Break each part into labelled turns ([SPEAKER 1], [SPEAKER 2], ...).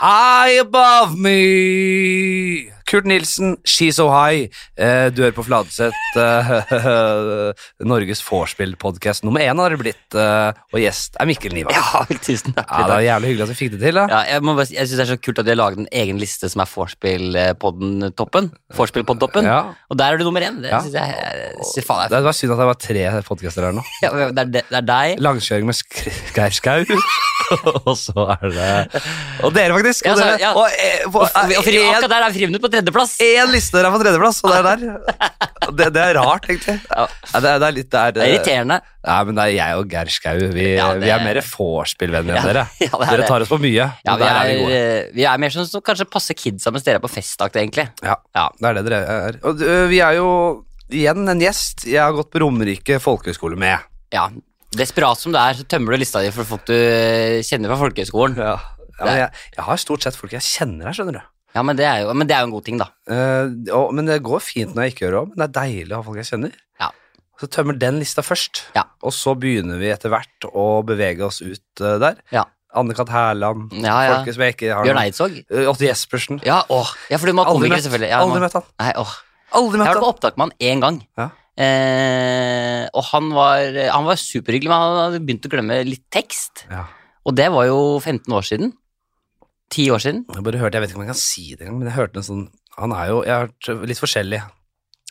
[SPEAKER 1] High above me! Kurt Nilsen, She's So High. Eh, du hører på Fladseth. eh, Norges vorspiel-podkast nummer én har det blitt, eh, og gjest er Mikkel Niva. Ja,
[SPEAKER 2] Ja, tusen takk.
[SPEAKER 1] det er jævlig hyggelig at vi fikk det til. da.
[SPEAKER 2] Ja, jeg må bare, si- jeg synes det er så kult at de har laget en egen liste som er Vorspiel-podden-toppen. Vorspiel-podden-toppen.
[SPEAKER 1] Ja.
[SPEAKER 2] Og der er du nummer én. Det
[SPEAKER 1] Ja.
[SPEAKER 2] synes jeg er- sy- faen,
[SPEAKER 1] Det var synd at det var tre podkaster her nå.
[SPEAKER 2] det er, det, er, det, det er deg.
[SPEAKER 1] Langkjøring med Sk- Geir Skau. og så er det Og dere, faktisk.
[SPEAKER 2] Ja,
[SPEAKER 1] Og,
[SPEAKER 2] så-
[SPEAKER 1] dere,
[SPEAKER 2] ja.
[SPEAKER 1] og, eh,
[SPEAKER 2] Og,
[SPEAKER 1] og,
[SPEAKER 2] og, fri,
[SPEAKER 1] en-
[SPEAKER 2] akkurat der er Friminutt på tredjeplass.
[SPEAKER 1] Én liste der er på tredjeplass, og det er der. Det, det er rart, egentlig.
[SPEAKER 2] Ja.
[SPEAKER 1] Ja, det, er- det er litt det er,
[SPEAKER 2] Det er irriterende.
[SPEAKER 1] Nei, men det er jeg og Geir Skau. Vi,
[SPEAKER 2] Ja, det-
[SPEAKER 1] vi er mer vorspielvenner enn
[SPEAKER 2] Ja,
[SPEAKER 1] dere.
[SPEAKER 2] ja, det er
[SPEAKER 1] dere
[SPEAKER 2] det.
[SPEAKER 1] tar oss på mye.
[SPEAKER 2] Ja,
[SPEAKER 1] men
[SPEAKER 2] vi
[SPEAKER 1] der
[SPEAKER 2] er,
[SPEAKER 1] vi gode.
[SPEAKER 2] eh, vi er mer sånn som kanskje passer kidsa mens dere er på festaktig, egentlig.
[SPEAKER 1] Ja,
[SPEAKER 2] Ja.
[SPEAKER 1] det er det dere er. Og ø, vi er jo igjen en gjest jeg har gått på Romerike folkehøgskole med.
[SPEAKER 2] Ja. Desperat som det er, så tømmer du lista di for folk du eh, kjenner fra folkehøyskolen.
[SPEAKER 1] Ja, men jeg, jeg har stort sett folk jeg kjenner her, skjønner du.
[SPEAKER 2] Ja, men det er jo, men det er jo en god ting, da.
[SPEAKER 1] Eh, og, men det går fint når jeg ikke gjør det òg. Men det er deilig å ha folk jeg kjenner.
[SPEAKER 2] Ja.
[SPEAKER 1] Så tømmer den lista først,
[SPEAKER 2] Ja.
[SPEAKER 1] og så begynner vi etter hvert å bevege oss ut eh, der.
[SPEAKER 2] Ja.
[SPEAKER 1] Anne-Kat. Hærland,
[SPEAKER 2] Ja, ja.
[SPEAKER 1] folket som jeg ikke har
[SPEAKER 2] Bjørn
[SPEAKER 1] noe-
[SPEAKER 2] Eidsvåg.
[SPEAKER 1] Eh, Otto Jespersen.
[SPEAKER 2] Ja, åh. ja, for du må ha
[SPEAKER 1] Aldri
[SPEAKER 2] komiker,
[SPEAKER 1] møtt.
[SPEAKER 2] selvfølgelig. Ja,
[SPEAKER 1] Aldri
[SPEAKER 2] man-
[SPEAKER 1] møtt han.
[SPEAKER 2] Nei, åh.
[SPEAKER 1] Aldri
[SPEAKER 2] Jeg
[SPEAKER 1] møtt
[SPEAKER 2] har vært
[SPEAKER 1] han.
[SPEAKER 2] på opptak med han én gang.
[SPEAKER 1] Ja.
[SPEAKER 2] Eh, og han var, han var superhyggelig, men han hadde begynt å glemme litt tekst.
[SPEAKER 1] Ja.
[SPEAKER 2] Og det var jo 15 år siden. 10 år siden.
[SPEAKER 1] Jeg bare hørte, jeg vet ikke om jeg kan si det engang, men jeg hørte en sånn Han er jo jeg har hørt litt forskjellig.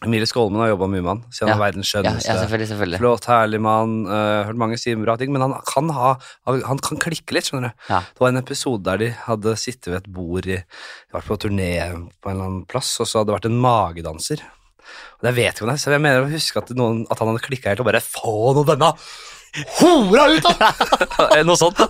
[SPEAKER 1] Emilie Skålmen har jobba mye med han, siden han
[SPEAKER 2] Ja.
[SPEAKER 1] er verdens
[SPEAKER 2] Ja, ja,
[SPEAKER 1] skjønneste.
[SPEAKER 2] selvfølgelig, selvfølgelig.
[SPEAKER 1] Flott, herlig mann. eh, hørt mange si bra ting, men han kan, ha, han kan klikke litt, skjønner du.
[SPEAKER 2] Ja.
[SPEAKER 1] Det var en episode der de hadde sittet ved et bord i de var på turné på en eller annen plass, og så hadde det vært en magedanser. Og jeg vet ikke om det er, så jeg mener å huske at, noen, at han hadde klikka helt og bare Få nå denne hora ut, da! Eh, Noe sånt. da.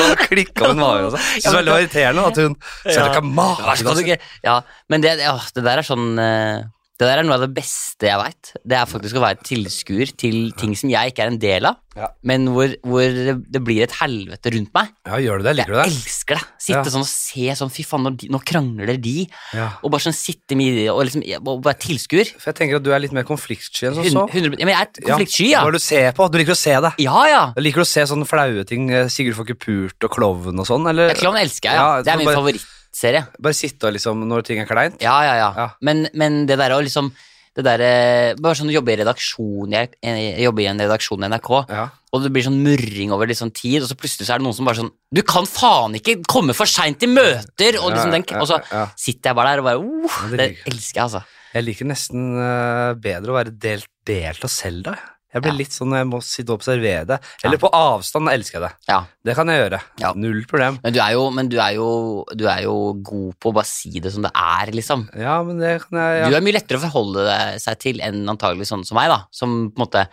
[SPEAKER 1] Han klikka med magen. Altså. Synes det var veldig irriterende at hun Så er
[SPEAKER 2] Ja.
[SPEAKER 1] det ikke
[SPEAKER 2] Skal du
[SPEAKER 1] magedanser.
[SPEAKER 2] ikke- Ja, men det, åh, det der er sånn eh, Det der er noe av det beste jeg veit. Det er faktisk å være tilskuer til ting som jeg ikke er en del av,
[SPEAKER 1] Ja.
[SPEAKER 2] men hvor, hvor det blir et helvete rundt meg.
[SPEAKER 1] Ja, gjør du det?
[SPEAKER 2] Jeg
[SPEAKER 1] Liker du det?
[SPEAKER 2] elsker det. Sitte
[SPEAKER 1] Ja.
[SPEAKER 2] sånn og se sånn Fy faen, nå, de- nå krangler de.
[SPEAKER 1] Ja.
[SPEAKER 2] Og bare sånn sitte med i det, og liksom og være tilskuer.
[SPEAKER 1] For jeg tenker at du er litt mer konfliktsky enn som Altså, så.
[SPEAKER 2] Hun- 100 ja, men jeg er et konfliktsky, ja.
[SPEAKER 1] Hva er det du ser på? Du liker å se det.
[SPEAKER 2] Ja, ja.
[SPEAKER 1] Jeg liker du å se sånne flaue ting? eh, Sigurd får ikke pult og klovn og sånn? Eller
[SPEAKER 2] Ja, Klovn elsker jeg, ja.
[SPEAKER 1] Ja,
[SPEAKER 2] Det er min
[SPEAKER 1] bare-
[SPEAKER 2] favorittserie.
[SPEAKER 1] bare sitte og liksom når ting er kleint?
[SPEAKER 2] Ja, ja, ja.
[SPEAKER 1] Ja.
[SPEAKER 2] Men, men det der å liksom det der, eh, Bare sånn å jobbe i redaksjon jeg, jeg jobber i en redaksjon i NRK,
[SPEAKER 1] Ja.
[SPEAKER 2] og det blir sånn murring over litt sånn tid, og så plutselig så er det noen som bare sånn Du kan faen ikke komme for seint til møter! Og, liksom, den,
[SPEAKER 1] Ja, ja,
[SPEAKER 2] og så
[SPEAKER 1] ja.
[SPEAKER 2] sitter jeg bare der og bare oh,
[SPEAKER 1] Ja, det
[SPEAKER 2] Det
[SPEAKER 1] liker jeg.
[SPEAKER 2] elsker jeg, altså.
[SPEAKER 1] Jeg liker nesten eh, bedre å være delt, delt og selv da. Jeg blir
[SPEAKER 2] Ja.
[SPEAKER 1] litt sånn når jeg må sitte og observere det. Eller på avstand da elsker jeg det.
[SPEAKER 2] Ja.
[SPEAKER 1] Det kan jeg gjøre.
[SPEAKER 2] Ja.
[SPEAKER 1] Null problem.
[SPEAKER 2] Men, du er, jo, men du, er jo, du er jo god på å bare si det som det er, liksom.
[SPEAKER 1] Ja, men det kan jeg ja.
[SPEAKER 2] Du er mye lettere å forholde deg- seg til enn antagelig sånn som meg, da. Som på en måte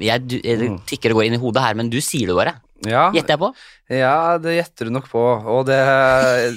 [SPEAKER 2] jeg, du, jeg
[SPEAKER 1] Mm.
[SPEAKER 2] tikker og går inn i hodet her, men du sier det bare.
[SPEAKER 1] Ja,
[SPEAKER 2] Gjetter jeg på?
[SPEAKER 1] ja, det gjetter du nok på, og det,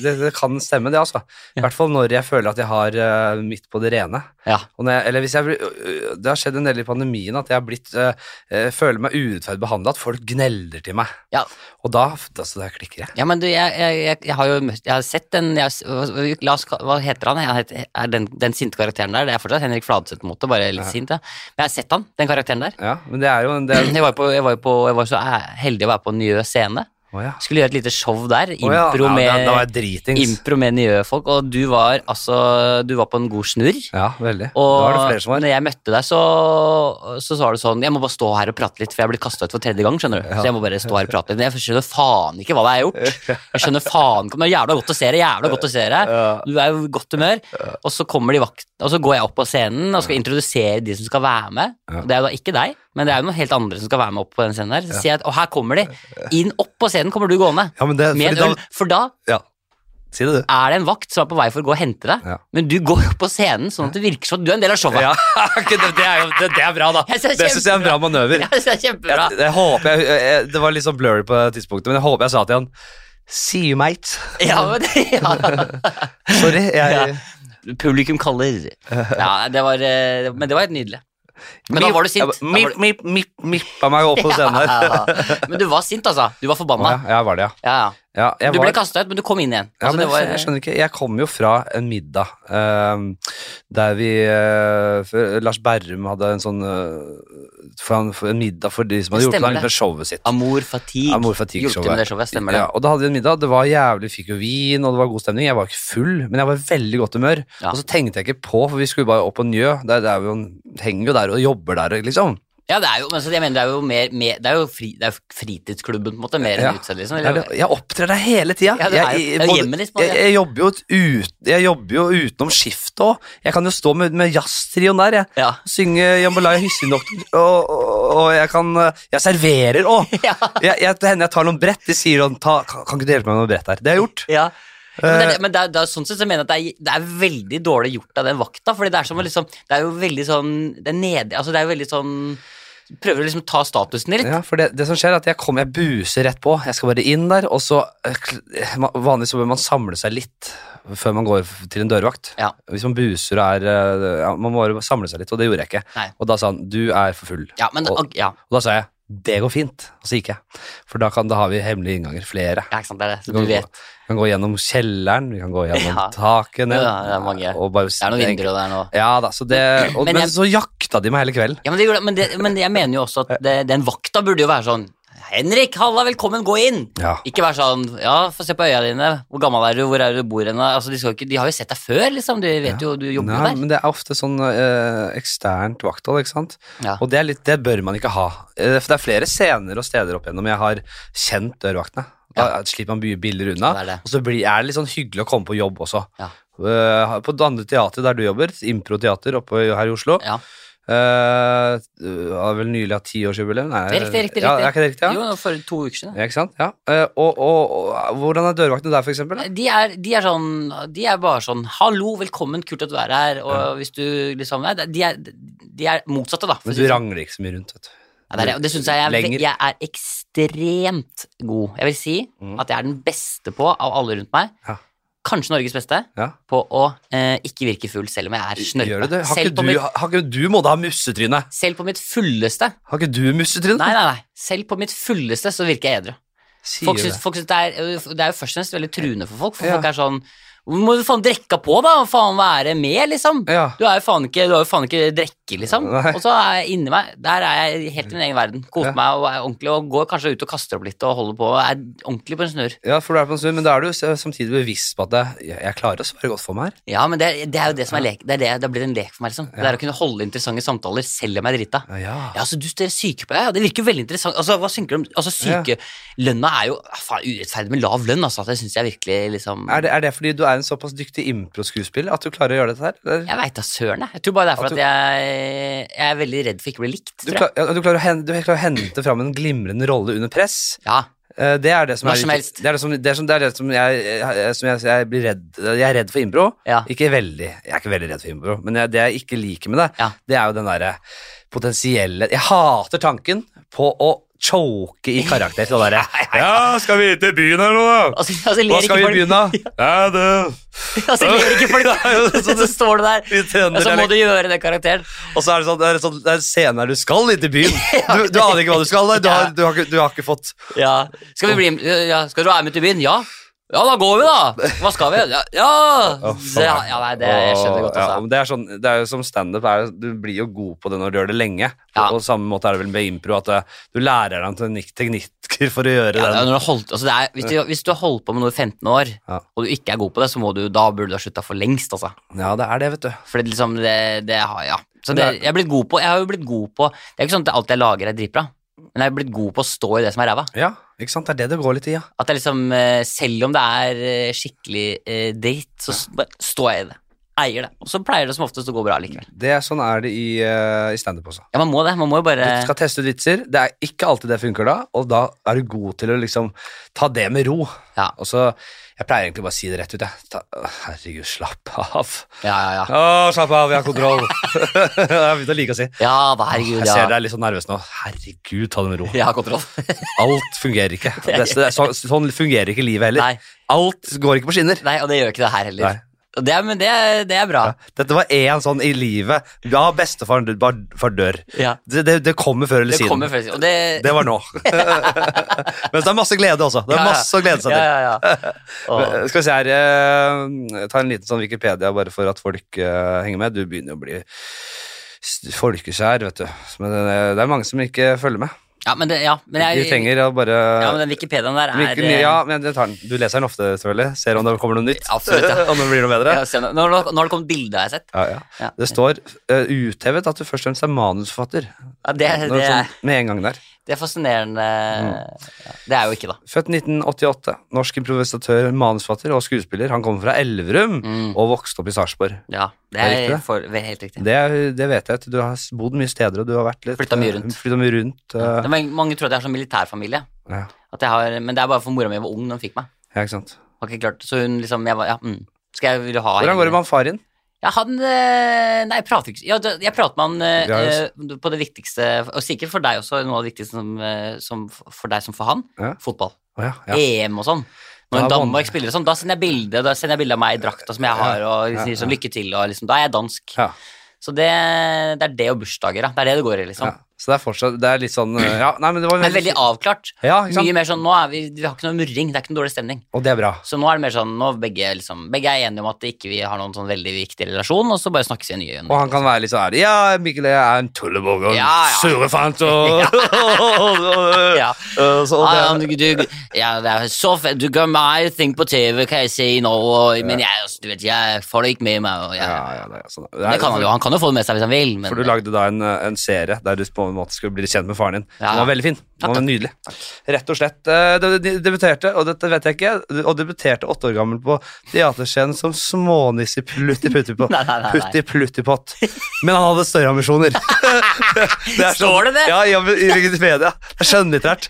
[SPEAKER 1] det, det kan stemme, det, altså. I
[SPEAKER 2] Ja.
[SPEAKER 1] hvert fall når jeg føler at jeg har eh, mitt på det rene.
[SPEAKER 2] Ja.
[SPEAKER 1] Og når jeg, eller hvis jeg, blir- øh, det har skjedd en del i pandemien at jeg har blitt, øh, øh, føler meg urettferdig behandla, at folk gnelder til meg.
[SPEAKER 2] Ja.
[SPEAKER 1] Og da, altså, da klikker jeg.
[SPEAKER 2] ja, men du, jeg, jeg, jeg, jeg har jo møtt Jeg har sett den jeg, har s- hva- la oss, ka- Hva heter han? Jeg heter, er den, den sinte karakteren der. Det er fortsatt Henrik Fladseth-måte, bare litt sint. Ja. Men jeg har sett han, den karakteren der.
[SPEAKER 1] Ja, men det er jo en del
[SPEAKER 2] Jeg var, på, jeg, var jo på, jeg var så æ- heldig å være på Njø scene.
[SPEAKER 1] Å ja.
[SPEAKER 2] Skulle gjøre et lite show der.
[SPEAKER 1] Å ja.
[SPEAKER 2] Impro
[SPEAKER 1] ja, da, da var
[SPEAKER 2] med,
[SPEAKER 1] jeg dritings.
[SPEAKER 2] impro med Njø-folk. Og du var altså Du var på en god snurr.
[SPEAKER 1] Ja, veldig.
[SPEAKER 2] Og
[SPEAKER 1] da var det flere som var.
[SPEAKER 2] når jeg møtte deg, så, så var det sånn Jeg må bare stå her og prate litt, for jeg blir kasta ut for tredje gang. skjønner du Så jeg må bare stå her og prate litt Men jeg skjønner faen ikke hva det er jeg har gjort. Jeg skjønner faen ikke Men Jævla godt å se deg, jævla godt å se deg.
[SPEAKER 1] Ja.
[SPEAKER 2] Du er jo i godt humør. Og så kommer de vakt Og så går jeg opp på scenen og skal introdusere de som skal være med.
[SPEAKER 1] Ja.
[SPEAKER 2] Og Det er jo da ikke deg, men det er jo noen helt andre som skal være med opp på den scenen der. Så sier jeg at Og her kommer de! Inn opp på scenen kommer du gående.
[SPEAKER 1] Ja, men det,
[SPEAKER 2] Med
[SPEAKER 1] fordi
[SPEAKER 2] en øl. For da
[SPEAKER 1] Da, ja. Si det, du.
[SPEAKER 2] er det en vakt som er på vei for å gå og hente deg,
[SPEAKER 1] Ja.
[SPEAKER 2] men du går opp på scenen sånn at det virker som at du er en del av showet.
[SPEAKER 1] Ja, ok, det, det, er, jo- det, det er bra, da.
[SPEAKER 2] Jeg synes
[SPEAKER 1] Det syns jeg er en bra manøver.
[SPEAKER 2] Ja, det er kjempebra.
[SPEAKER 1] Jeg, jeg håper jeg, jeg, Det var litt sånn blurry på det tidspunktet, men jeg håper jeg sa til han See you, mate.
[SPEAKER 2] Ja, men det, ja.
[SPEAKER 1] Sorry. Jeg,
[SPEAKER 2] Publikum kaller. Ja, det var, eh, men det var helt nydelig. Men da var du sint. Da var
[SPEAKER 1] Mip,
[SPEAKER 2] du-
[SPEAKER 1] mip, mip, mippa meg opp på scenen her.
[SPEAKER 2] Ja, men du var sint, altså. Du var forbanna.
[SPEAKER 1] Ja, jeg var det, ja.
[SPEAKER 2] Ja, ja.
[SPEAKER 1] Eh, Ja, jeg
[SPEAKER 2] Du
[SPEAKER 1] var-
[SPEAKER 2] ble kasta ut, men du kom inn igjen.
[SPEAKER 1] Ja,
[SPEAKER 2] Altså,
[SPEAKER 1] men
[SPEAKER 2] det var-
[SPEAKER 1] jeg skjønner ikke. Jeg kom jo fra en middag ehm, der vi eh, før- Lars Berrum hadde en sånn eh, for han, for en middag for de som hadde
[SPEAKER 2] Det
[SPEAKER 1] hjulpet
[SPEAKER 2] stemmer
[SPEAKER 1] ham med
[SPEAKER 2] det.
[SPEAKER 1] showet sitt.
[SPEAKER 2] Amor fatigue.
[SPEAKER 1] Amor Fatigue
[SPEAKER 2] Hjulpet med det showet, stemmer det.
[SPEAKER 1] Ja, og da hadde vi en middag. Det var jævlig, vi fikk jo vin, og det var god stemning. Jeg var ikke full, men jeg var i veldig godt humør.
[SPEAKER 2] Ja.
[SPEAKER 1] Og så tenkte jeg ikke på, for vi skulle bare opp på Njø. Der, der vi jo, henger jo der og jobber der, liksom.
[SPEAKER 2] Ja, det er jo, men så jeg mener, det er jo, mer, mer, det er jo, fri, det er jo fritidsklubben, på en måte, mer
[SPEAKER 1] Ja.
[SPEAKER 2] enn utested, liksom.
[SPEAKER 1] Jeg,
[SPEAKER 2] Eller,
[SPEAKER 1] jeg opptrer der hele tida.
[SPEAKER 2] Ja, det er jo- det er jo hjemmet ditt, på en
[SPEAKER 1] jeg,
[SPEAKER 2] måte.
[SPEAKER 1] jeg, jobber jo ut, jeg jobber jo utenom skiftet òg. Jeg kan jo stå med, med jazztrioen der, jeg.
[SPEAKER 2] ja.
[SPEAKER 1] Synge jambalaya hyssindoktor, og, og, og jeg kan eh, Jeg serverer òg!
[SPEAKER 2] Ja.
[SPEAKER 1] Jeg, jeg, det hender jeg tar noen brett. De sier sånn ta, kan, kan ikke du hjelpe meg med noe brett her? Det har jeg gjort.
[SPEAKER 2] ja.
[SPEAKER 1] Eh,
[SPEAKER 2] Ja, Men, det, er- men det, er- det er, sånn sett så mener jeg at det er, det er veldig dårlig gjort av den vakta, fordi det er som å liksom Det er jo veldig sånn Det er nede Altså, det er jo veldig sånn Prøver å liksom ta statusen din litt.
[SPEAKER 1] Ja, for det, det som skjer er at jeg kommer, jeg buser rett på. Jeg skal bare inn der, og så eh, kl- ma- Vanligvis så bør man samle seg litt før man går f- til en dørvakt.
[SPEAKER 2] Ja.
[SPEAKER 1] Hvis man buser og er eh, ja, Man må bare samle seg litt, og det gjorde jeg ikke.
[SPEAKER 2] Nei.
[SPEAKER 1] Og da sa han 'du er for full'.
[SPEAKER 2] Ja, men
[SPEAKER 1] og,
[SPEAKER 2] og, ja.
[SPEAKER 1] og da sa jeg 'det går fint', og så gikk jeg. For da, kan, da har vi hemmelige innganger, flere.
[SPEAKER 2] ja, ikke sant, det er det.
[SPEAKER 1] Vi
[SPEAKER 2] Så du
[SPEAKER 1] kan, gå,
[SPEAKER 2] vet.
[SPEAKER 1] vi kan gå gjennom kjelleren, vi kan gå gjennom
[SPEAKER 2] Ja.
[SPEAKER 1] taket ned.
[SPEAKER 2] Ja, det er mange.
[SPEAKER 1] Og bare,
[SPEAKER 2] Det er noen vinduer og det er noe
[SPEAKER 1] Ja da, så det, og,
[SPEAKER 2] Men
[SPEAKER 1] men,
[SPEAKER 2] jeg-
[SPEAKER 1] så jakta de meg hele kvelden.
[SPEAKER 2] Ja, men, det, gjorde- men, det, men jeg mener jo også at det, den vakta burde jo være sånn Henrik, halla, velkommen, gå inn!
[SPEAKER 1] Ja.
[SPEAKER 2] Ikke være sånn Ja, få se på øya dine. Hvor gammel er du? Hvor er du bor hen? Altså, de, skal jo ikke, de har jo sett deg før, liksom. Du vet jo, du jobber
[SPEAKER 1] Nei,
[SPEAKER 2] jo der.
[SPEAKER 1] men det er ofte sånn eh, eksternt vakthold, ikke sant.
[SPEAKER 2] Ja.
[SPEAKER 1] Og det, er litt, det bør man ikke ha. Eh, For det er flere scener og steder opp igjennom jeg har kjent dørvaktene. Da slipper man mye billigere unna.
[SPEAKER 2] Det er det.
[SPEAKER 1] Og så blir, er det litt sånn hyggelig å komme på jobb også.
[SPEAKER 2] Ja.
[SPEAKER 1] Eh, på det andre teatret der du jobber, improteater oppe i- her i Oslo,
[SPEAKER 2] Ja.
[SPEAKER 1] eh, du har vel nylig hatt tiårsjubileum? Nei,
[SPEAKER 2] Det er riktig, riktig.
[SPEAKER 1] Ja,
[SPEAKER 2] riktig.
[SPEAKER 1] er ikke det riktig, ja?
[SPEAKER 2] Jo, for to uker siden.
[SPEAKER 1] Ja, ikke sant? Ja. Eh, og, og, og hvordan er dørvaktene der, for eksempel? da?
[SPEAKER 2] De er, de er sånn De er bare sånn 'Hallo, velkommen, kult at du er her', og hvis du liksom Nei, de er, de er motsatte, da. for å
[SPEAKER 1] Men
[SPEAKER 2] si
[SPEAKER 1] du
[SPEAKER 2] det sånn.
[SPEAKER 1] rangler ikke så mye rundt, vet du.
[SPEAKER 2] Ja, det er, og det syns jeg, jeg,
[SPEAKER 1] Lenger.
[SPEAKER 2] jeg er ekstremt god. Jeg vil si
[SPEAKER 1] Mm.
[SPEAKER 2] at jeg er den beste på, av alle rundt meg,
[SPEAKER 1] Ja.
[SPEAKER 2] kanskje Norges beste,
[SPEAKER 1] Ja.
[SPEAKER 2] på å eh, ikke virke full selv om jeg er snørpe.
[SPEAKER 1] Gjør du det? Har
[SPEAKER 2] Selv,
[SPEAKER 1] ikke
[SPEAKER 2] på
[SPEAKER 1] du,
[SPEAKER 2] mitt,
[SPEAKER 1] har ikke du måttet ha mussetryne?
[SPEAKER 2] selv på mitt fulleste
[SPEAKER 1] Har ikke du mussetryne?
[SPEAKER 2] Nei, nei, nei. Selv på mitt fulleste så virker jeg edru.
[SPEAKER 1] Sier
[SPEAKER 2] Folk
[SPEAKER 1] du
[SPEAKER 2] syns,
[SPEAKER 1] det?
[SPEAKER 2] folk syns det, er, øh, det er jo først og fremst veldig truende for folk, for
[SPEAKER 1] Ja.
[SPEAKER 2] folk er sånn "Hvor Må du faen drikke på, da? og Faen være med, liksom.
[SPEAKER 1] Ja.
[SPEAKER 2] Du er jo faen ikke, du har jo faen ikke drikke, liksom.
[SPEAKER 1] Nei.
[SPEAKER 2] Og så er jeg inni meg. Der er jeg helt i min egen verden.
[SPEAKER 1] Ja.
[SPEAKER 2] Koser meg og er ordentlig og går kanskje ut og kaster opp litt og holder på. og Er ordentlig på en snurr.
[SPEAKER 1] ja, for du er på en stund, men da er du s- samtidig bevisst på at det- jeg, jeg klarer å svare godt for meg her.
[SPEAKER 2] Ja, men det, det er jo det som er lek. Det er det, det har blitt en lek for meg, liksom. Det er å kunne holde interessante samtaler selv om jeg er drita.
[SPEAKER 1] Ja, ja.
[SPEAKER 2] Ja, altså, du dere er syke på Ja, ja, det virker jo veldig interessant. Altså, hva synker du om Altså, syke Lønna er jo ah, faen urettferdig med lav lønn, altså. at Jeg syns jeg virkelig liksom
[SPEAKER 1] Er, det, er det fordi du er en såpass dyktig impro-skuespiller at du klarer å gjøre dette her? Eller?
[SPEAKER 2] Jeg veit da søren, jeg. Jeg tror bare det er
[SPEAKER 1] At du-
[SPEAKER 2] for at jeg, jeg er veldig redd for ikke å bli likt,
[SPEAKER 1] Du,
[SPEAKER 2] tror jeg.
[SPEAKER 1] klar, ja, du, klarer å hente, du klarer å hente fram en glimrende rolle under press.
[SPEAKER 2] Ja.
[SPEAKER 1] Eh, Det er det som
[SPEAKER 2] Når
[SPEAKER 1] er
[SPEAKER 2] som
[SPEAKER 1] litt-
[SPEAKER 2] helst.
[SPEAKER 1] Det er det som, det er som, det er det som, jeg, jeg, som jeg, jeg blir redd Jeg er redd for impro.
[SPEAKER 2] Ja.
[SPEAKER 1] Ikke veldig. Jeg er ikke veldig redd for impro, men jeg, det jeg ikke liker med det,
[SPEAKER 2] Ja.
[SPEAKER 1] det er jo den derre potensielle Jeg hater tanken på å choke i karakter. Sånn derre Ja, skal vi til byen eller noe, da?
[SPEAKER 2] Altså, altså, ler
[SPEAKER 1] Hva
[SPEAKER 2] ikke
[SPEAKER 1] skal vi
[SPEAKER 2] folk-
[SPEAKER 1] begynne? Ja, det
[SPEAKER 2] Altså, ler ikke folk
[SPEAKER 1] Nei,
[SPEAKER 2] Så står du der,
[SPEAKER 1] Vi
[SPEAKER 2] og
[SPEAKER 1] trønder
[SPEAKER 2] så må
[SPEAKER 1] dialekt.
[SPEAKER 2] du gjøre den karakteren.
[SPEAKER 1] Og så er det sånn, det er sånn det er scener du skal litt i byen. Du, du aner ikke hva du skal. nei. Du har, du har, ikke, du har ikke fått
[SPEAKER 2] Ja. Skal, vi bli, ja. skal du være med til byen? Ja. Ja, da går vi, da. Hva skal vi? Ja! ja.
[SPEAKER 1] Å,
[SPEAKER 2] Så,
[SPEAKER 1] faen.
[SPEAKER 2] ja, ja nei, det jeg skjønner godt,
[SPEAKER 1] Ja,
[SPEAKER 2] altså.
[SPEAKER 1] men det, er sånn, det er jo som standup, er jo- du blir jo god på det når du gjør det lenge.
[SPEAKER 2] Ja.
[SPEAKER 1] Og på samme måte er det vel med impro, at eh, du lærer deg teknikk, teknikker for å gjøre
[SPEAKER 2] Ja, det er
[SPEAKER 1] den.
[SPEAKER 2] når du har holdt, altså det er, hvis, du, hvis du har holdt på med noe i 15 år,
[SPEAKER 1] Ja.
[SPEAKER 2] og du ikke er god på det, så må du, da burde du ha slutta for lengst. Altså.
[SPEAKER 1] Ja, det er det, vet du.
[SPEAKER 2] For det, liksom, det, det har jeg. Så
[SPEAKER 1] Men
[SPEAKER 2] det,
[SPEAKER 1] det er-
[SPEAKER 2] jeg, er blitt god på, jeg har jo blitt god på Det er ikke sånn at alt jeg lager, er dritbra, men jeg er blitt god på å stå i det som er ræva.
[SPEAKER 1] Ja, ikke sant? Det er det det går litt i, ja.
[SPEAKER 2] At jeg liksom, eh, selv om det er eh, skikkelig eh, dritt, så s- bare står jeg i det. Eier det. Og så pleier det som oftest å gå bra likevel.
[SPEAKER 1] Det er, sånn er det i, uh, i standup også.
[SPEAKER 2] Ja, man må det. Man må jo
[SPEAKER 1] Du
[SPEAKER 2] bare
[SPEAKER 1] skal teste ut vitser. Det er ikke alltid det funker da, og da er du god til å liksom ta det med ro.
[SPEAKER 2] Ja.
[SPEAKER 1] Og så, Jeg pleier egentlig bare å si det rett ut, jeg. Ta, herregud, slapp av.
[SPEAKER 2] Ja, ja, ja.
[SPEAKER 1] Å, slapp av, vi har kontroll. jeg har begynt å like å si.
[SPEAKER 2] Ja da, herregud,
[SPEAKER 1] Jeg ser deg
[SPEAKER 2] ja.
[SPEAKER 1] er litt sånn nervøs nå. Herregud, ta det med ro.
[SPEAKER 2] Jeg har kontroll.
[SPEAKER 1] Alt fungerer ikke. Det, så det, er så, sånn fungerer ikke livet heller.
[SPEAKER 2] Nei,
[SPEAKER 1] Alt går ikke på skinner.
[SPEAKER 2] nei, og det gjør ikke det her heller.
[SPEAKER 1] Nei.
[SPEAKER 2] Og Det, er- men det, er- det er bra.
[SPEAKER 1] Dette var én sånn i livet. Ja, bestefaren dør- bar- far dør.
[SPEAKER 2] Ja.
[SPEAKER 1] Det, det, det kommer før eller
[SPEAKER 2] Det
[SPEAKER 1] siden.
[SPEAKER 2] kommer først. Og det,
[SPEAKER 1] Det var nå. Men det er masse glede også. Det
[SPEAKER 2] Ja,
[SPEAKER 1] er
[SPEAKER 2] ja.
[SPEAKER 1] masse å glede seg
[SPEAKER 2] ja,
[SPEAKER 1] til.
[SPEAKER 2] ja, ja. Åh.
[SPEAKER 1] Men, Skal vi se her eh, Ta en liten sånn Wikipedia bare for at folk eh, henger med. Du begynner å bli s- folkeskjær, vet du. Men det, det er mange som ikke følger med.
[SPEAKER 2] Ja, men det, ja, men
[SPEAKER 1] De
[SPEAKER 2] jeg,
[SPEAKER 1] trenger å bare
[SPEAKER 2] ja, men den Wikipediaen der er eh,
[SPEAKER 1] Hvilken- ja, men jeg tar den. Du leser den ofte, selvfølgelig. Ser om det kommer noe nytt.
[SPEAKER 2] Absolutt, ja.
[SPEAKER 1] om det blir noe bedre.
[SPEAKER 2] Ja, se nå. Nå har det- nå har det kommet bilder, har jeg sett.
[SPEAKER 1] Ja, ja.
[SPEAKER 2] Ja.
[SPEAKER 1] Det står eh, uthevet at du først og fremst er manusforfatter.
[SPEAKER 2] Ja,
[SPEAKER 1] Nå
[SPEAKER 2] det,
[SPEAKER 1] er
[SPEAKER 2] det, er,
[SPEAKER 1] sånn med en gang der.
[SPEAKER 2] det er fascinerende.
[SPEAKER 1] Mm.
[SPEAKER 2] Ja, det er jo ikke, da.
[SPEAKER 1] Født 1988. Norsk improvisatør, manusforfatter og skuespiller. Han kommer fra Elverum
[SPEAKER 2] Mm.
[SPEAKER 1] og vokste opp i Sarpsborg.
[SPEAKER 2] Ja, det
[SPEAKER 1] Er det ikke
[SPEAKER 2] er
[SPEAKER 1] det?
[SPEAKER 2] for, det er helt riktig.
[SPEAKER 1] Det, er- det vet jeg at du har s- bodd mye steder, og du har vært litt
[SPEAKER 2] Flyttet mye rundt.
[SPEAKER 1] Flytta mye rundt
[SPEAKER 2] Det
[SPEAKER 1] eh,
[SPEAKER 2] er mange, mange tror at jeg har sånn militærfamilie.
[SPEAKER 1] ja.
[SPEAKER 2] At jeg har, men det er bare for mora mi var ung når hun fikk meg.
[SPEAKER 1] ja, ikke sant.
[SPEAKER 2] Har ikke klart, så hun liksom, jeg var, ja, mm. Skal jeg ville ha
[SPEAKER 1] Hvordan går det med han far din?
[SPEAKER 2] Ja, han eh, Nei, jeg prater ikke ja, da- Jeg prater med han eh,
[SPEAKER 1] Ja, yes.
[SPEAKER 2] eh, på det viktigste, og sikkert for deg også, noe av det viktigste som, eh, som f- for deg som for han.
[SPEAKER 1] Ja.
[SPEAKER 2] Fotball.
[SPEAKER 1] Å ja, ja.
[SPEAKER 2] EM og sånn.
[SPEAKER 1] Da
[SPEAKER 2] Når en
[SPEAKER 1] er man-
[SPEAKER 2] Danmark spiller og sånn, da sender jeg bilde Da sender jeg bilde av meg i drakta som jeg har, og
[SPEAKER 1] ja,
[SPEAKER 2] liksom,
[SPEAKER 1] ja.
[SPEAKER 2] liksom, lykke til, og liksom Da er jeg dansk.
[SPEAKER 1] Ja.
[SPEAKER 2] Så det, det er det og bursdager, da. Det er det det går i, liksom.
[SPEAKER 1] ja. Så det er fortsatt Det er litt sånn eh, Ja, nei, men det var
[SPEAKER 2] Men veldig avklart.
[SPEAKER 1] Ja, ikke sant.
[SPEAKER 2] Mye mer sånn Nå er vi, vi har ikke noe murring, det er ikke noe dårlig stemning.
[SPEAKER 1] Og det er bra.
[SPEAKER 2] Så nå er det mer sånn, nå begge, liksom, begge er enige om at ikke vi ikke har noen sånn veldig viktig relasjon, og så bare snakkes vi nye igjen.
[SPEAKER 1] Og han kan være litt sånn ærlig. Ja, Mikkel, jeg er en tullebog og en
[SPEAKER 2] Ja, ja.
[SPEAKER 1] surefant og,
[SPEAKER 2] Ja.
[SPEAKER 1] og så,
[SPEAKER 2] Ah,
[SPEAKER 1] det,
[SPEAKER 2] ja, men du, du, ja, det er så fett. Du kan meg ting på TV, kan jeg si nå, og, men jeg, altså, du vet, jeg får det ikke med meg. Og, jeg,
[SPEAKER 1] ja, ja, det, er sånn. Det er-
[SPEAKER 2] det kan han jo, han kan jo få det med seg hvis han vil, men
[SPEAKER 1] For du lagde da en, en serie der du på en måte skulle bli kjent med faren din.
[SPEAKER 2] Ja.
[SPEAKER 1] Den var veldig fin. Den var nydelig. Rett og slett. Eh, Du du debuterte, og dette vet jeg ikke, og debuterte åtte år gammel på teaterscenen som smånisse Plutti Pluttipott.
[SPEAKER 2] Nei, nei, nei, nei.
[SPEAKER 1] Plutti Pluttipott. Men han hadde større ambisjoner. Det er sånn-
[SPEAKER 2] Står det det?
[SPEAKER 1] Ja, ja, men i Wikipedia. Det er skjønnlitterært.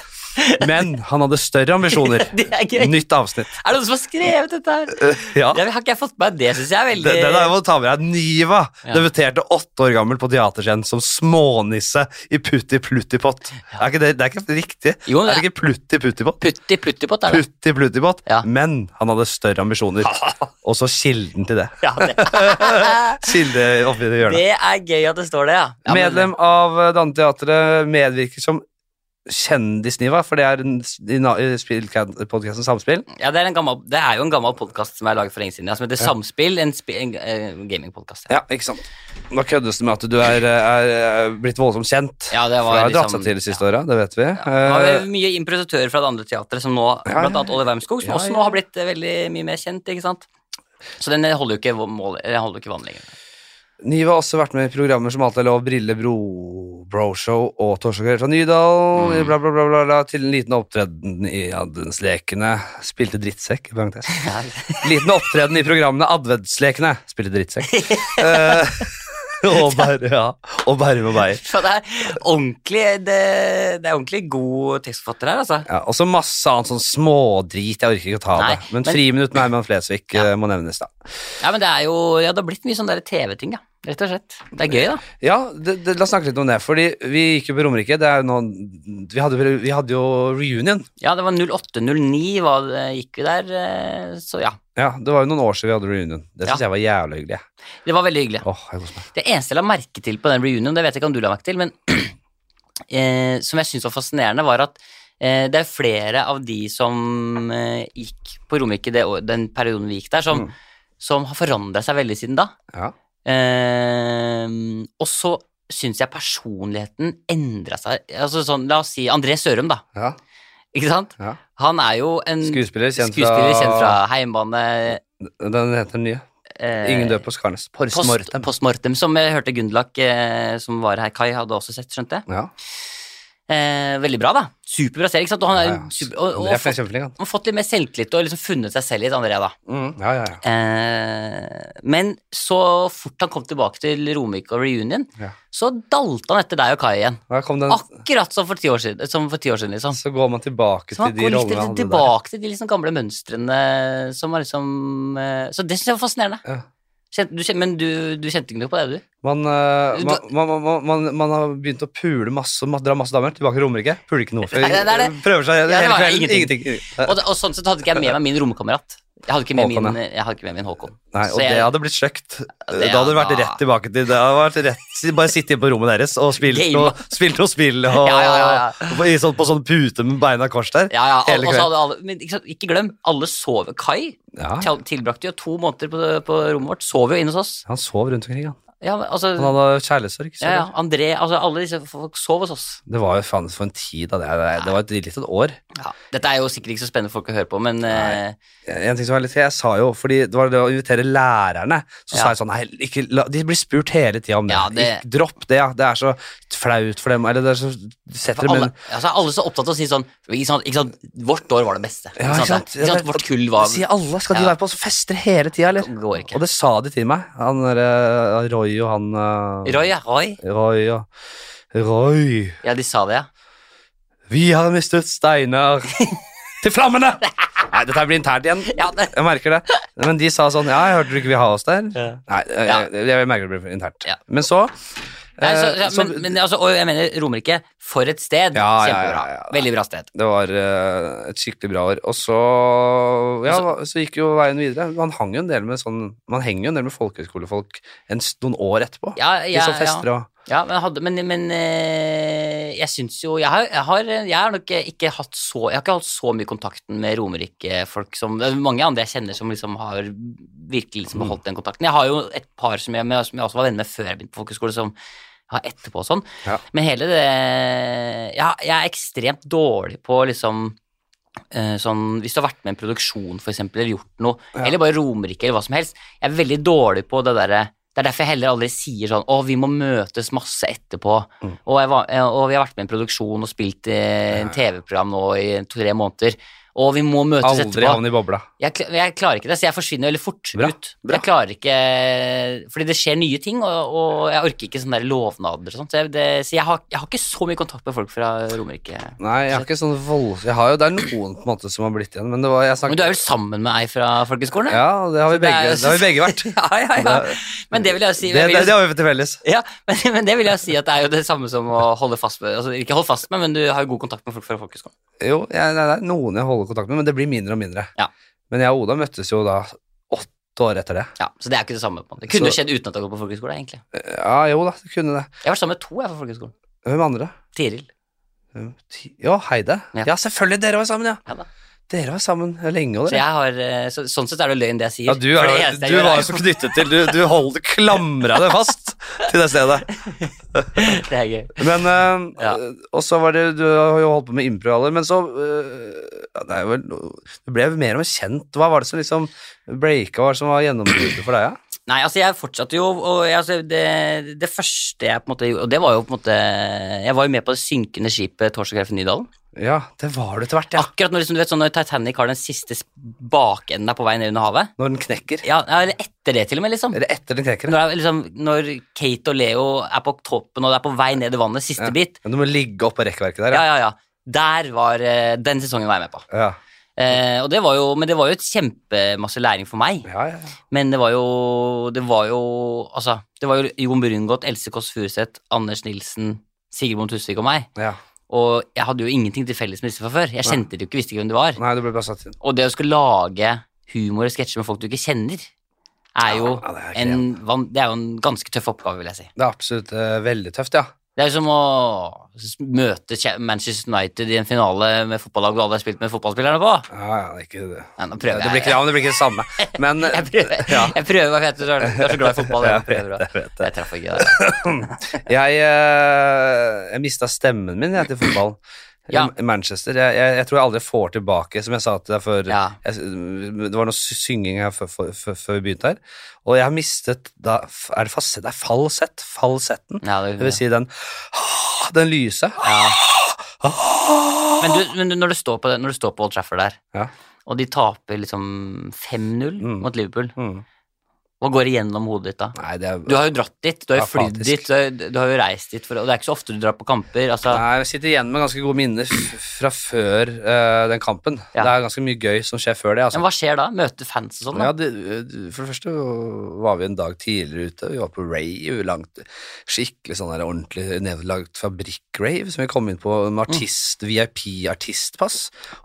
[SPEAKER 1] Men han hadde større ambisjoner.
[SPEAKER 2] det er gøy.
[SPEAKER 1] Nytt avsnitt.
[SPEAKER 2] Er det noen som har skrevet dette her?
[SPEAKER 1] Ja.
[SPEAKER 2] Det har ikke jeg fått med meg, det syns jeg er veldig
[SPEAKER 1] Den, den er jo å ta med deg Niva
[SPEAKER 2] Ja.
[SPEAKER 1] debuterte åtte år gammel på teaterscenen som smånisse i Putti Pluttipott. Er ikke det, det er ikke riktig.
[SPEAKER 2] Jo, men
[SPEAKER 1] er det ikke Plutti Pluttipott?
[SPEAKER 2] Putti Pluttipott, er det?
[SPEAKER 1] Putti Pluttipott.
[SPEAKER 2] Ja.
[SPEAKER 1] Men han hadde større ambisjoner. Og så kilden til det.
[SPEAKER 2] Ja, det,
[SPEAKER 1] Kilde oppi det hjørnet.
[SPEAKER 2] det er gøy at det står det, ja. ja men-
[SPEAKER 1] Medlem av eh, Danneteatret medvirker som Kjendis-Niva, for det er en s- i na- i podkasten Samspill.
[SPEAKER 2] Ja, det er, en gammel, det er jo en gammel podkast som jeg laget for lenge siden, ja, som heter Samspill. En, spi- en eh, gamingpodkast.
[SPEAKER 1] Ja,
[SPEAKER 2] Ja.
[SPEAKER 1] ikke sant. Nå køddes det med at du er, er, er blitt voldsomt kjent.
[SPEAKER 2] Ja, det
[SPEAKER 1] For
[SPEAKER 2] var
[SPEAKER 1] det har dratt
[SPEAKER 2] liksom-
[SPEAKER 1] seg til de siste åra, det vet vi.
[SPEAKER 2] Ja, det
[SPEAKER 1] Eh,
[SPEAKER 2] er mye improvisatører fra det andre teatret, som nå,
[SPEAKER 1] Ja, ja.
[SPEAKER 2] blant annet Oliver Wermskog, som
[SPEAKER 1] Ja,
[SPEAKER 2] også
[SPEAKER 1] ja.
[SPEAKER 2] nå har blitt eh, veldig mye mer kjent, ikke sant. Så den holder jo ikke mål, den holder jo ikke vann lenger.
[SPEAKER 1] Niva har også vært med i programmer som Alt er lov, Brille, Bro, Broshow og Torsdag kveld fra Nydalen,
[SPEAKER 2] Mm.
[SPEAKER 1] bla, bla, bla, bla, bla, til en liten opptreden i Adventslekene. Spilte drittsekk, i parentes. Liten opptreden i programmene Adventslekene. Spilte drittsekk. Eh, og Bærum ja. og Bærum og Beyer.
[SPEAKER 2] Så det er ordentlig, det, det er ordentlig god tekstforfatter her, altså.
[SPEAKER 1] Ja, og så masse annet sånn smådrit. Jeg orker ikke å ta
[SPEAKER 2] Nei,
[SPEAKER 1] det. Men,
[SPEAKER 2] men-
[SPEAKER 1] friminutt med Herman Flesvig eh, må nevnes, da.
[SPEAKER 2] Ja, men det er jo Ja, det har blitt mye sånn der TV-ting, ja. Rett og slett. Det er gøy, da.
[SPEAKER 1] Ja, det, det, la oss snakke litt om det. Fordi vi gikk jo på Romerike. Det er jo noen, vi, hadde, jo- vi hadde jo reunion.
[SPEAKER 2] Ja, det var 08-09 var det, gikk vi der, eh, så ja.
[SPEAKER 1] Ja, Det var jo noen år siden vi hadde reunion. Det syns
[SPEAKER 2] Ja.
[SPEAKER 1] jeg var jævla hyggelig. jeg.
[SPEAKER 2] Det var veldig hyggelig.
[SPEAKER 1] Åh, jeg koser meg.
[SPEAKER 2] Det eneste jeg la merke til på den reunion, det vet jeg ikke om du la merke til, men eh, som jeg syntes var fascinerende, var at eh, det er flere av de som eh, gikk på Romerike det, år- den perioden vi gikk der, som,
[SPEAKER 1] Mm.
[SPEAKER 2] som har forandra seg veldig siden da.
[SPEAKER 1] Ja.
[SPEAKER 2] Eh, og så syns jeg personligheten endra seg. Altså sånn, la oss si André Sørum, da.
[SPEAKER 1] Ja,
[SPEAKER 2] Ikke sant?
[SPEAKER 1] ja.
[SPEAKER 2] Han er jo en
[SPEAKER 1] Skuespiller kjent fra,
[SPEAKER 2] Mm. skuespiller kjent fra heimbane
[SPEAKER 1] Den heter den nye.
[SPEAKER 2] eh,
[SPEAKER 1] Ingen dør på Skarnes. Post
[SPEAKER 2] Post,
[SPEAKER 1] Mortem.
[SPEAKER 2] postmortem, som jeg hørte Gunderlach, eh, som var her, Kai, hadde også sett, skjønte jeg.
[SPEAKER 1] Ja.
[SPEAKER 2] Eh, veldig bra, da. Superbra serie, ikke sant. Og han er
[SPEAKER 1] ja, ja.
[SPEAKER 2] super, og, og,
[SPEAKER 1] André er
[SPEAKER 2] fått,
[SPEAKER 1] kjempeflink, han.
[SPEAKER 2] han har fått litt mer selvtillit og liksom funnet seg selv litt, André, da.
[SPEAKER 1] Mm. Ja, ja, ja.
[SPEAKER 2] Eh, men så fort han kom tilbake til Romerike og reunion,
[SPEAKER 1] Ja.
[SPEAKER 2] så dalte han etter deg og Kai igjen.
[SPEAKER 1] Da kom den,
[SPEAKER 2] Akkurat som for ti år siden, som for ti år siden liksom.
[SPEAKER 1] så går man tilbake
[SPEAKER 2] Så
[SPEAKER 1] til
[SPEAKER 2] man
[SPEAKER 1] de
[SPEAKER 2] går litt
[SPEAKER 1] rollene han hadde der.
[SPEAKER 2] tilbake til de liksom gamle mønstrene som var liksom eh, Så det syns jeg var fascinerende.
[SPEAKER 1] Ja.
[SPEAKER 2] Kjente, du, kjen- men du, du kjente ikke noe på det, du?
[SPEAKER 1] Man, eh, man, man, man, man, man har begynt å pule masse, ma- dra masse damer tilbake til Romerike. Puler ikke noe.
[SPEAKER 2] Nei, det er det.
[SPEAKER 1] Prøver seg
[SPEAKER 2] det
[SPEAKER 1] hele
[SPEAKER 2] var
[SPEAKER 1] kvelden.
[SPEAKER 2] ingenting.
[SPEAKER 1] Ingenting.
[SPEAKER 2] Og, det- og sånn sett hadde ikke jeg med meg min romkamerat. Jeg hadde ikke med,
[SPEAKER 1] Håkon,
[SPEAKER 2] min, jeg hadde ikke med min Håkon.
[SPEAKER 1] Nei,
[SPEAKER 2] Så
[SPEAKER 1] og
[SPEAKER 2] jeg-
[SPEAKER 1] det hadde blitt sløkt.
[SPEAKER 2] det
[SPEAKER 1] Det hadde vært
[SPEAKER 2] hadde-
[SPEAKER 1] rett tilbake til det hadde vært rett, Bare sitte inne på rommet deres og spilt
[SPEAKER 2] Game.
[SPEAKER 1] noe, spilt noe spill og,
[SPEAKER 2] Ja, ja, ja, ja.
[SPEAKER 1] og på- i sånn, på sånn pute med beina kors der.
[SPEAKER 2] Ja, ja, al-
[SPEAKER 1] Hele
[SPEAKER 2] og så
[SPEAKER 1] kvelden.
[SPEAKER 2] hadde alle, men ikke, sant, ikke glem, alle sov. Kai
[SPEAKER 1] Ja,
[SPEAKER 2] til- tilbrakte jo to måneder på, på rommet vårt, sov jo inne hos oss.
[SPEAKER 1] han sov rundt omkring, han.
[SPEAKER 2] Ja, men altså,
[SPEAKER 1] Han hadde kjærlighetssorg. så
[SPEAKER 2] ja, ja, André, altså alle disse folk sov hos oss.
[SPEAKER 1] Det var jo faen for en tid da, det, det, det var et litt et år.
[SPEAKER 2] Ja. Dette er jo sikkert ikke så spennende folk å høre på, men eh,
[SPEAKER 1] En ting som var litt, jeg sa jo, fordi det var det å invitere lærerne, så
[SPEAKER 2] Ja.
[SPEAKER 1] sa jeg sånn, nei, ikke, la, de blir spurt hele tiden om det.
[SPEAKER 2] Ja, det-
[SPEAKER 1] Ikke, dropp det, ja. det er så flaut for dem, eller det er så,
[SPEAKER 2] for
[SPEAKER 1] setter dem
[SPEAKER 2] alle,
[SPEAKER 1] en...
[SPEAKER 2] altså, er alle så opptatt av å si sånn ikke sant, ikke sant, Vårt år var det beste.
[SPEAKER 1] Ja,
[SPEAKER 2] ikke sant, ikke sant, vårt kull var
[SPEAKER 1] Sier alle, skal de
[SPEAKER 2] Ja.
[SPEAKER 1] være på fester hele tiden, eller?
[SPEAKER 2] Går ikke.
[SPEAKER 1] Og det sa de til meg, han der, eh, Roy og han... eh,
[SPEAKER 2] Roy, ja, Roy.
[SPEAKER 1] Roy og... Roy,
[SPEAKER 2] Ja, de sa det, ja.
[SPEAKER 1] vi har mistet steiner til flammene! Nei, dette blir internt igjen.
[SPEAKER 2] Ja, det,
[SPEAKER 1] Jeg merker det. Men de sa sånn Ja, jeg hørte du ikke vil ha oss der?
[SPEAKER 2] Ja.
[SPEAKER 1] Nei, jeg, jeg, jeg merker det blir internt.
[SPEAKER 2] Ja.
[SPEAKER 1] Men så,
[SPEAKER 2] Nei, så,
[SPEAKER 1] eh,
[SPEAKER 2] ja,
[SPEAKER 1] så
[SPEAKER 2] men, men altså, og jeg mener Romerike, for et sted.
[SPEAKER 1] Ja, ja, ja,
[SPEAKER 2] Kjempebra.
[SPEAKER 1] ja, ja.
[SPEAKER 2] Veldig bra sted.
[SPEAKER 1] Det var eh, et skikkelig bra år. Og så Ja, så gikk jo veien videre. Man hang jo en del med sånn Man henger jo en del med folkehøyskolefolk en s- noen år etterpå.
[SPEAKER 2] Ja, ja,
[SPEAKER 1] I sånne
[SPEAKER 2] ja.
[SPEAKER 1] fester og
[SPEAKER 2] ja men, jeg hadde, men, men eh, jeg syns jo jeg har, jeg har, jeg har nok ikke hatt så Jeg har ikke hatt så mye kontakten med Romerike-folk som det er Mange andre jeg kjenner som liksom har virkelig
[SPEAKER 1] Mm.
[SPEAKER 2] liksom beholdt den kontakten. Jeg har jo et par som jeg, med, som jeg også var venner med før jeg begynte på folkeskole, som har etterpå og sånn.
[SPEAKER 1] Ja.
[SPEAKER 2] Men hele det ja, Jeg er ekstremt dårlig på liksom eh, sånn, Hvis du har vært med i en produksjon for eksempel, eller gjort noe,
[SPEAKER 1] Ja.
[SPEAKER 2] eller bare Romerike eller hva som helst Jeg er veldig dårlig på det derre Det er derfor jeg heller aldri sier sånn Å, vi må møtes masse etterpå.
[SPEAKER 1] Mm.
[SPEAKER 2] Og, jeg var, eh, og vi har vært med i en produksjon og spilt eh, en TV-program nå i to-tre måneder. Og vi må møtes
[SPEAKER 1] Aldri
[SPEAKER 2] etterpå.
[SPEAKER 1] havne i bobla.
[SPEAKER 2] Jeg, kla- jeg klarer ikke det, så jeg forsvinner veldig fort
[SPEAKER 1] Bra,
[SPEAKER 2] ut.
[SPEAKER 1] bra.
[SPEAKER 2] Jeg klarer ikke, Fordi det skjer nye ting, og, og jeg orker ikke sånne der lovnader og sånt. Så, jeg, det, så jeg, har, jeg har ikke så mye kontakt med folk fra Romerike.
[SPEAKER 1] Nei, jeg har ikke sånn vold... Jeg har jo, Det er noen på en måte som har blitt igjen, men det var jeg
[SPEAKER 2] Men
[SPEAKER 1] snakket
[SPEAKER 2] du er vel sammen med ei fra folkehøgskolen?
[SPEAKER 1] Ja, det har vi begge, det har vi begge vært.
[SPEAKER 2] ja, ja, ja. Men det vil jeg si
[SPEAKER 1] Det,
[SPEAKER 2] jeg vil
[SPEAKER 1] det,
[SPEAKER 2] jo
[SPEAKER 1] det har vi til felles.
[SPEAKER 2] Ja, men, men det vil jeg si at det er jo det samme som å holde fast med altså Ikke holde fast med, men du har jo god kontakt med folk fra folkehøgskolen.
[SPEAKER 1] Jo, jeg, det er noen jeg holder kontakt med, men det blir mindre og mindre.
[SPEAKER 2] Ja.
[SPEAKER 1] Men jeg og Oda møttes jo da åtte år etter det.
[SPEAKER 2] Ja, så det er jo ikke det samme. på en måte. Det kunne
[SPEAKER 1] Så-
[SPEAKER 2] jo skjedd uten at jeg går på folkehøgskole, egentlig.
[SPEAKER 1] Ja, jo da, det kunne det.
[SPEAKER 2] Jeg har vært sammen med to jeg fra folkehøgskolen.
[SPEAKER 1] Hvem andre?
[SPEAKER 2] Tiril.
[SPEAKER 1] Hvem? Ti- Ja, Heide.
[SPEAKER 2] Ja.
[SPEAKER 1] Ja, selvfølgelig, dere var sammen, ja.
[SPEAKER 2] Ja da.
[SPEAKER 1] Dere var sammen lenge, og
[SPEAKER 2] Så
[SPEAKER 1] dere.
[SPEAKER 2] jeg har, eh, så, sånn sett er det løgn det jeg sier.
[SPEAKER 1] Ja, du, er,
[SPEAKER 2] For det eneste jeg
[SPEAKER 1] du
[SPEAKER 2] gjør
[SPEAKER 1] var
[SPEAKER 2] er
[SPEAKER 1] jo så knyttet til Du, du holdt, klamra deg fast til det stedet.
[SPEAKER 2] jo- Det er gøy.
[SPEAKER 1] Men eh,
[SPEAKER 2] Ja.
[SPEAKER 1] Og så var det Du har jo holdt på med impro, alle, men så eh, ja, Det er vel Du ble mer og mer kjent. Hva var det som liksom breaka, hva var det som var gjennombruddet for deg, ja?
[SPEAKER 2] Nei, altså jeg fortsatte jo, og jeg, altså det, det første jeg på en måte gjorde, og det var jo på en måte Jeg var jo med på det synkende skipet Torsdag kveld fra Nydalen.
[SPEAKER 1] Ja, det var du etter hvert, ja.
[SPEAKER 2] Akkurat når, liksom, du vet, sånn, når Titanic har den siste s- bakenden er på vei ned under havet.
[SPEAKER 1] Når den knekker.
[SPEAKER 2] Ja, ja, eller etter det, til og med, liksom.
[SPEAKER 1] Eller etter den knekker.
[SPEAKER 2] Når, det er liksom, når Kate og Leo er på toppen, og det er på vei ned i vannet, siste
[SPEAKER 1] Ja.
[SPEAKER 2] bit.
[SPEAKER 1] Men du må ligge oppå rekkverket der,
[SPEAKER 2] Ja,
[SPEAKER 1] ja.
[SPEAKER 2] ja, ja. Der var eh, Den sesongen var jeg med på.
[SPEAKER 1] Ja,
[SPEAKER 2] Eh, og det var jo, men det var jo et kjempemasse læring for meg.
[SPEAKER 1] ja. ja, ja.
[SPEAKER 2] Men det var jo Det var jo Altså, det var jo Jon Brungot, Else Kåss Furuseth, Anders Nilsen, Sigrid Bonde Tusvik og meg.
[SPEAKER 1] ja.
[SPEAKER 2] Og jeg hadde jo ingenting til felles med disse fra før. Jeg kjente de jo ikke, visste ikke hvem de var.
[SPEAKER 1] Nei, du ble bare satt inn.
[SPEAKER 2] Og det å skulle lage humor og sketsjer med folk du ikke kjenner, er jo
[SPEAKER 1] Ja, det, er
[SPEAKER 2] en,
[SPEAKER 1] krevende.
[SPEAKER 2] van- det er jo en ganske tøff oppgave, vil jeg si.
[SPEAKER 1] det er absolutt eh, veldig tøft, ja.
[SPEAKER 2] Det er jo som å s- møte Ch- Manchester United i en finale med fotballag du aldri har spilt med fotballspillerne på.
[SPEAKER 1] Ja, ja, det er ikke det.
[SPEAKER 2] Nei, nå
[SPEAKER 1] Det
[SPEAKER 2] prøver jeg.
[SPEAKER 1] blir ikke, ja, men det blir ikke det samme. Men eh,
[SPEAKER 2] Jeg prøver, jeg prøver jeg vet du er du er så glad i fotball. Jeg,
[SPEAKER 1] Jeg vet
[SPEAKER 2] prøver,
[SPEAKER 1] det, jeg vet det.
[SPEAKER 2] jeg traff ikke det.
[SPEAKER 1] jeg, eh, jeg mista stemmen min jeg, til fotballen.
[SPEAKER 2] Ja.
[SPEAKER 1] I Manchester. Jeg, jeg, jeg tror jeg aldri får tilbake, som jeg sa til deg før
[SPEAKER 2] Ja.
[SPEAKER 1] jeg, Det var noe sy- synging her før, før, før før vi begynte her. Og jeg har mistet da, Er det falsett? Det er falsett. Falsetten.
[SPEAKER 2] Ja, det,
[SPEAKER 1] Det vil si den ah, Den lyse.
[SPEAKER 2] Ja. Men, du, men du, når, du står på, når du står på Old Trafford der,
[SPEAKER 1] Ja.
[SPEAKER 2] og de taper liksom 5-0
[SPEAKER 1] Mm.
[SPEAKER 2] mot Liverpool,
[SPEAKER 1] Mm.
[SPEAKER 2] Hva går igjennom hodet ditt da?
[SPEAKER 1] Nei, det er
[SPEAKER 2] Du har jo dratt dit, du har jo
[SPEAKER 1] Ja,
[SPEAKER 2] flydd
[SPEAKER 1] faktisk.
[SPEAKER 2] dit, du har, du har jo reist dit, for, og det er ikke så ofte du drar på kamper. Altså,
[SPEAKER 1] Nei, jeg sitter igjen med ganske gode minner f- fra før eh, den kampen.
[SPEAKER 2] Ja.
[SPEAKER 1] Det er ganske mye gøy som skjer før det. Altså.
[SPEAKER 2] men hva skjer da? Møte fans og sånn? da?
[SPEAKER 1] Ja, det, det- for det første var vi en dag tidligere ute. Vi var på rave, langt, skikkelig sånn der ordentlig nedlagt fabrikk-rave, som vi kom inn på med artist, VIP-artistpass.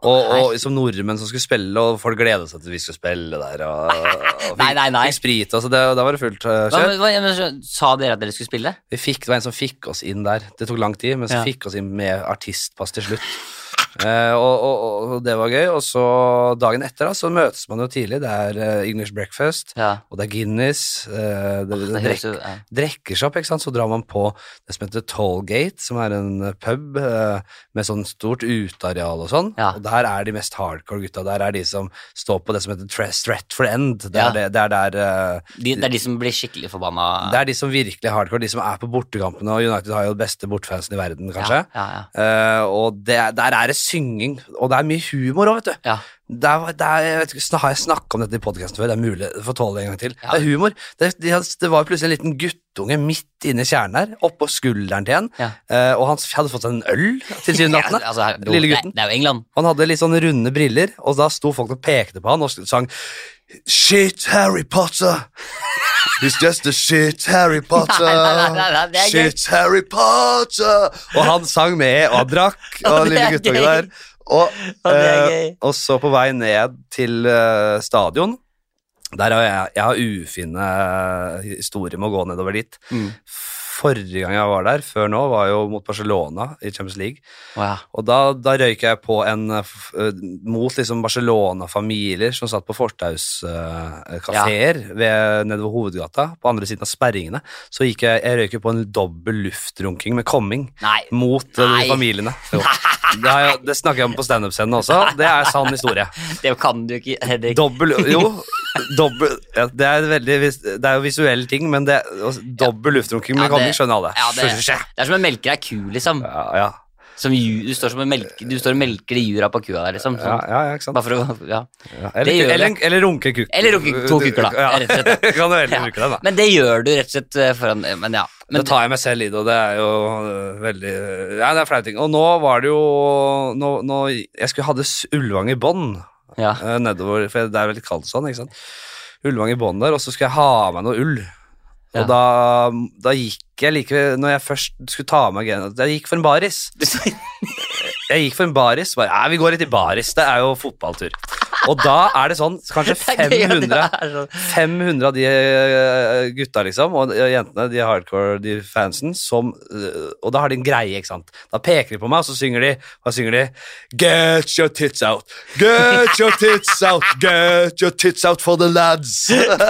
[SPEAKER 1] Og, og som nordmenn som skulle spille, og folk gledet seg til vi skulle spille der. Og, og
[SPEAKER 2] Nei, nei, nei.
[SPEAKER 1] fikk sprit, altså det, da var det fullt eh,
[SPEAKER 2] Hva,
[SPEAKER 1] kjør.
[SPEAKER 2] men, hva, jeg mener, sa dere at dere skulle spille?
[SPEAKER 1] Vi fikk, det var en som fikk oss inn der. Det tok lang tid, men så
[SPEAKER 2] Ja.
[SPEAKER 1] fikk oss inn med artistpass til slutt. Eh, og, og, og det var gøy. Og så dagen etter da, så møtes man jo tidlig. Det er eh, English breakfast,
[SPEAKER 2] Ja.
[SPEAKER 1] og det er Guinness. eh, det, det,
[SPEAKER 2] Det
[SPEAKER 1] drek,
[SPEAKER 2] høres jo- ja.
[SPEAKER 1] drekker seg opp, ikke sant. Så drar man på det som heter Tollgate, som er en eh, pub eh, med sånn stort uteareal og sånn.
[SPEAKER 2] Ja.
[SPEAKER 1] Og der er de mest hardcore gutta. Der er de som står på det som heter Tra- Stratford End. Det
[SPEAKER 2] Ja.
[SPEAKER 1] er, det, det er der eh,
[SPEAKER 2] De, det er de som blir skikkelig forbanna.
[SPEAKER 1] det er de som virkelig er hardcore, de som er på bortekampene, og United har jo de beste bortefansen i verden, kanskje.
[SPEAKER 2] Ja, ja,
[SPEAKER 1] Eh, og det, der er det synging, og det er mye humor òg, vet du.
[SPEAKER 2] ja.
[SPEAKER 1] Det er, det er, jeg vet ikke, sn- har jeg snakka om dette i podkasten før? Det er mulig å få tåle det en gang til.
[SPEAKER 2] Ja.
[SPEAKER 1] Det er humor. Det, de, hadde- det var plutselig en liten guttunge midt inne i kjernen her, oppå skulderen til en,
[SPEAKER 2] Ja.
[SPEAKER 1] eh, og han hadde fått seg en øl, tilsynelatende.
[SPEAKER 2] Ja, altså, hallo,
[SPEAKER 1] Lille gutten.
[SPEAKER 2] Det, det er jo England.
[SPEAKER 1] Han hadde litt sånn runde briller, og da sto folk og pekte på han og sang Shit, Harry Potter! He's just a shit Harry Potter!
[SPEAKER 2] Nei, nei, nei, nei, det er gøy.
[SPEAKER 1] shit Harry Potter! Og han sang med, og han drakk, og
[SPEAKER 2] det
[SPEAKER 1] lille
[SPEAKER 2] er
[SPEAKER 1] guttungen
[SPEAKER 2] gøy.
[SPEAKER 1] der. Og,
[SPEAKER 2] Ja, det er
[SPEAKER 1] eh,
[SPEAKER 2] gøy.
[SPEAKER 1] og så på vei ned til eh, stadion der har jeg, jeg har ufine eh, historier med å gå nedover dit.
[SPEAKER 2] Mm.
[SPEAKER 1] Forrige gang jeg var der, før nå, var jo mot Barcelona i Champions League.
[SPEAKER 2] Å, ja.
[SPEAKER 1] Og da, da røyk jeg på en eh, f- eh, mot liksom Barcelona-familier som satt på fortauskafeer nedover hovedgata, på andre siden av sperringene. Så gikk jeg, jeg røyk jo på en dobbel luftrunking med komming
[SPEAKER 2] Nei.
[SPEAKER 1] mot eh,
[SPEAKER 2] Nei.
[SPEAKER 1] de familiene. Jo. Det, har jeg, det snakker jeg om på standup-scenen også. Det er sann historie.
[SPEAKER 2] Det kan du ikke, Henrik.
[SPEAKER 1] Dobbel Jo, dobbel ja, Det er, veldig, vis- det er jo visuelle ting, men det, altså, dobbel luftrunking med
[SPEAKER 2] Ja, det-
[SPEAKER 1] komming skjønner alle.
[SPEAKER 2] Ja, det, det er som å melke ei ku, liksom.
[SPEAKER 1] ja, ja,
[SPEAKER 2] Som ju, du, står som en melke, du står og melker de jura på kua der, liksom.
[SPEAKER 1] ja,
[SPEAKER 2] Sånn.
[SPEAKER 1] ja, ikke sant.
[SPEAKER 2] Bare for å Ja.
[SPEAKER 1] Ja,
[SPEAKER 2] Det
[SPEAKER 1] eller,
[SPEAKER 2] gjør
[SPEAKER 1] eller, eller runke kukk.
[SPEAKER 2] Eller runke to kukker, da, rett og slett.
[SPEAKER 1] kan du heller
[SPEAKER 2] Ja.
[SPEAKER 1] bruke den, da.
[SPEAKER 2] Men det gjør du rett og slett eh, foran Men ja. Men,
[SPEAKER 1] det tar jeg meg selv i det, og det er jo øh, veldig Ja, det er flaue ting. Og nå var det jo Nå, nå Jeg skulle hadde s- Ulvang i bånd
[SPEAKER 2] ja.
[SPEAKER 1] eh, nedover, for det er veldig kaldt sånn, ikke sant. Ulvang i bånd der, og så skulle jeg ha av meg noe ull.
[SPEAKER 2] Ja.
[SPEAKER 1] Og da, da gikk jeg likevel Når jeg først skulle ta av meg gen- Jeg gikk for en baris. Jeg gikk for en baris. Bare, ja, vi går litt i baris. Det er jo fotballtur. Og da er det sånn kanskje
[SPEAKER 2] Det er gøy at
[SPEAKER 1] 500
[SPEAKER 2] det er sånn.
[SPEAKER 1] 500 av de eh, gutta, liksom, og de- og jentene, de hardcore, de fansen, som eh, Og da har de en greie, ikke sant. Da peker de på meg, og så synger de Hva synger de? Get your tits out! Get your tits out! Get your tits out for the lads! og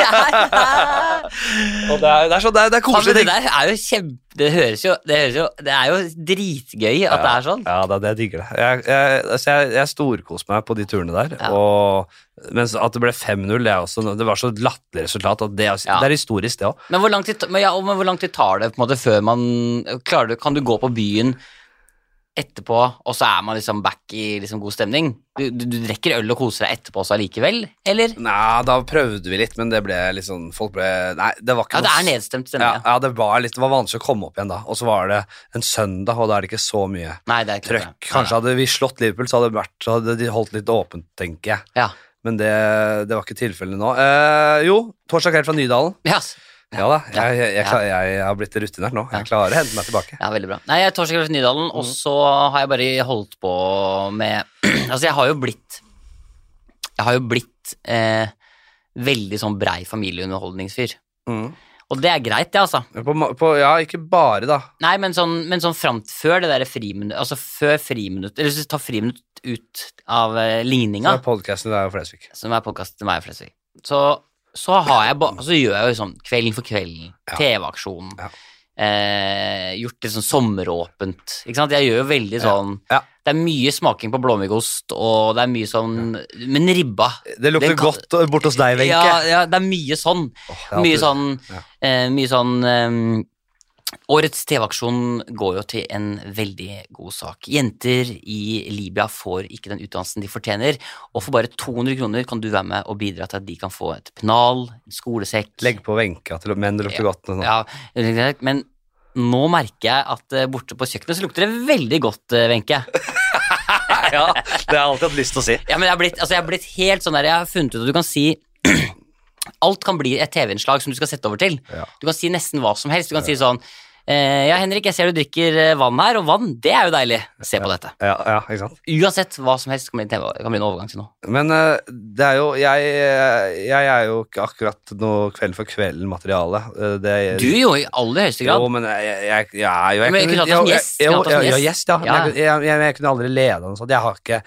[SPEAKER 1] det er, det er, så, det er, det er
[SPEAKER 2] Ja, men
[SPEAKER 1] koselig.
[SPEAKER 2] det
[SPEAKER 1] ting.
[SPEAKER 2] der er jo kjempe Det høres jo Det, høres jo, det er jo dritgøy at det er sånn.
[SPEAKER 1] Ja, det er det jeg digger det. Jeg, jeg, altså jeg, jeg storkoste meg på de turene der.
[SPEAKER 2] Ja.
[SPEAKER 1] Og, mens at det ble 5-0, det, er også- det var så latterlig resultat. At det, er-
[SPEAKER 2] Ja.
[SPEAKER 1] det er historisk, det òg.
[SPEAKER 2] Men hvor lang tid, men ja, men hvor lang tid tar det på en måte før man klarer du, Kan du gå på byen etterpå, og så er man liksom back i liksom god stemning? Du, du, du drikker øl og koser deg etterpå også allikevel, eller?
[SPEAKER 1] Nei, da prøvde vi litt, men det ble litt sånn Folk ble Nei, det var ikke
[SPEAKER 2] Ja, det
[SPEAKER 1] noe-
[SPEAKER 2] er nedstemt
[SPEAKER 1] Ja,
[SPEAKER 2] stemning. Ja.
[SPEAKER 1] ja det, var litt, det var vanskelig å komme opp igjen da. Og så var det en søndag, og da er det ikke så mye
[SPEAKER 2] Nei, det er ikke
[SPEAKER 1] trøkk. Kanskje hadde vi slått Liverpool, så hadde, det vært, så hadde de holdt litt åpent, tenker jeg.
[SPEAKER 2] Ja.
[SPEAKER 1] Men det, det var ikke tilfellet nå. Eh, jo, torsdag kveld fra Nydalen.
[SPEAKER 2] Ja, ass.
[SPEAKER 1] Ja da,
[SPEAKER 2] Ja,
[SPEAKER 1] jeg, jeg, jeg,
[SPEAKER 2] ja.
[SPEAKER 1] klar- jeg, jeg har blitt rutinert nå. Jeg klarer å hente meg tilbake.
[SPEAKER 2] Ja, veldig bra. Nei, jeg er torsdag kveld fra Nydalen, og
[SPEAKER 1] Mm.
[SPEAKER 2] så har jeg bare holdt på med Altså, jeg har jo blitt Jeg har jo blitt eh, veldig sånn brei familieunderholdningsfyr.
[SPEAKER 1] Mm.
[SPEAKER 2] Og det er greit, det, altså.
[SPEAKER 1] På, ma- på, ja, ikke bare, da.
[SPEAKER 2] Nei, men sånn, men sånn fram til før det derre friminutt Altså før friminutt Eller hvis du tar friminutt ut av eh,
[SPEAKER 1] Så
[SPEAKER 2] ligninga,
[SPEAKER 1] er podkasten der Flesvig.
[SPEAKER 2] som er podkast til meg og Flesvig, så, så har jeg ba, Så gjør jeg jo sånn Kvelden for kvelden,
[SPEAKER 1] Ja.
[SPEAKER 2] TV-aksjonen,
[SPEAKER 1] Ja.
[SPEAKER 2] eh, gjort litt sånn sommeråpent. Ikke sant? Jeg gjør jo veldig sånn
[SPEAKER 1] Ja.
[SPEAKER 2] Det er mye smaking på blåmuggost, og det er mye sånn Men ribba
[SPEAKER 1] Det lukter
[SPEAKER 2] Den kan-
[SPEAKER 1] godt og- bort hos deg, Wenche.
[SPEAKER 2] ja, ja, det er mye sånn.
[SPEAKER 1] Åh, jeg
[SPEAKER 2] Mye
[SPEAKER 1] hater-
[SPEAKER 2] sånn,
[SPEAKER 1] Ja.
[SPEAKER 2] eh, mye sånn eh, Årets TV-aksjon går jo til en veldig god sak. Jenter i Libya får ikke den utdannelsen de fortjener, og for bare 200 kroner kan du være med og bidra til at de kan få et pennal, en skolesekk
[SPEAKER 1] Legg på Wenche til menn det lukter godt. nå.
[SPEAKER 2] ja, Men nå merker jeg at eh, borte på kjøkkenet så lukter det veldig godt, eh, Wenche.
[SPEAKER 1] Ja, det har jeg alltid hatt lyst til å si.
[SPEAKER 2] Ja, men jeg har blitt, altså jeg har blitt helt sånn der, jeg har funnet ut at du kan si Alt kan bli et TV-innslag som du skal sette over til.
[SPEAKER 1] Ja.
[SPEAKER 2] Du kan si nesten hva som helst. Du kan si sånn eh, Ja, Henrik, jeg ser du drikker eh, vann her, og vann, det er jo deilig. Se på dette.
[SPEAKER 1] Ja, ja, ikke sant?
[SPEAKER 2] Uansett hva som helst kan bli, en TV, kan bli en overgang til noe.
[SPEAKER 1] Men eh, det er jo jeg, eh, jeg er jo ikke akkurat noe kveld for kvelden-materiale. Eh, det-
[SPEAKER 2] Du jo, i aller høyeste grad.
[SPEAKER 1] Jo, men jeg, jeg, jeg, jeg, er jo- jeg
[SPEAKER 2] Men kunne hatt oss som
[SPEAKER 1] jo, jeg-
[SPEAKER 2] gjest, kunne
[SPEAKER 1] jo,
[SPEAKER 2] hatt oss som
[SPEAKER 1] ja, ja,
[SPEAKER 2] gjest.
[SPEAKER 1] gjest, ja.
[SPEAKER 2] Ja.
[SPEAKER 1] Men Jeg, jeg, jeg, jeg kunne aldri leda noe sånt. Jeg har ikke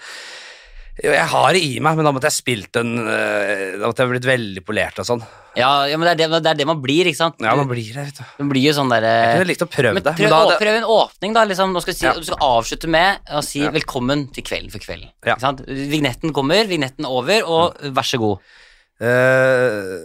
[SPEAKER 1] jo, jeg har det i meg, men da måtte jeg spilt en eh, Da måtte jeg blitt veldig polert og sånn.
[SPEAKER 2] Ja, ja, men det er det, det er det man blir, ikke sant?
[SPEAKER 1] Ja, man
[SPEAKER 2] Du,
[SPEAKER 1] blir det, vet du.
[SPEAKER 2] du blir jo sånn
[SPEAKER 1] Jeg kunne
[SPEAKER 2] derre
[SPEAKER 1] likt å prøve
[SPEAKER 2] men
[SPEAKER 1] det.
[SPEAKER 2] prøv,
[SPEAKER 1] da
[SPEAKER 2] å-
[SPEAKER 1] hadde-
[SPEAKER 2] prøv en åpning, da. liksom Nå skal du, si,
[SPEAKER 1] Ja.
[SPEAKER 2] du skal avslutte med å si
[SPEAKER 1] Ja.
[SPEAKER 2] 'velkommen til Kvelden for kvelden'.
[SPEAKER 1] Ja. Mm.
[SPEAKER 2] Ikke sant? Vignetten kommer, vignetten er over, og vær så god.
[SPEAKER 1] Eh,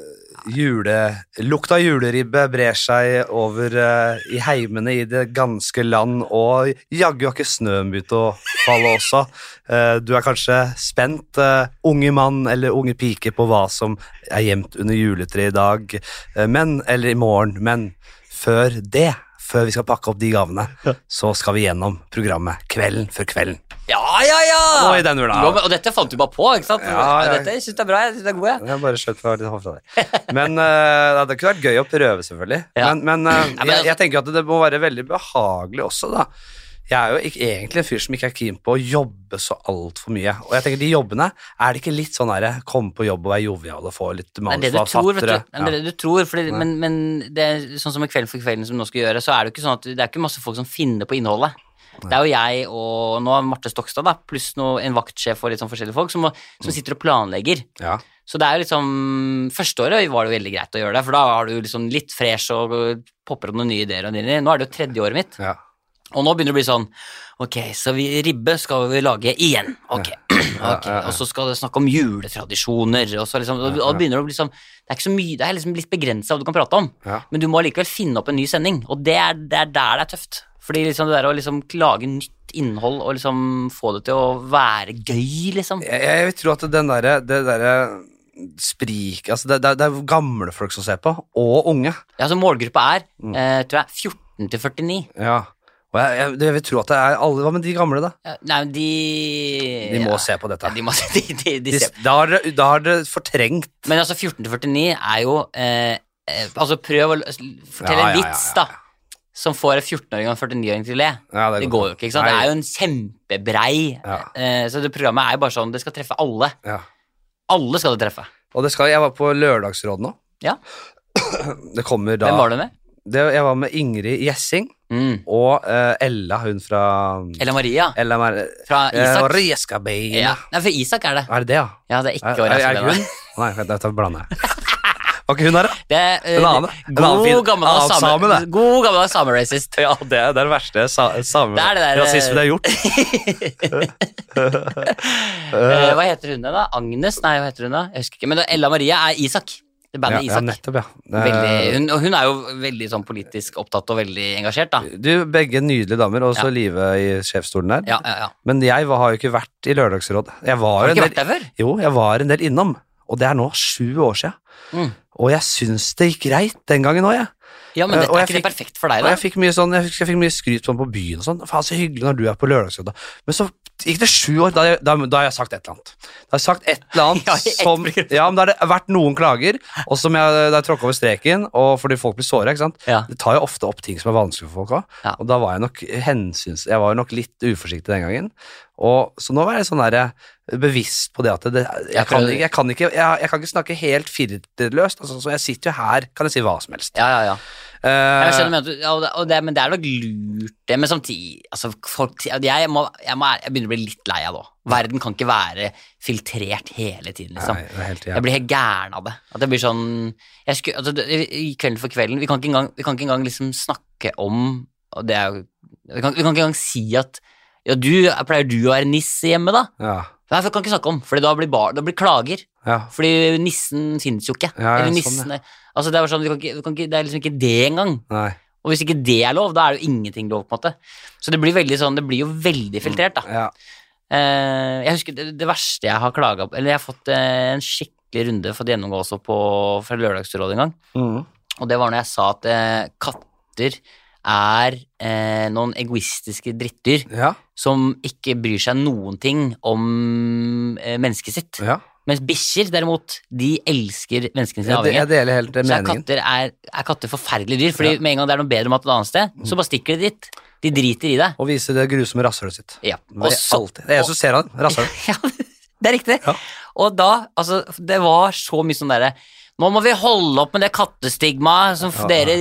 [SPEAKER 1] jule, lukta juleribbe brer seg over eh, i heimene i det ganske land, og jaggu har ikke snøen begynt å falle også. Eh, du er kanskje spent, eh, unge mann eller unge pike, på hva som er gjemt under juletreet i dag, eh, men, eller i morgen, men før det, før vi skal pakke opp de gavene, så skal vi gjennom programmet Kvelden før kvelden.
[SPEAKER 2] Ja, ja, ja!
[SPEAKER 1] Nå i den hula.
[SPEAKER 2] Jo, men- og dette fant du bare på, ikke sant?
[SPEAKER 1] Ja, ja.
[SPEAKER 2] Dette synes jeg er bra, jeg synes det er god, jeg.
[SPEAKER 1] Jeg bare skjøt fra litt hofta der. Men eh, det kunne vært gøy å prøve, selvfølgelig.
[SPEAKER 2] Ja.
[SPEAKER 1] Men, men eh, jeg,
[SPEAKER 2] men altså-
[SPEAKER 1] jeg tenker at det må være veldig behagelig også, da. Jeg er jo ikke, egentlig en fyr som ikke er keen på å jobbe så altfor mye. Og jeg tenker, de jobbene, er det ikke litt sånn herre komme på jobb og være jovial og få litt
[SPEAKER 2] Det er det du
[SPEAKER 1] altså,
[SPEAKER 2] tror, vet du. Det er det du tror, fordi, men, men det er sånn som med Kvelden for kvelden som vi nå skal gjøre, så er det jo ikke sånn at det er ikke masse folk som finner på innholdet. Det er jo jeg og nå er Marte Stokstad, da, pluss nå en vaktsjef og litt sånn forskjellige folk, som, må, som
[SPEAKER 1] Mm.
[SPEAKER 2] sitter og planlegger.
[SPEAKER 1] Ja.
[SPEAKER 2] Så det er jo liksom Første året var det jo veldig greit å gjøre det, for da har du liksom litt fresh og popper opp noen nye ideer. og dinner. Nå er det jo tredje året mitt.
[SPEAKER 1] Ja.
[SPEAKER 2] Og nå begynner det å bli sånn Ok, så vi, ribbe skal vi lage igjen. Ok. ok,
[SPEAKER 1] ja, ja.
[SPEAKER 2] Og så skal det snakke om juletradisjoner. Og så liksom, og, og det begynner det å bli sånn Det er ikke så mye, det er liksom litt begrensa hva du kan prate om.
[SPEAKER 1] Ja.
[SPEAKER 2] Men du må allikevel finne opp en ny sending, og det er, det er der det er tøft. Fordi liksom det der å liksom lage nytt innhold og liksom få det til å være gøy, liksom.
[SPEAKER 1] Jeg, jeg vil tro at den derre det derre sprik Altså, det, det, det er gamle folk som ser på, og unge.
[SPEAKER 2] Ja, så målgruppa er,
[SPEAKER 1] Mm.
[SPEAKER 2] eh, tror jeg, 14 til 49.
[SPEAKER 1] Ja. Og jeg, jeg, jeg vil tro at det er alle Hva med de gamle, da?
[SPEAKER 2] Ja, Nei, men de
[SPEAKER 1] De må
[SPEAKER 2] ja.
[SPEAKER 1] se på dette.
[SPEAKER 2] Ja, de, må, de, de, de ser
[SPEAKER 1] Hvis- Da har dere- da har dere fortrengt
[SPEAKER 2] Men altså 14 til 49 er jo eh, eh, Altså prøv å l-
[SPEAKER 1] Ja, ja,
[SPEAKER 2] fortelle en
[SPEAKER 1] ja,
[SPEAKER 2] vits
[SPEAKER 1] ja,
[SPEAKER 2] da Som får en 14-åring og en 49-åring til å le
[SPEAKER 1] ja,
[SPEAKER 2] Det går jo ikke, ikke sant? Det er jo en kjempebrei
[SPEAKER 1] Ja.
[SPEAKER 2] eh, Så det programmet er jo bare sånn Det skal treffe alle
[SPEAKER 1] ja.
[SPEAKER 2] Alle skal det treffe
[SPEAKER 1] Og det skal, jeg var på lørdagsråd nå.
[SPEAKER 2] Ja.
[SPEAKER 1] Det kommer da
[SPEAKER 2] Hvem var du med?
[SPEAKER 1] det, Jeg var med Ingrid Gjessing
[SPEAKER 2] Mm.
[SPEAKER 1] og eh, Ella, hun fra
[SPEAKER 2] Ella Maria
[SPEAKER 1] Ella Mer...
[SPEAKER 2] Fra
[SPEAKER 1] Eh,
[SPEAKER 2] Isak
[SPEAKER 1] Rieskabeina.
[SPEAKER 2] ja. Nei, for Isak er det
[SPEAKER 1] Er det det, ja?
[SPEAKER 2] Ja, det er
[SPEAKER 1] Er,
[SPEAKER 2] ikke
[SPEAKER 1] er, er det
[SPEAKER 2] overraskende.
[SPEAKER 1] hun? Nei, vent, da blander jeg. Var ikke hun her, da?
[SPEAKER 2] Det er eh,
[SPEAKER 1] En annen- en annen
[SPEAKER 2] god
[SPEAKER 1] fin-
[SPEAKER 2] gammeldags
[SPEAKER 1] annen
[SPEAKER 2] same,
[SPEAKER 1] same, det. Eh.
[SPEAKER 2] God gammeldags same-racist
[SPEAKER 1] Ja, det, er den verste sa, same
[SPEAKER 2] Det er det der, eh,
[SPEAKER 1] rasismen jeg har gjort.
[SPEAKER 2] Eh, Hva heter hun da? Agnes? Nei, hva heter hun da? Jeg husker ikke Men da, Ella Maria er Isak Det er
[SPEAKER 1] Ja,
[SPEAKER 2] bandet
[SPEAKER 1] ja,
[SPEAKER 2] Isak
[SPEAKER 1] nettopp, ja. Det-
[SPEAKER 2] Veldig, hun, og hun er jo veldig sånn politisk opptatt og veldig engasjert, da.
[SPEAKER 1] Du, begge nydelige damer, og så
[SPEAKER 2] Ja.
[SPEAKER 1] Live i sjefsstolen der.
[SPEAKER 2] Ja, ja, ja.
[SPEAKER 1] Men jeg var, har jo ikke vært i lørdagsråd. Jeg var
[SPEAKER 2] Har
[SPEAKER 1] jo en
[SPEAKER 2] du
[SPEAKER 1] del
[SPEAKER 2] ikke vært der før?
[SPEAKER 1] Jo, jeg var en del innom, og det er nå sju år siden.
[SPEAKER 2] Mm.
[SPEAKER 1] Og jeg syns det gikk greit den gangen òg, jeg.
[SPEAKER 2] Ja, men
[SPEAKER 1] Eh,
[SPEAKER 2] dette
[SPEAKER 1] og jeg
[SPEAKER 2] er ikke det
[SPEAKER 1] fikk-
[SPEAKER 2] perfekt for deg,
[SPEAKER 1] Og jeg
[SPEAKER 2] da.
[SPEAKER 1] fikk mye, sånn, jeg fikk, jeg fikk mye skryt sånn på byen og sånn. Faen, så hyggelig når du er på lørdagsrådet. Men så gikk det sju år, da, har jeg- da, da har jeg sagt et eller annet. Da har jeg sagt et eller annet
[SPEAKER 2] Ja, i ett
[SPEAKER 1] som Ja, men da har det vært noen klager, og som jeg, det er tråkka over streken, og fordi folk blir såra, ikke sant.
[SPEAKER 2] Ja.
[SPEAKER 1] Det tar jo ofte opp ting som er vanskelig for folk òg.
[SPEAKER 2] Ja.
[SPEAKER 1] Og da var jeg nok hensyns... Jeg var jo nok litt uforsiktig den gangen. Og, så nå var jeg sånn der, bevisst på det at det, jeg,
[SPEAKER 2] Jeg
[SPEAKER 1] kan
[SPEAKER 2] prøver-
[SPEAKER 1] ikke, jeg, kan ikke, jeg, jeg kan ikke snakke helt filterløst. Altså, så jeg sitter jo her, kan jeg si hva som helst.
[SPEAKER 2] Ja, ja, ja.
[SPEAKER 1] Eh,
[SPEAKER 2] Jeg skjønner, men, at du- ja, og det, og det, men det er nok lurt, det. Men samtidig altså, folk, jeg, må, jeg, må, jeg begynner å bli litt lei av det òg. Verden kan ikke være filtrert hele tiden, liksom.
[SPEAKER 1] nei, det er helt
[SPEAKER 2] Jeg
[SPEAKER 1] jævlig.
[SPEAKER 2] blir helt gæren av det. At det blir sånn jeg skulle, altså, det- I Kvelden for kvelden Vi kan ikke engang, vi kan ikke engang liksom snakke om og det er jo, vi, kan, vi kan ikke engang si at Ja, du pleier du å være nisse hjemme, da?
[SPEAKER 1] Ja,
[SPEAKER 2] Nei, for vi kan ikke snakke om, for da blir bar, da blir klager.
[SPEAKER 1] ja.
[SPEAKER 2] Fordi nissen finnes jo ikke.
[SPEAKER 1] Ja, ja,
[SPEAKER 2] Eller
[SPEAKER 1] sånn,
[SPEAKER 2] nissen er- Altså, det er bare sånn, vi kan ikke, vi kan ikke, det er liksom ikke det engang.
[SPEAKER 1] Nei.
[SPEAKER 2] Og hvis ikke det er lov, da er det jo ingenting lov, på en måte. Så det blir, veldig sånn, det blir jo
[SPEAKER 1] Mm.
[SPEAKER 2] veldig filtrert, da.
[SPEAKER 1] Ja.
[SPEAKER 2] Eh, jeg husker det, det verste jeg har klaga på Eller jeg har fått eh, en skikkelig runde fått gjennomgå også på, fra Lørdagsrådet en gang.
[SPEAKER 1] Mm.
[SPEAKER 2] Og det var når jeg sa at eh, katter er eh, noen egoistiske drittdyr
[SPEAKER 1] ja.
[SPEAKER 2] som ikke bryr seg noen ting om eh, mennesket sitt.
[SPEAKER 1] ja.
[SPEAKER 2] Mens bikkjer, derimot, de elsker menneskene sine
[SPEAKER 1] Jeg, de-
[SPEAKER 2] avhengig.
[SPEAKER 1] jeg deler helt eh,
[SPEAKER 2] Så er
[SPEAKER 1] meningen.
[SPEAKER 2] katter, er, er katter forferdelige dyr, fordi
[SPEAKER 1] Ja. Mm.
[SPEAKER 2] med en gang det er noe bedre mat et annet sted, så bare stikker de dit. De driter i deg.
[SPEAKER 1] Å vise det grusomme rasshølet sitt.
[SPEAKER 2] Ja.
[SPEAKER 1] Det er
[SPEAKER 2] så-
[SPEAKER 1] alltid. Det er jeg som ser han. Rasshølet.
[SPEAKER 2] ja, det er riktig.
[SPEAKER 1] Ja.
[SPEAKER 2] Og da, altså, det var så mye sånn derre Nå må vi holde opp med det kattestigmaet som
[SPEAKER 1] Ja.
[SPEAKER 2] dere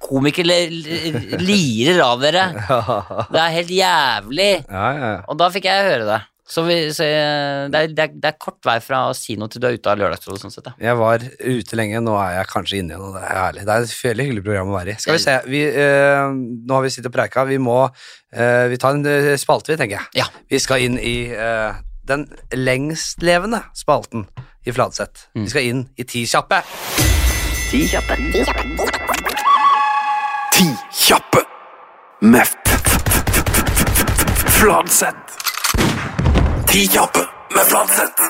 [SPEAKER 2] komikere l- lirer av dere.
[SPEAKER 1] Ja,
[SPEAKER 2] Det er helt jævlig.
[SPEAKER 1] ja, ja.
[SPEAKER 2] Og da fikk jeg høre det. Så, vi, så jeg, det, er, det, er, det er kort vei fra å si noe til du er ute av Lørdagsrådet. Sånn sett, da.
[SPEAKER 1] Jeg var ute lenge, nå er jeg kanskje inne igjen, og det er herlig. Det er et veldig hyggelig program å være i. Skal vi se, vi, eh, nå har vi sittet og preika, vi må eh, Vi tar en eh, spalte, vi, tenker jeg.
[SPEAKER 2] Ja.
[SPEAKER 1] Vi skal inn i eh, den lengstlevende spalten i Fladseth. Vi skal inn i Ti kjappe.
[SPEAKER 3] Ti kjappe.
[SPEAKER 4] Ti kjappe med f- f- f- f- f- f- Fladseth. Ti kjappe med Fladseth.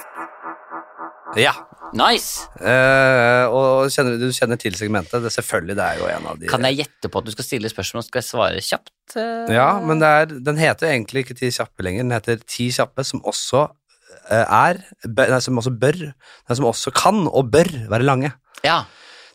[SPEAKER 1] Ja.
[SPEAKER 2] Nice!
[SPEAKER 1] Eh, og kjenner, du kjenner til segmentet? Det, selvfølgelig, det er jo en av de
[SPEAKER 2] Kan jeg gjette på at du skal stille spørsmål, og skal jeg svare kjapt? eh?
[SPEAKER 1] Ja, men det er, den heter jo egentlig ikke Ti kjappe lenger. Den heter Ti kjappe, som også eh, er bør, Nei, som også bør Nei, som også kan og bør være lange.
[SPEAKER 2] Ja.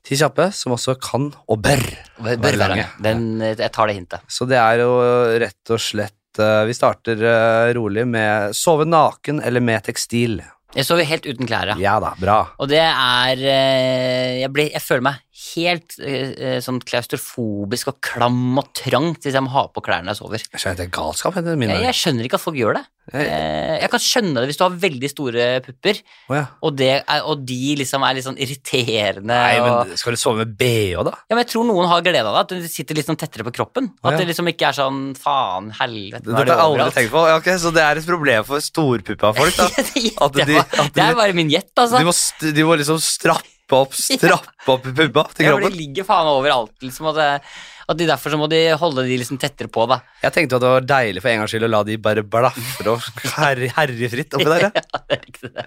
[SPEAKER 1] Ti kjappe, som også kan og bør.
[SPEAKER 2] Bør
[SPEAKER 1] Være
[SPEAKER 2] være
[SPEAKER 1] lange.
[SPEAKER 2] lange. Den, eh, jeg tar det hintet.
[SPEAKER 1] Så det er jo rett og slett eh, Vi starter eh, rolig med sove naken eller med tekstil.
[SPEAKER 2] Jeg sover helt uten klær, ja.
[SPEAKER 1] Ja da, bra.
[SPEAKER 2] Og det er eh, jeg, blir, jeg føler meg helt eh, eh, sånn klaustrofobisk og klam og trangt hvis jeg må ha på klærne når jeg sover.
[SPEAKER 1] Jeg skjønner at det er galskap, heter det min.
[SPEAKER 2] Jeg, jeg skjønner ikke at folk gjør det.
[SPEAKER 1] Jeg-
[SPEAKER 2] Eh, jeg kan skjønne det hvis du har veldig store pupper,
[SPEAKER 1] Å, ja.
[SPEAKER 2] og, det er, og de liksom er litt sånn irriterende.
[SPEAKER 1] Nei,
[SPEAKER 2] og,
[SPEAKER 1] men skal du sove med bh, da?
[SPEAKER 2] ja, men jeg tror noen har glede av det, at de sitter litt sånn tettere på kroppen.
[SPEAKER 1] Å, ja.
[SPEAKER 2] At det liksom ikke er sånn faen, helvete,
[SPEAKER 1] Dette har jeg aldri tenkt på. Ja, ok, så det er et problem for storpuppa folk, da. At
[SPEAKER 2] det,
[SPEAKER 1] de-
[SPEAKER 2] var,
[SPEAKER 1] at
[SPEAKER 2] det
[SPEAKER 1] de-
[SPEAKER 2] er bare min gjett, altså.
[SPEAKER 1] De må, st- de må liksom strappe opp strappe opp puppa til
[SPEAKER 2] Ja, for
[SPEAKER 1] kroppen.
[SPEAKER 2] de ligger faen overalt, liksom. At, det- at de derfor så må de holde de liksom tettere på, da.
[SPEAKER 1] Jeg tenkte at det var deilig for en gangs skyld å la de bare blafre og herje herje fritt oppi der. Ja.
[SPEAKER 2] Det er ikke det.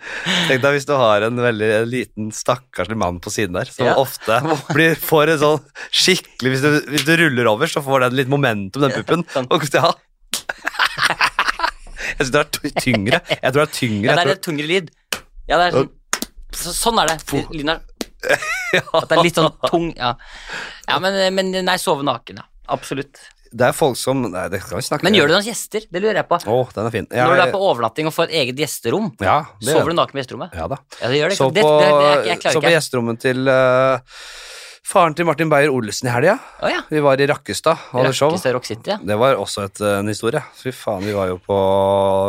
[SPEAKER 1] Tenk deg hvis du har en veldig liten, stakkarslig mann på siden der, som
[SPEAKER 2] Ja.
[SPEAKER 1] ofte blir, får en sånn skikkelig hvis du, hvis du ruller over, så får den litt momentum, den puppen. Og, ja. Jeg syns det er ty- tyngre. Jeg tror det er tyngre.
[SPEAKER 2] Ja, det
[SPEAKER 1] Jeg
[SPEAKER 2] er
[SPEAKER 1] tror,
[SPEAKER 2] litt tyngre lyd. Ja, det er sånn. Så, sånn er det. Lyden er At det er litt sånn tung. Ja, ja men, men nei, sove naken, ja. Absolutt.
[SPEAKER 1] det er folk som Nei, det skal vi snakke
[SPEAKER 2] Men gjør du det hos gjester? Det lurer jeg på.
[SPEAKER 1] Å, den er fin.
[SPEAKER 2] Når du er på overnatting og får et eget gjesterom,
[SPEAKER 1] ja, det gjør
[SPEAKER 2] sover du naken på gjesterommet?
[SPEAKER 1] Ja da.
[SPEAKER 2] Ja, det gjør det
[SPEAKER 1] Så
[SPEAKER 2] ikke.
[SPEAKER 1] på,
[SPEAKER 2] Det, det, det, jeg,
[SPEAKER 1] så
[SPEAKER 2] jeg
[SPEAKER 1] på
[SPEAKER 2] klarer ikke.
[SPEAKER 1] gjesterommet til eh, faren til Martin Beyer-Olsen i helga.
[SPEAKER 2] Å ja.
[SPEAKER 1] Vi var i Rakkestad og hadde show.
[SPEAKER 2] Rakkestad Rock City, ja.
[SPEAKER 1] Det var også et, eh, en historie. Fy faen, vi var jo på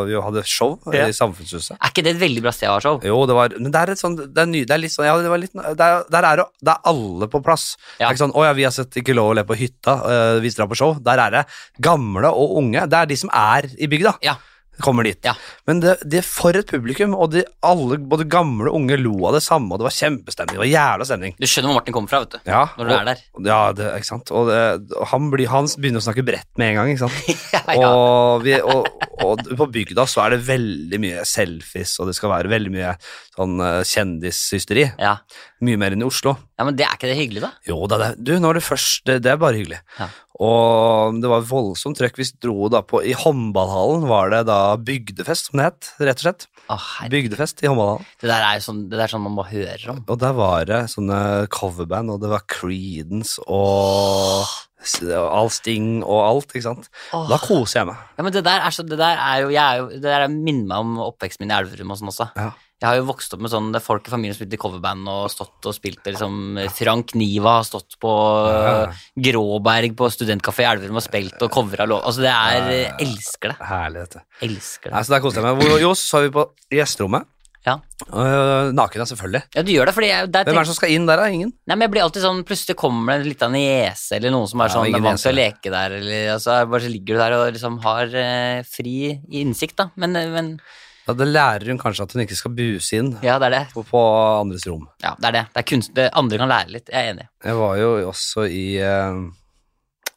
[SPEAKER 1] Vi hadde show
[SPEAKER 2] Ja.
[SPEAKER 1] i Samfunnshuset.
[SPEAKER 2] Er ikke det et veldig bra sted å ha show?
[SPEAKER 1] Jo, det var Men det er et sånn Det er, ny, det er litt sånn Ja, det var litt det er, Der er jo Det er alle på plass. Det
[SPEAKER 2] Ja.
[SPEAKER 1] er ikke sånn Å ja, vi har sett Ikke lov å le på hytta. eh, vi drar på show. Der er det gamle og unge. Det er de som er i bygda.
[SPEAKER 2] Ja.
[SPEAKER 1] Kommer dit.
[SPEAKER 2] Ja.
[SPEAKER 1] Men det, det er for et publikum, og de, alle, både gamle og unge, lo av det samme, og det var kjempestemning. Det var jævla stemning.
[SPEAKER 2] Du skjønner hvor Martin kommer fra, vet du.
[SPEAKER 1] Ja,
[SPEAKER 2] Når du er der.
[SPEAKER 1] og, ja det, ikke sant? Og, det, og han, blir, han begynner å snakke bredt med en gang, ikke sant?
[SPEAKER 2] Ja, ja.
[SPEAKER 1] Og, vi, og, og på bygda så er det veldig mye selfies, og det skal være veldig mye sånn eh, kjendishysteri.
[SPEAKER 2] ja.
[SPEAKER 1] Mye mer enn i Oslo.
[SPEAKER 2] Ja, men det er ikke det hyggelig, da?
[SPEAKER 1] Jo da, det, du, når det først Det, det er bare hyggelig.
[SPEAKER 2] Ja.
[SPEAKER 1] Og det var voldsomt trøkk. Vi dro da på I håndballhallen var det da bygdefest, som det het, rett og slett.
[SPEAKER 2] Å, herregud.
[SPEAKER 1] Bygdefest i håndballhallen.
[SPEAKER 2] Det der er jo sånn, det der er sånn man må høre om.
[SPEAKER 1] Og der var det sånne coverband, og det var Creedence og s- og All Sting og alt, ikke sant. Da
[SPEAKER 2] Åh.
[SPEAKER 1] koser jeg meg.
[SPEAKER 2] Ja, men det der er, så, det der er jo, jeg er jo Det der er- minner meg om oppveksten min i Elverum og sånn også.
[SPEAKER 1] Ja.
[SPEAKER 2] Jeg har jo vokst opp med sånn det er folk i familien som spilte i coverband og stått og spilt det, liksom Frank Niva har stått på eh,
[SPEAKER 1] Ja.
[SPEAKER 2] Gråberg på studentkafé i Elverum og spilt og covra låt. Altså, det er jeg Elsker det.
[SPEAKER 1] Herlig, dette.
[SPEAKER 2] Elsker
[SPEAKER 1] Nei,
[SPEAKER 2] det.
[SPEAKER 1] så der koste jeg meg. Hvor- Jo, så så vi på gjesterommet.
[SPEAKER 2] Ja.
[SPEAKER 1] Øh, naken, ja, selvfølgelig.
[SPEAKER 2] Ja, du gjør det, fordi jeg, der
[SPEAKER 1] Hvem er det
[SPEAKER 2] tenk,
[SPEAKER 1] som skal inn der, da? Ingen?
[SPEAKER 2] nei, men jeg blir alltid sånn Plutselig kommer det en liten niese eller noen som er
[SPEAKER 1] Ja,
[SPEAKER 2] sånn
[SPEAKER 1] ingen
[SPEAKER 2] er vant til å
[SPEAKER 1] niese.
[SPEAKER 2] leke der, eller altså, bare så ligger du der og liksom har eh, fri innsikt, da. Men, eh, men
[SPEAKER 1] Ja, da lærer hun kanskje at hun ikke skal buse inn
[SPEAKER 2] ja, det er det.
[SPEAKER 1] på, på andres rom.
[SPEAKER 2] Ja, det er det. Det er kunst, det andre kan lære litt. Jeg er enig.
[SPEAKER 1] Jeg var jo også i eh,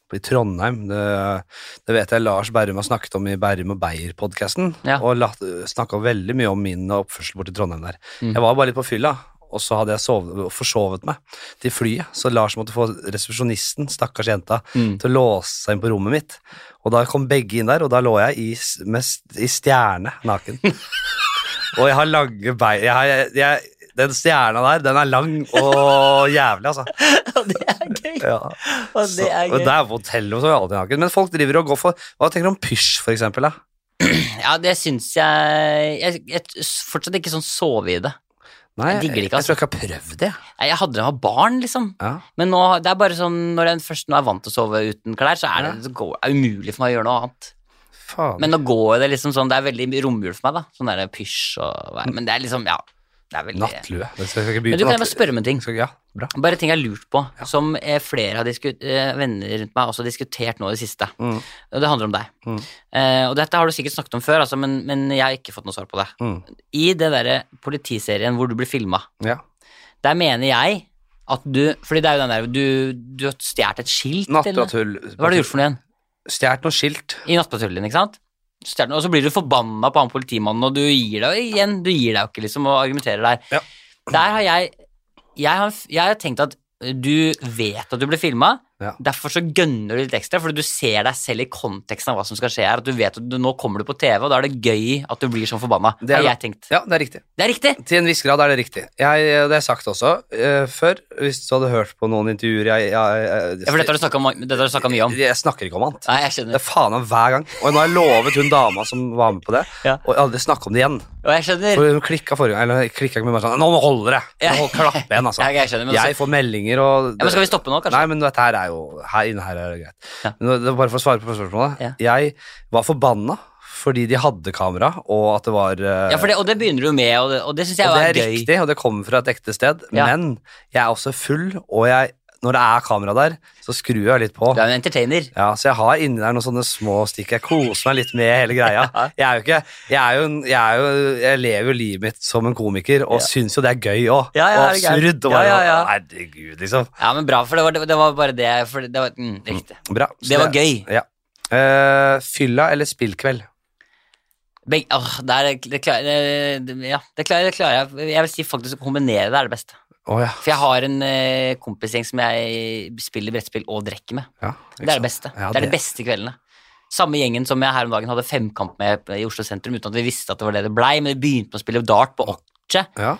[SPEAKER 1] oppe i Trondheim. Det, det vet jeg Lars Berrum har snakket om i Berrum og Beyer-podkasten.
[SPEAKER 2] Ja.
[SPEAKER 1] Og snakka veldig mye om min oppførsel borti Trondheim der.
[SPEAKER 2] Mm.
[SPEAKER 1] Jeg var bare litt på fylla, og så hadde jeg sovet, forsovet meg til flyet. Så Lars måtte få resepsjonisten, stakkars jenta,
[SPEAKER 2] Mm.
[SPEAKER 1] til å låse seg inn på rommet mitt. Og da kom begge inn der, og da lå jeg i, s- med, s- i stjerne naken. og jeg har lange bein jeg, har- jeg, Den stjerna der, den er lang og jævlig, altså.
[SPEAKER 2] Og det er gøy!
[SPEAKER 1] Ja.
[SPEAKER 2] Og
[SPEAKER 1] Så,
[SPEAKER 2] det er
[SPEAKER 1] og
[SPEAKER 2] gøy.
[SPEAKER 1] der på hotellet så er jeg alltid naken. Men folk driver og går for Hva tenker du om pysj, for eksempel? Da?
[SPEAKER 2] Ja, det syns jeg Jeg, jeg s- fortsatt ikke sånn sove i det.
[SPEAKER 1] Nei,
[SPEAKER 2] Jeg digger det ikke, altså.
[SPEAKER 1] Jeg tror jeg ikke har prøvd det.
[SPEAKER 2] Nei, Jeg hadde det da jeg var barn, liksom.
[SPEAKER 1] Ja.
[SPEAKER 2] Men nå, det er bare sånn, når jeg først nå er vant til å sove uten klær, så er det, det går, er umulig for meg å gjøre noe annet.
[SPEAKER 1] Faen.
[SPEAKER 2] Men nå går det liksom sånn, det er veldig romjul for meg, da. Sånn derre pysj og hva- Men det er liksom, ja. Det er veldig
[SPEAKER 1] Nattlue. Det skal jeg ikke
[SPEAKER 2] Men
[SPEAKER 1] begynne
[SPEAKER 2] du
[SPEAKER 1] på
[SPEAKER 2] kan jeg bare
[SPEAKER 1] nattlue.
[SPEAKER 2] spørre om en ting.
[SPEAKER 1] Skal- Ja, bra.
[SPEAKER 2] Bare ting jeg har lurt på, som eh, flere av disku- eh, venner rundt meg har også diskutert nå i det siste.
[SPEAKER 1] Mm.
[SPEAKER 2] Og Det handler om deg.
[SPEAKER 1] Mm.
[SPEAKER 2] Eh, og dette har du sikkert snakket om før, altså, men, men jeg har ikke fått noe svar på det.
[SPEAKER 1] Mm.
[SPEAKER 2] I det derre politiserien hvor du blir filma,
[SPEAKER 1] Ja.
[SPEAKER 2] der mener jeg at du Fordi det er jo den der du, du har stjålet et skilt, eller?
[SPEAKER 1] Nattpatrull.
[SPEAKER 2] Hva har du gjort for noe igjen?
[SPEAKER 1] Stjålet noe skilt.
[SPEAKER 2] I nattpatruljen, ikke sant? Stjernen, Og så blir du forbanna på han politimannen, og du gir deg jo igjen. Du gir deg jo ikke, liksom, og argumenterer der.
[SPEAKER 1] Ja.
[SPEAKER 2] Der har jeg jeg har, jeg har tenkt at du vet at du blir filma,
[SPEAKER 1] Ja.
[SPEAKER 2] derfor så gønner du litt ekstra, fordi du ser deg selv i konteksten av hva som skal skje her. At du vet at du, nå kommer du på TV, og da er det gøy at du blir sånn forbanna.
[SPEAKER 1] Det er
[SPEAKER 2] har
[SPEAKER 1] det.
[SPEAKER 2] jeg tenkt.
[SPEAKER 1] Ja, det er riktig.
[SPEAKER 2] Det er riktig!
[SPEAKER 1] Til en viss grad er det riktig. Jeg, det har jeg sagt også eh, før, hvis du hadde hørt på noen intervjuer jeg, jeg, jeg,
[SPEAKER 2] Ja, for dette har du snakket om- dette har du snakka mye om.
[SPEAKER 1] Jeg snakker ikke om annet.
[SPEAKER 2] Nei, jeg
[SPEAKER 1] Det
[SPEAKER 2] skjønner.
[SPEAKER 1] er faen meg hver gang. Og nå har jeg lovet hun dama som var med på det,
[SPEAKER 2] Ja.
[SPEAKER 1] og aldri snakke om det igjen.
[SPEAKER 2] Og jeg skjønner.
[SPEAKER 1] For hun klikka forrige gang, eller klikka ikke, men bare sånn Nå holder det! Nå hold- klapper jeg igjen, altså.
[SPEAKER 2] Ja, jeg skjønner, men,
[SPEAKER 1] Jeg får meldinger og
[SPEAKER 2] ja, men skal vi stoppe nå, kanskje?
[SPEAKER 1] Nei, men dette her er jo Her inne her er det greit.
[SPEAKER 2] Ja.
[SPEAKER 1] Men det var bare for å svare på spørsmålet. Jeg var forbanna fordi de hadde kamera, og at det var eh,
[SPEAKER 2] Ja, for det, og det begynner du jo med, og det, og det syns jeg
[SPEAKER 1] Og det
[SPEAKER 2] er
[SPEAKER 1] er
[SPEAKER 2] gøy.
[SPEAKER 1] riktig, og det kommer fra et ekte sted.
[SPEAKER 2] Ja.
[SPEAKER 1] Men jeg er også full, og jeg, når det er kamera der, så skrur jeg litt på.
[SPEAKER 2] Du er jo en entertainer.
[SPEAKER 1] Ja, Så jeg har inni der noen sånne små stikk. Jeg koser meg litt med hele greia. Jeg er jo ikke, jeg er jo, en, jeg er jo, jeg lever jo livet mitt som en komiker, og syns jo det er gøy òg.
[SPEAKER 2] Ja, ja,
[SPEAKER 1] og
[SPEAKER 2] det er gøy.
[SPEAKER 1] absurd. Og bare,
[SPEAKER 2] Ja, ja, ja.
[SPEAKER 1] Herregud, liksom.
[SPEAKER 2] Ja, men bra, for det var, det, det var bare det, for det var mm, riktig.
[SPEAKER 1] Bra. Så
[SPEAKER 2] Det var gøy.
[SPEAKER 1] Ja. Eh, fylla eller spillkveld?
[SPEAKER 2] Beg, åh, det, er, det, klarer, eh, det, ja, det, klarer, det klarer jeg. Jeg vil si faktisk å kombinere det er det beste.
[SPEAKER 1] Å ja.
[SPEAKER 2] For jeg har en eh, kompisgjeng som jeg spiller brettspill og drikker med.
[SPEAKER 1] ja
[SPEAKER 2] Det er det beste.
[SPEAKER 1] Ja,
[SPEAKER 2] det er
[SPEAKER 1] det-
[SPEAKER 2] de beste kveldene. Samme gjengen som jeg her om dagen hadde femkamp med i Oslo sentrum, uten at vi visste at det var det det blei, men vi begynte med å spille dart på Occe.
[SPEAKER 1] Ja.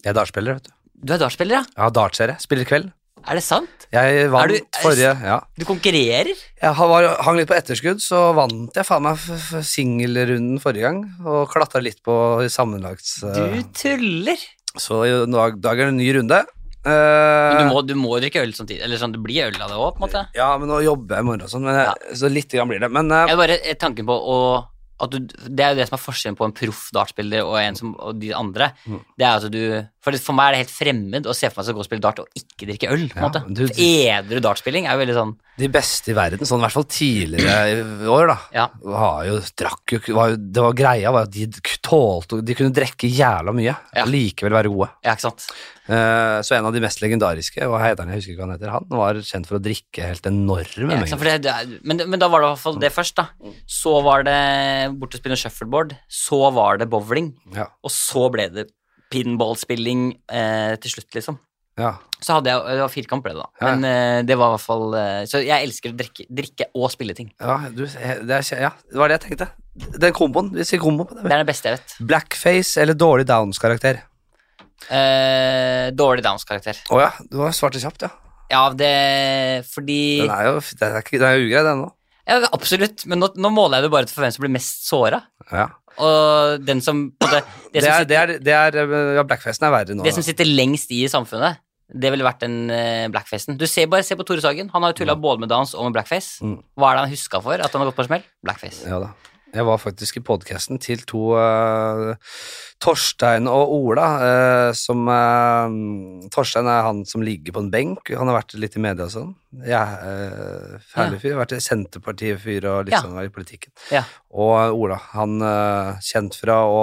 [SPEAKER 1] Jeg er dartspiller, vet du.
[SPEAKER 2] Du er dartspiller, ja?
[SPEAKER 1] Jeg har dartserie. Spiller kveld.
[SPEAKER 2] Er det sant?
[SPEAKER 1] Jeg
[SPEAKER 2] Er
[SPEAKER 1] vant
[SPEAKER 2] du- er-
[SPEAKER 1] forrige ja.
[SPEAKER 2] Du konkurrerer?
[SPEAKER 1] Jeg ha- var, hang litt på etterskudd, så vant jeg faen meg f- f- singelrunden forrige gang. Og klatra litt på sammenlagt.
[SPEAKER 2] Du
[SPEAKER 1] eh,
[SPEAKER 2] tuller!
[SPEAKER 1] Så i dag, dag er det en ny runde. Eh,
[SPEAKER 2] Men du må, du må jo drikke øl samtidig. Eller sånn, det blir øl av det òg, på en måte.
[SPEAKER 1] Ja, men nå jobber jeg i morgen og sånn, men jeg, så lite grann blir det. Men eh,
[SPEAKER 2] Jeg bare eh, tanken på å at du, Det er jo det som er forskjellen på en proff dartspiller og en som, og de andre.
[SPEAKER 1] Mm.
[SPEAKER 2] Det er at du, for, det, for meg er det helt fremmed å se for meg som går og spille dart og ikke drikke øl. på en
[SPEAKER 1] Ja,
[SPEAKER 2] måte.
[SPEAKER 1] du-
[SPEAKER 2] For Edru dartspilling er jo veldig sånn
[SPEAKER 1] de beste i verden, sånn i hvert fall tidligere i år, da,
[SPEAKER 2] Ja.
[SPEAKER 1] var jo, drakk jo, ikke- var jo Det var greia var at de k- tålte De kunne drikke jævla mye
[SPEAKER 2] Ja.
[SPEAKER 1] og likevel være gode.
[SPEAKER 2] Ja, ikke sant?
[SPEAKER 1] Eh, så en av de mest legendariske, og heter han, jeg husker ikke hva han heter, han var kjent for å drikke helt enorme
[SPEAKER 2] Ja, ikke sant? For det, det er, men, men da var det i hvert fall det
[SPEAKER 1] Mm.
[SPEAKER 2] først, da. Så var det borte å spille shuffleboard. Så var det bowling.
[SPEAKER 1] Ja,
[SPEAKER 2] Og så ble det pinballspilling eh, til slutt, liksom.
[SPEAKER 1] ja.
[SPEAKER 2] Så hadde jeg, Det var firkamp, ble det, da.
[SPEAKER 1] Ja, ja.
[SPEAKER 2] Men eh, det var i hvert fall eh, Så jeg elsker å drikke, drikke og spille ting.
[SPEAKER 1] Ja, du, eh, det, er, kje- ja, det var det jeg tenkte. Den komboen. Vi sier kombo på
[SPEAKER 2] Det
[SPEAKER 1] det.
[SPEAKER 2] er det beste jeg vet.
[SPEAKER 1] Blackface eller dårlig Downs-karakter?
[SPEAKER 2] Eh, dårlig Downs-karakter.
[SPEAKER 1] Å ja, du har svart det kjapt, ja.
[SPEAKER 2] Ja, det Fordi
[SPEAKER 1] Den er jo den er, ikke- den er jo ugrei, den nå.
[SPEAKER 2] ja, Absolutt, men nå, nå måler jeg det bare til for hvem som blir mest såra.
[SPEAKER 1] Ja.
[SPEAKER 2] Og den som på en måte, det,
[SPEAKER 1] Det
[SPEAKER 2] som
[SPEAKER 1] er,
[SPEAKER 2] sitter,
[SPEAKER 1] det er, det er, ja, blackfacen er verre nå.
[SPEAKER 2] det som sitter lengst i i samfunnet, det ville vært den eh, blackfacen. Du ser bare se på Tore Sagen. Han har jo tulla både med downs og med blackface.
[SPEAKER 1] Mm.
[SPEAKER 2] Hva er det han huska for? At han har gått på smell? Blackface.
[SPEAKER 1] Ja da. Jeg var faktisk i podkasten til to eh, Torstein og Ola, eh, som eh, Torstein er han som ligger på en benk. Han har vært litt i media og sånn. Jeg er eh, herlig fyr. Jeg har vært Senterparti-fyr og
[SPEAKER 2] Ja.
[SPEAKER 1] liksom var i politikken.
[SPEAKER 2] Ja.
[SPEAKER 1] Og Ola, han eh, kjent fra å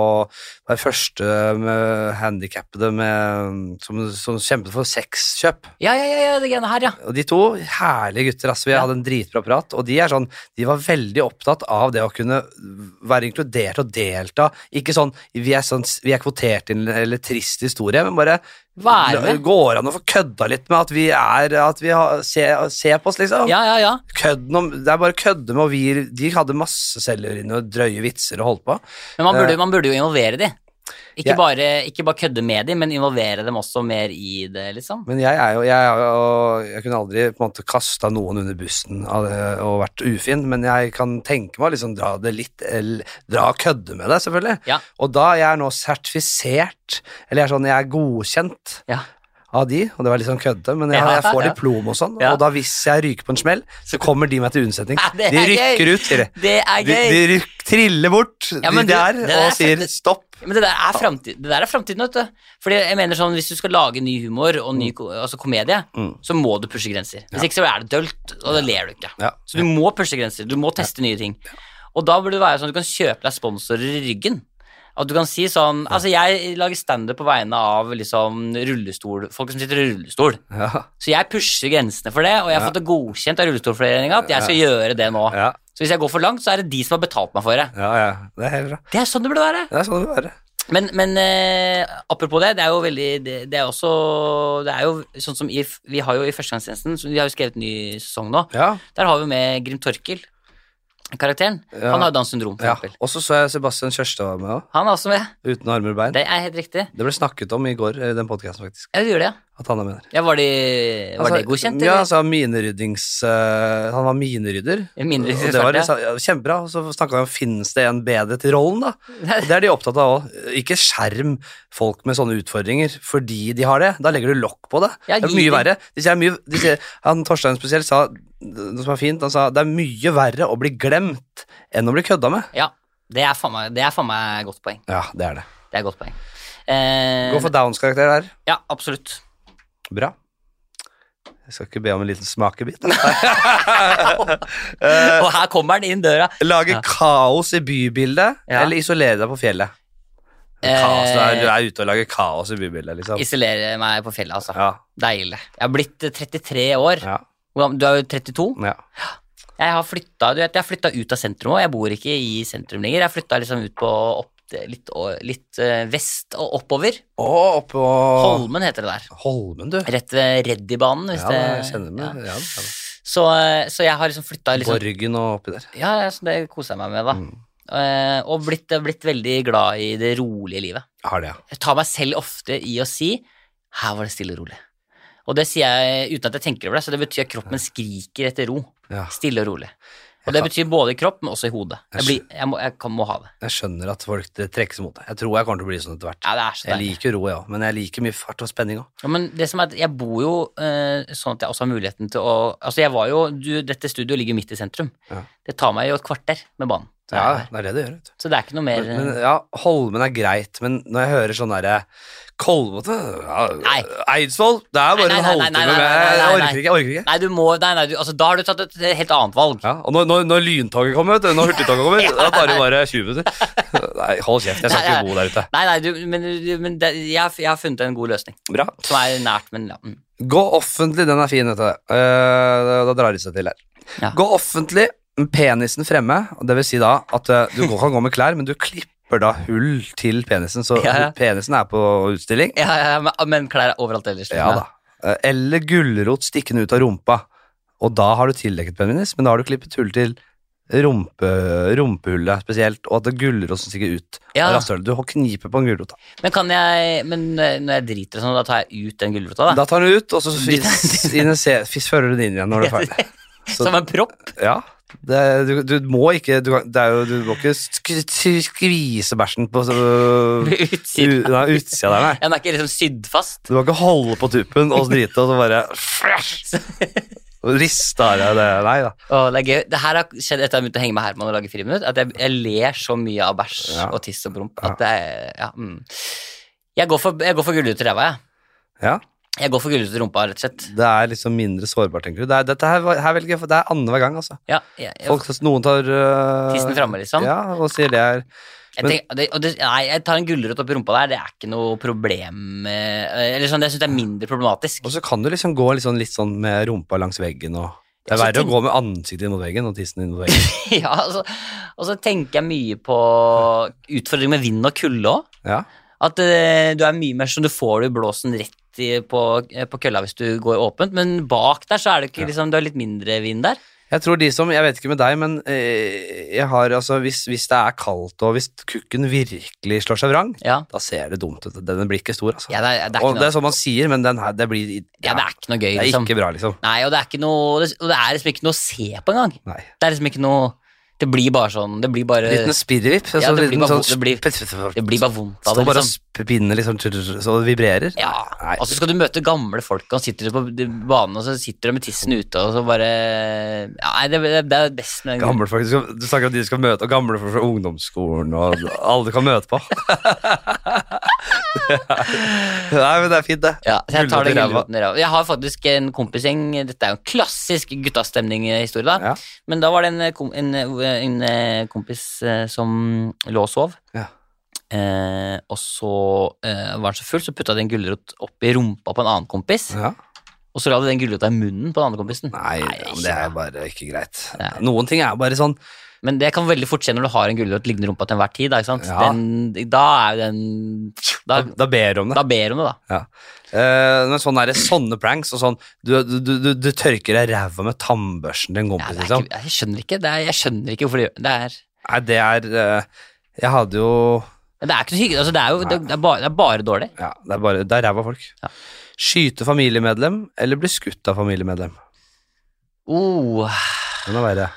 [SPEAKER 1] være første med handikappede med, som, som kjempet for sexkjøp.
[SPEAKER 2] Ja, ja, ja, ja, det greiene her, ja.
[SPEAKER 1] Og de to, herlige gutter, ass. Vi
[SPEAKER 2] Ja.
[SPEAKER 1] hadde en dritbra prat, og de er sånn, de var veldig opptatt av det å kunne være inkludert og delta. Ikke sånn, vi er, sånn, vi er kvotert inn, eller trist historie, men bare
[SPEAKER 2] Være
[SPEAKER 1] la-
[SPEAKER 2] med.
[SPEAKER 1] går an å få kødda litt med at vi er, at vi har, se, se på oss, liksom.
[SPEAKER 2] Ja, ja, ja.
[SPEAKER 1] Kødden om, det er bare kødde med, og vi, de hadde masse selvirene og drøye vitser og holdt på.
[SPEAKER 2] Men man burde,
[SPEAKER 1] Eh.
[SPEAKER 2] man burde jo involvere de. Ikke,
[SPEAKER 1] Ja.
[SPEAKER 2] bare, ikke bare kødde med de, men involvere dem også mer i det, liksom.
[SPEAKER 1] Men jeg er jo Jeg, er jo, jeg kunne aldri på en måte kasta noen under bussen av det og vært ufin, men jeg kan tenke meg å liksom dra det litt el- Dra og kødde med det, selvfølgelig.
[SPEAKER 2] Ja.
[SPEAKER 1] Og da jeg er nå sertifisert, eller jeg er sånn, jeg er godkjent
[SPEAKER 2] Ja.
[SPEAKER 1] av de, og det var litt sånn kødde, men jeg,
[SPEAKER 2] Ja,
[SPEAKER 1] jeg får
[SPEAKER 2] ja.
[SPEAKER 1] diplom og sånn,
[SPEAKER 2] Ja.
[SPEAKER 1] og da hvis jeg ryker på en smell, så kommer de meg til unnsetning.
[SPEAKER 2] Ja, det
[SPEAKER 1] de
[SPEAKER 2] er gøy.
[SPEAKER 1] rykker ut, sier de.
[SPEAKER 2] Det er
[SPEAKER 1] De,
[SPEAKER 2] gøy!
[SPEAKER 1] de ryk, triller bort
[SPEAKER 2] Ja,
[SPEAKER 1] de
[SPEAKER 2] men du-
[SPEAKER 1] der
[SPEAKER 2] det der
[SPEAKER 1] og
[SPEAKER 2] er
[SPEAKER 1] sier
[SPEAKER 2] fett.
[SPEAKER 1] stopp.
[SPEAKER 2] Men det der er fremtid- det der er framtiden, vet du. Fordi jeg mener sånn, Hvis du skal lage ny humor og ny ko- altså komedie,
[SPEAKER 1] Mm.
[SPEAKER 2] så må du pushe grenser. Hvis ikke så er det dølt, og det ler du ikke.
[SPEAKER 1] Ja.
[SPEAKER 2] Så du må pushe grenser. Du må teste nye ting. Og da burde det være sånn at du kan kjøpe deg sponsorer i ryggen. At du kan si sånn Altså, jeg lager standup på vegne av liksom rullestol Folk som sitter i rullestol.
[SPEAKER 1] Ja,
[SPEAKER 2] Så jeg pusher grensene for det, og jeg har
[SPEAKER 1] Ja.
[SPEAKER 2] fått det godkjent av Rullestolforeninga at jeg skal gjøre det nå.
[SPEAKER 1] ja,
[SPEAKER 2] Så hvis jeg går for langt, så er det de som har betalt meg for det.
[SPEAKER 1] ja, ja. Det er helt bra.
[SPEAKER 2] Det er sånn det burde være.
[SPEAKER 1] Det er sånn det må være.
[SPEAKER 2] Men, men eh, apropos det, det er jo veldig Det, det er også Det er jo sånn som i, Vi har jo i Førstegangstjenesten så Vi har jo skrevet en ny sesong nå.
[SPEAKER 1] Ja.
[SPEAKER 2] Der har vi med Grim Torkil, karakteren.
[SPEAKER 1] Ja.
[SPEAKER 2] Han har Downs syndrom, for
[SPEAKER 1] Ja,
[SPEAKER 2] eksempel.
[SPEAKER 1] og så så jeg Sebastian Kjørstad var med òg,
[SPEAKER 2] Han er også med.
[SPEAKER 1] uten armer og bein. Det,
[SPEAKER 2] Det er helt riktig.
[SPEAKER 1] ble snakket om i går eh, i den podkasten, faktisk.
[SPEAKER 2] Ja, du gjør det, ja.
[SPEAKER 1] At han er med der.
[SPEAKER 2] ja var de, var
[SPEAKER 1] Altså,
[SPEAKER 2] det godkjent,
[SPEAKER 1] Ja,
[SPEAKER 2] eller?
[SPEAKER 1] altså mineryddings... øh, han var minerydder.
[SPEAKER 2] Mindre
[SPEAKER 1] Og det var sånn,
[SPEAKER 2] ja.
[SPEAKER 1] ja, kjempebra. Og så snakka vi om finnes det en bedre til rollen, da. Og Det er de opptatt av òg. Ikke skjerm folk med sånne utfordringer fordi de har det. Da legger du lokk på det.
[SPEAKER 2] Ja,
[SPEAKER 1] det er
[SPEAKER 2] gi
[SPEAKER 1] mye
[SPEAKER 2] dem-
[SPEAKER 1] verre. De sier mye, de sier, han Torstein spesielt sa noe som er fint, han sa det er mye verre å bli glemt enn å bli kødda med.
[SPEAKER 2] ja. Det er faen meg, det er faen meg godt poeng.
[SPEAKER 1] Ja, det er det.
[SPEAKER 2] Det er godt poeng. Eh,
[SPEAKER 1] Gå for Downs karakter der.
[SPEAKER 2] Ja, absolutt.
[SPEAKER 1] Bra. Jeg skal ikke be om en liten smakebit. Eh,
[SPEAKER 2] Og her kommer den inn døra.
[SPEAKER 1] Lage
[SPEAKER 2] Ja.
[SPEAKER 1] kaos i bybildet,
[SPEAKER 2] Ja.
[SPEAKER 1] eller isolere deg på fjellet? Kaos, du, er, du er ute og lager kaos i bybildet, liksom.
[SPEAKER 2] Isolere meg på fjellet, altså.
[SPEAKER 1] Ja,
[SPEAKER 2] Deilig. Jeg har blitt eh, 33 år.
[SPEAKER 1] ja,
[SPEAKER 2] Hvordan- Du er jo 32.
[SPEAKER 1] ja.
[SPEAKER 2] Jeg har flytta, du vet, jeg har flyttet ut av sentrum òg. Jeg bor ikke i sentrum lenger. Jeg flytta liksom ut på opp, til- litt, å- litt eh, vest og oppover.
[SPEAKER 1] Og oppå
[SPEAKER 2] Holmen heter det der.
[SPEAKER 1] Holmen, du.
[SPEAKER 2] Rett ved Reddybanen. Hvis
[SPEAKER 1] Ja, jeg
[SPEAKER 2] det-
[SPEAKER 1] kjenner meg.
[SPEAKER 2] ja.
[SPEAKER 1] Ja, ja.
[SPEAKER 2] Så, eh, så jeg har liksom flytta liksom,
[SPEAKER 1] Borgen og oppi der.
[SPEAKER 2] Ja, ja, så det koser jeg meg med, da.
[SPEAKER 1] Mm.
[SPEAKER 2] Eh, og blitt, blitt veldig glad i det rolige livet.
[SPEAKER 1] Jeg har det, ja.
[SPEAKER 2] Jeg tar meg selv ofte i å si 'her var det stille og rolig'. Og det sier jeg uten at jeg tenker over det, så det betyr at kroppen skriker etter ro.
[SPEAKER 1] ja.
[SPEAKER 2] Stille og rolig.
[SPEAKER 1] Jeg
[SPEAKER 2] Og det
[SPEAKER 1] kan-
[SPEAKER 2] betyr både i kropp, men også i hodet.
[SPEAKER 1] Jeg
[SPEAKER 2] Jeg, blir, jeg, må, jeg kan, må ha det.
[SPEAKER 1] Jeg skjønner at folk det trekkes mot deg. Jeg tror jeg kommer til å bli sånn etter hvert.
[SPEAKER 2] Ja, det er så
[SPEAKER 1] Jeg
[SPEAKER 2] deilig.
[SPEAKER 1] liker ro, jeg ja. òg, men jeg liker mye fart og spenning òg.
[SPEAKER 2] Ja, men det som er, at jeg bor jo eh, sånn at jeg også har muligheten til å Altså, jeg var jo du, Dette studioet ligger midt i sentrum.
[SPEAKER 1] Ja.
[SPEAKER 2] Det tar meg jo et kvarter med banen. Så,
[SPEAKER 1] Ja,
[SPEAKER 2] jeg er her.
[SPEAKER 1] det er det det gjør, vet du.
[SPEAKER 2] så det er ikke noe mer
[SPEAKER 1] Men, men ja, Holmen er greit, men når jeg hører sånn derre Kolbotn ja,
[SPEAKER 2] Nei.
[SPEAKER 1] Eidsvoll Det er bare
[SPEAKER 2] Nei,
[SPEAKER 1] en
[SPEAKER 2] nei, nei, nei,
[SPEAKER 1] halvtime
[SPEAKER 2] nei,
[SPEAKER 1] med
[SPEAKER 2] nei,
[SPEAKER 1] Jeg
[SPEAKER 2] nei, nei.
[SPEAKER 1] orker ikke. jeg orker ikke
[SPEAKER 2] Nei, du må Nei, nei, du, altså, da har du tatt et helt annet valg.
[SPEAKER 1] ja, Og når, når, når lyntoget kommer, vet du, når hurtigtoget kommer, da tar det bare 20 minutter. Nei, hold kjeft, jeg skal
[SPEAKER 2] Nei,
[SPEAKER 1] ikke
[SPEAKER 2] nei.
[SPEAKER 1] bo der ute.
[SPEAKER 2] Nei, nei, du, men, du- men det, jeg, har- jeg har funnet en god løsning.
[SPEAKER 1] Bra.
[SPEAKER 2] Som er nært, men ja. mm.
[SPEAKER 1] Gå offentlig, den er fin, vet du. Eh, da, da drar de seg til her.
[SPEAKER 2] Ja.
[SPEAKER 1] Gå offentlig, med penisen fremme, og det vil si da at eh, du kan gå med klær, men du klipper da hull til penisen, så
[SPEAKER 2] Ja, ja.
[SPEAKER 1] penisen er på utstilling.
[SPEAKER 2] Ja, ja, ja, men, men klær er overalt ellers. liksom.
[SPEAKER 1] Ja da. Eh, Eller gulrot stikkende ut av rumpa. Og da har du tildekket penis, men da har du klippet hull til rumpe, rumpehullet spesielt, og at det er gulrot som stikker ut
[SPEAKER 2] Ja.
[SPEAKER 1] av rasshølet. Du har knipe på en gulrot. Da.
[SPEAKER 2] Men kan jeg Men eh, når jeg driter og sånn, da tar jeg ut den gulrota, da?
[SPEAKER 1] da tar du ut, og så fis- inn en se- fis- fører du den inn igjen når du er ferdig. så-
[SPEAKER 2] Som en propp?
[SPEAKER 1] Ja. Det, du, du må ikke du, kan- det er jo, du må ikke sk sk- skvise bæsjen på så-
[SPEAKER 2] Ved utsiden.
[SPEAKER 1] u- nei, utsida der, nei.
[SPEAKER 2] Ja, Den er ikke liksom sydd fast?
[SPEAKER 1] Du må ikke holde på tuppen og drite, og så bare Riste av deg det. Nei da.
[SPEAKER 2] Å, det er gøy. Det her har skjedd etter at jeg begynte å henge med Herman og lage friminutt, at jeg, jeg ler så mye av bæsj
[SPEAKER 1] Ja.
[SPEAKER 2] og tiss og promp at det er ja, mm. Jeg går for, jeg går for gulrot i ræva, jeg.
[SPEAKER 1] Ja.
[SPEAKER 2] Jeg går for gullruten til rumpa, rett og slett.
[SPEAKER 1] Det er liksom mindre sårbart, tenker du. Det er, dette her, var- her velger jeg, for det er annenhver gang, altså.
[SPEAKER 2] Ja, jeg, jeg,
[SPEAKER 1] Folk, noen tar øh,
[SPEAKER 2] tissen framme, liksom.
[SPEAKER 1] Ja, og sier det er
[SPEAKER 2] Jeg
[SPEAKER 1] Men-
[SPEAKER 2] tenker, det, og det, nei, jeg tar en gulrot opp i rumpa der, det er ikke noe problem eh, Eller sånn, jeg syns det er mindre problematisk.
[SPEAKER 1] Og så kan du liksom gå litt sånn, litt sånn med rumpa langs veggen og Det er
[SPEAKER 2] Ja, så
[SPEAKER 1] verre å
[SPEAKER 2] tenk-
[SPEAKER 1] gå med ansiktet inn mot veggen og tissen inn mot veggen.
[SPEAKER 2] ja, altså, og så tenker jeg mye på utfordring med vind og kulde òg.
[SPEAKER 1] Ja.
[SPEAKER 2] At eh, du er mye mer sånn, du får det i blåsen rett i, på, eh, på kølla hvis du går åpent, men bak der så er det ikke liksom, du har litt mindre vind der.
[SPEAKER 1] Jeg tror de som Jeg vet ikke med deg, men eh, jeg har altså Hvis, hvis det er kaldt, og hvis kukken virkelig slår seg vrang,
[SPEAKER 2] Ja,
[SPEAKER 1] da ser det dumt ut. Den blir ikke stor, altså.
[SPEAKER 2] ja det, er, det, er
[SPEAKER 1] og
[SPEAKER 2] ikke
[SPEAKER 1] det
[SPEAKER 2] noe,
[SPEAKER 1] er sånn man sier, men den her, det blir ja,
[SPEAKER 2] ja, det er ikke noe gøy,
[SPEAKER 1] det er
[SPEAKER 2] liksom.
[SPEAKER 1] ikke bra, liksom.
[SPEAKER 2] Nei, og det er ikke noe Og det, og det er liksom ikke noe å se på engang.
[SPEAKER 1] Nei.
[SPEAKER 2] Det er liksom ikke noe Det blir bare sånn Det blir bare
[SPEAKER 1] Liten spirrevipp. så-
[SPEAKER 2] Ja,
[SPEAKER 1] så
[SPEAKER 2] det blir
[SPEAKER 1] liten
[SPEAKER 2] bare-
[SPEAKER 1] sånn
[SPEAKER 2] det blir- Det blir bare vondt av
[SPEAKER 1] Står
[SPEAKER 2] det.
[SPEAKER 1] bare og
[SPEAKER 2] Liksom.
[SPEAKER 1] spinner liksom, tr- tr- så det vibrerer.
[SPEAKER 2] Ja,
[SPEAKER 1] Nei.
[SPEAKER 2] Og så skal du møte gamle folk, og sitter på banen, og så sitter de med tissen ute, og så bare ja, Nei, det, det, det er best med
[SPEAKER 1] Gamle folk, du, skal, du snakker om de du skal møte, og gamle folk fra ungdomsskolen, og alle du kan møte på. Nei, men det er fint, det.
[SPEAKER 2] Ja, så jeg tar
[SPEAKER 1] Gulrot
[SPEAKER 2] den
[SPEAKER 1] i ræva.
[SPEAKER 2] gulroten i ræva. Jeg har faktisk en kompisgjeng Dette er jo en klassisk guttastemning-historie, da.
[SPEAKER 1] Ja.
[SPEAKER 2] Men da var det en, eh, kom- en, en kompis eh, som lå og sov.
[SPEAKER 1] Ja.
[SPEAKER 2] Eh, og så eh, var han så full, så putta de en gulrot opp i rumpa på en annen kompis.
[SPEAKER 1] Ja.
[SPEAKER 2] Og så la de den gulrota i munnen på den andre kompisen.
[SPEAKER 1] Nei, ja, men det
[SPEAKER 2] ikke
[SPEAKER 1] er
[SPEAKER 2] bra.
[SPEAKER 1] bare ikke greit.
[SPEAKER 2] Nei.
[SPEAKER 1] Noen ting er jo bare sånn
[SPEAKER 2] Men det kan veldig fort skje når du har en gulrot liggende i rumpa til enhver tid. Da, ikke sant?
[SPEAKER 1] Ja.
[SPEAKER 2] Den, da er jo den Da,
[SPEAKER 1] Da, da ber du om det.
[SPEAKER 2] da ber hun det, da.
[SPEAKER 1] Ja. Eh, men sånn er det, sånne pranks og sånn Du, du, du, du, du tørker deg ræva med tannbørsten til en
[SPEAKER 2] Ja,
[SPEAKER 1] kompis,
[SPEAKER 2] det er
[SPEAKER 1] liksom.
[SPEAKER 2] ikke, jeg skjønner ikke det er, Jeg skjønner ikke hvorfor de gjør det. Er,
[SPEAKER 1] Nei, det er eh, Jeg hadde jo
[SPEAKER 2] det er ikke noe hyggelig. Altså, det, er jo, det, det, er bare, det er bare dårlig.
[SPEAKER 1] Ja, det er bare Det er ræva folk.
[SPEAKER 2] Ja.
[SPEAKER 1] Skyte familiemedlem eller bli skutt av familiemedlem?
[SPEAKER 2] Oh,
[SPEAKER 1] Det må være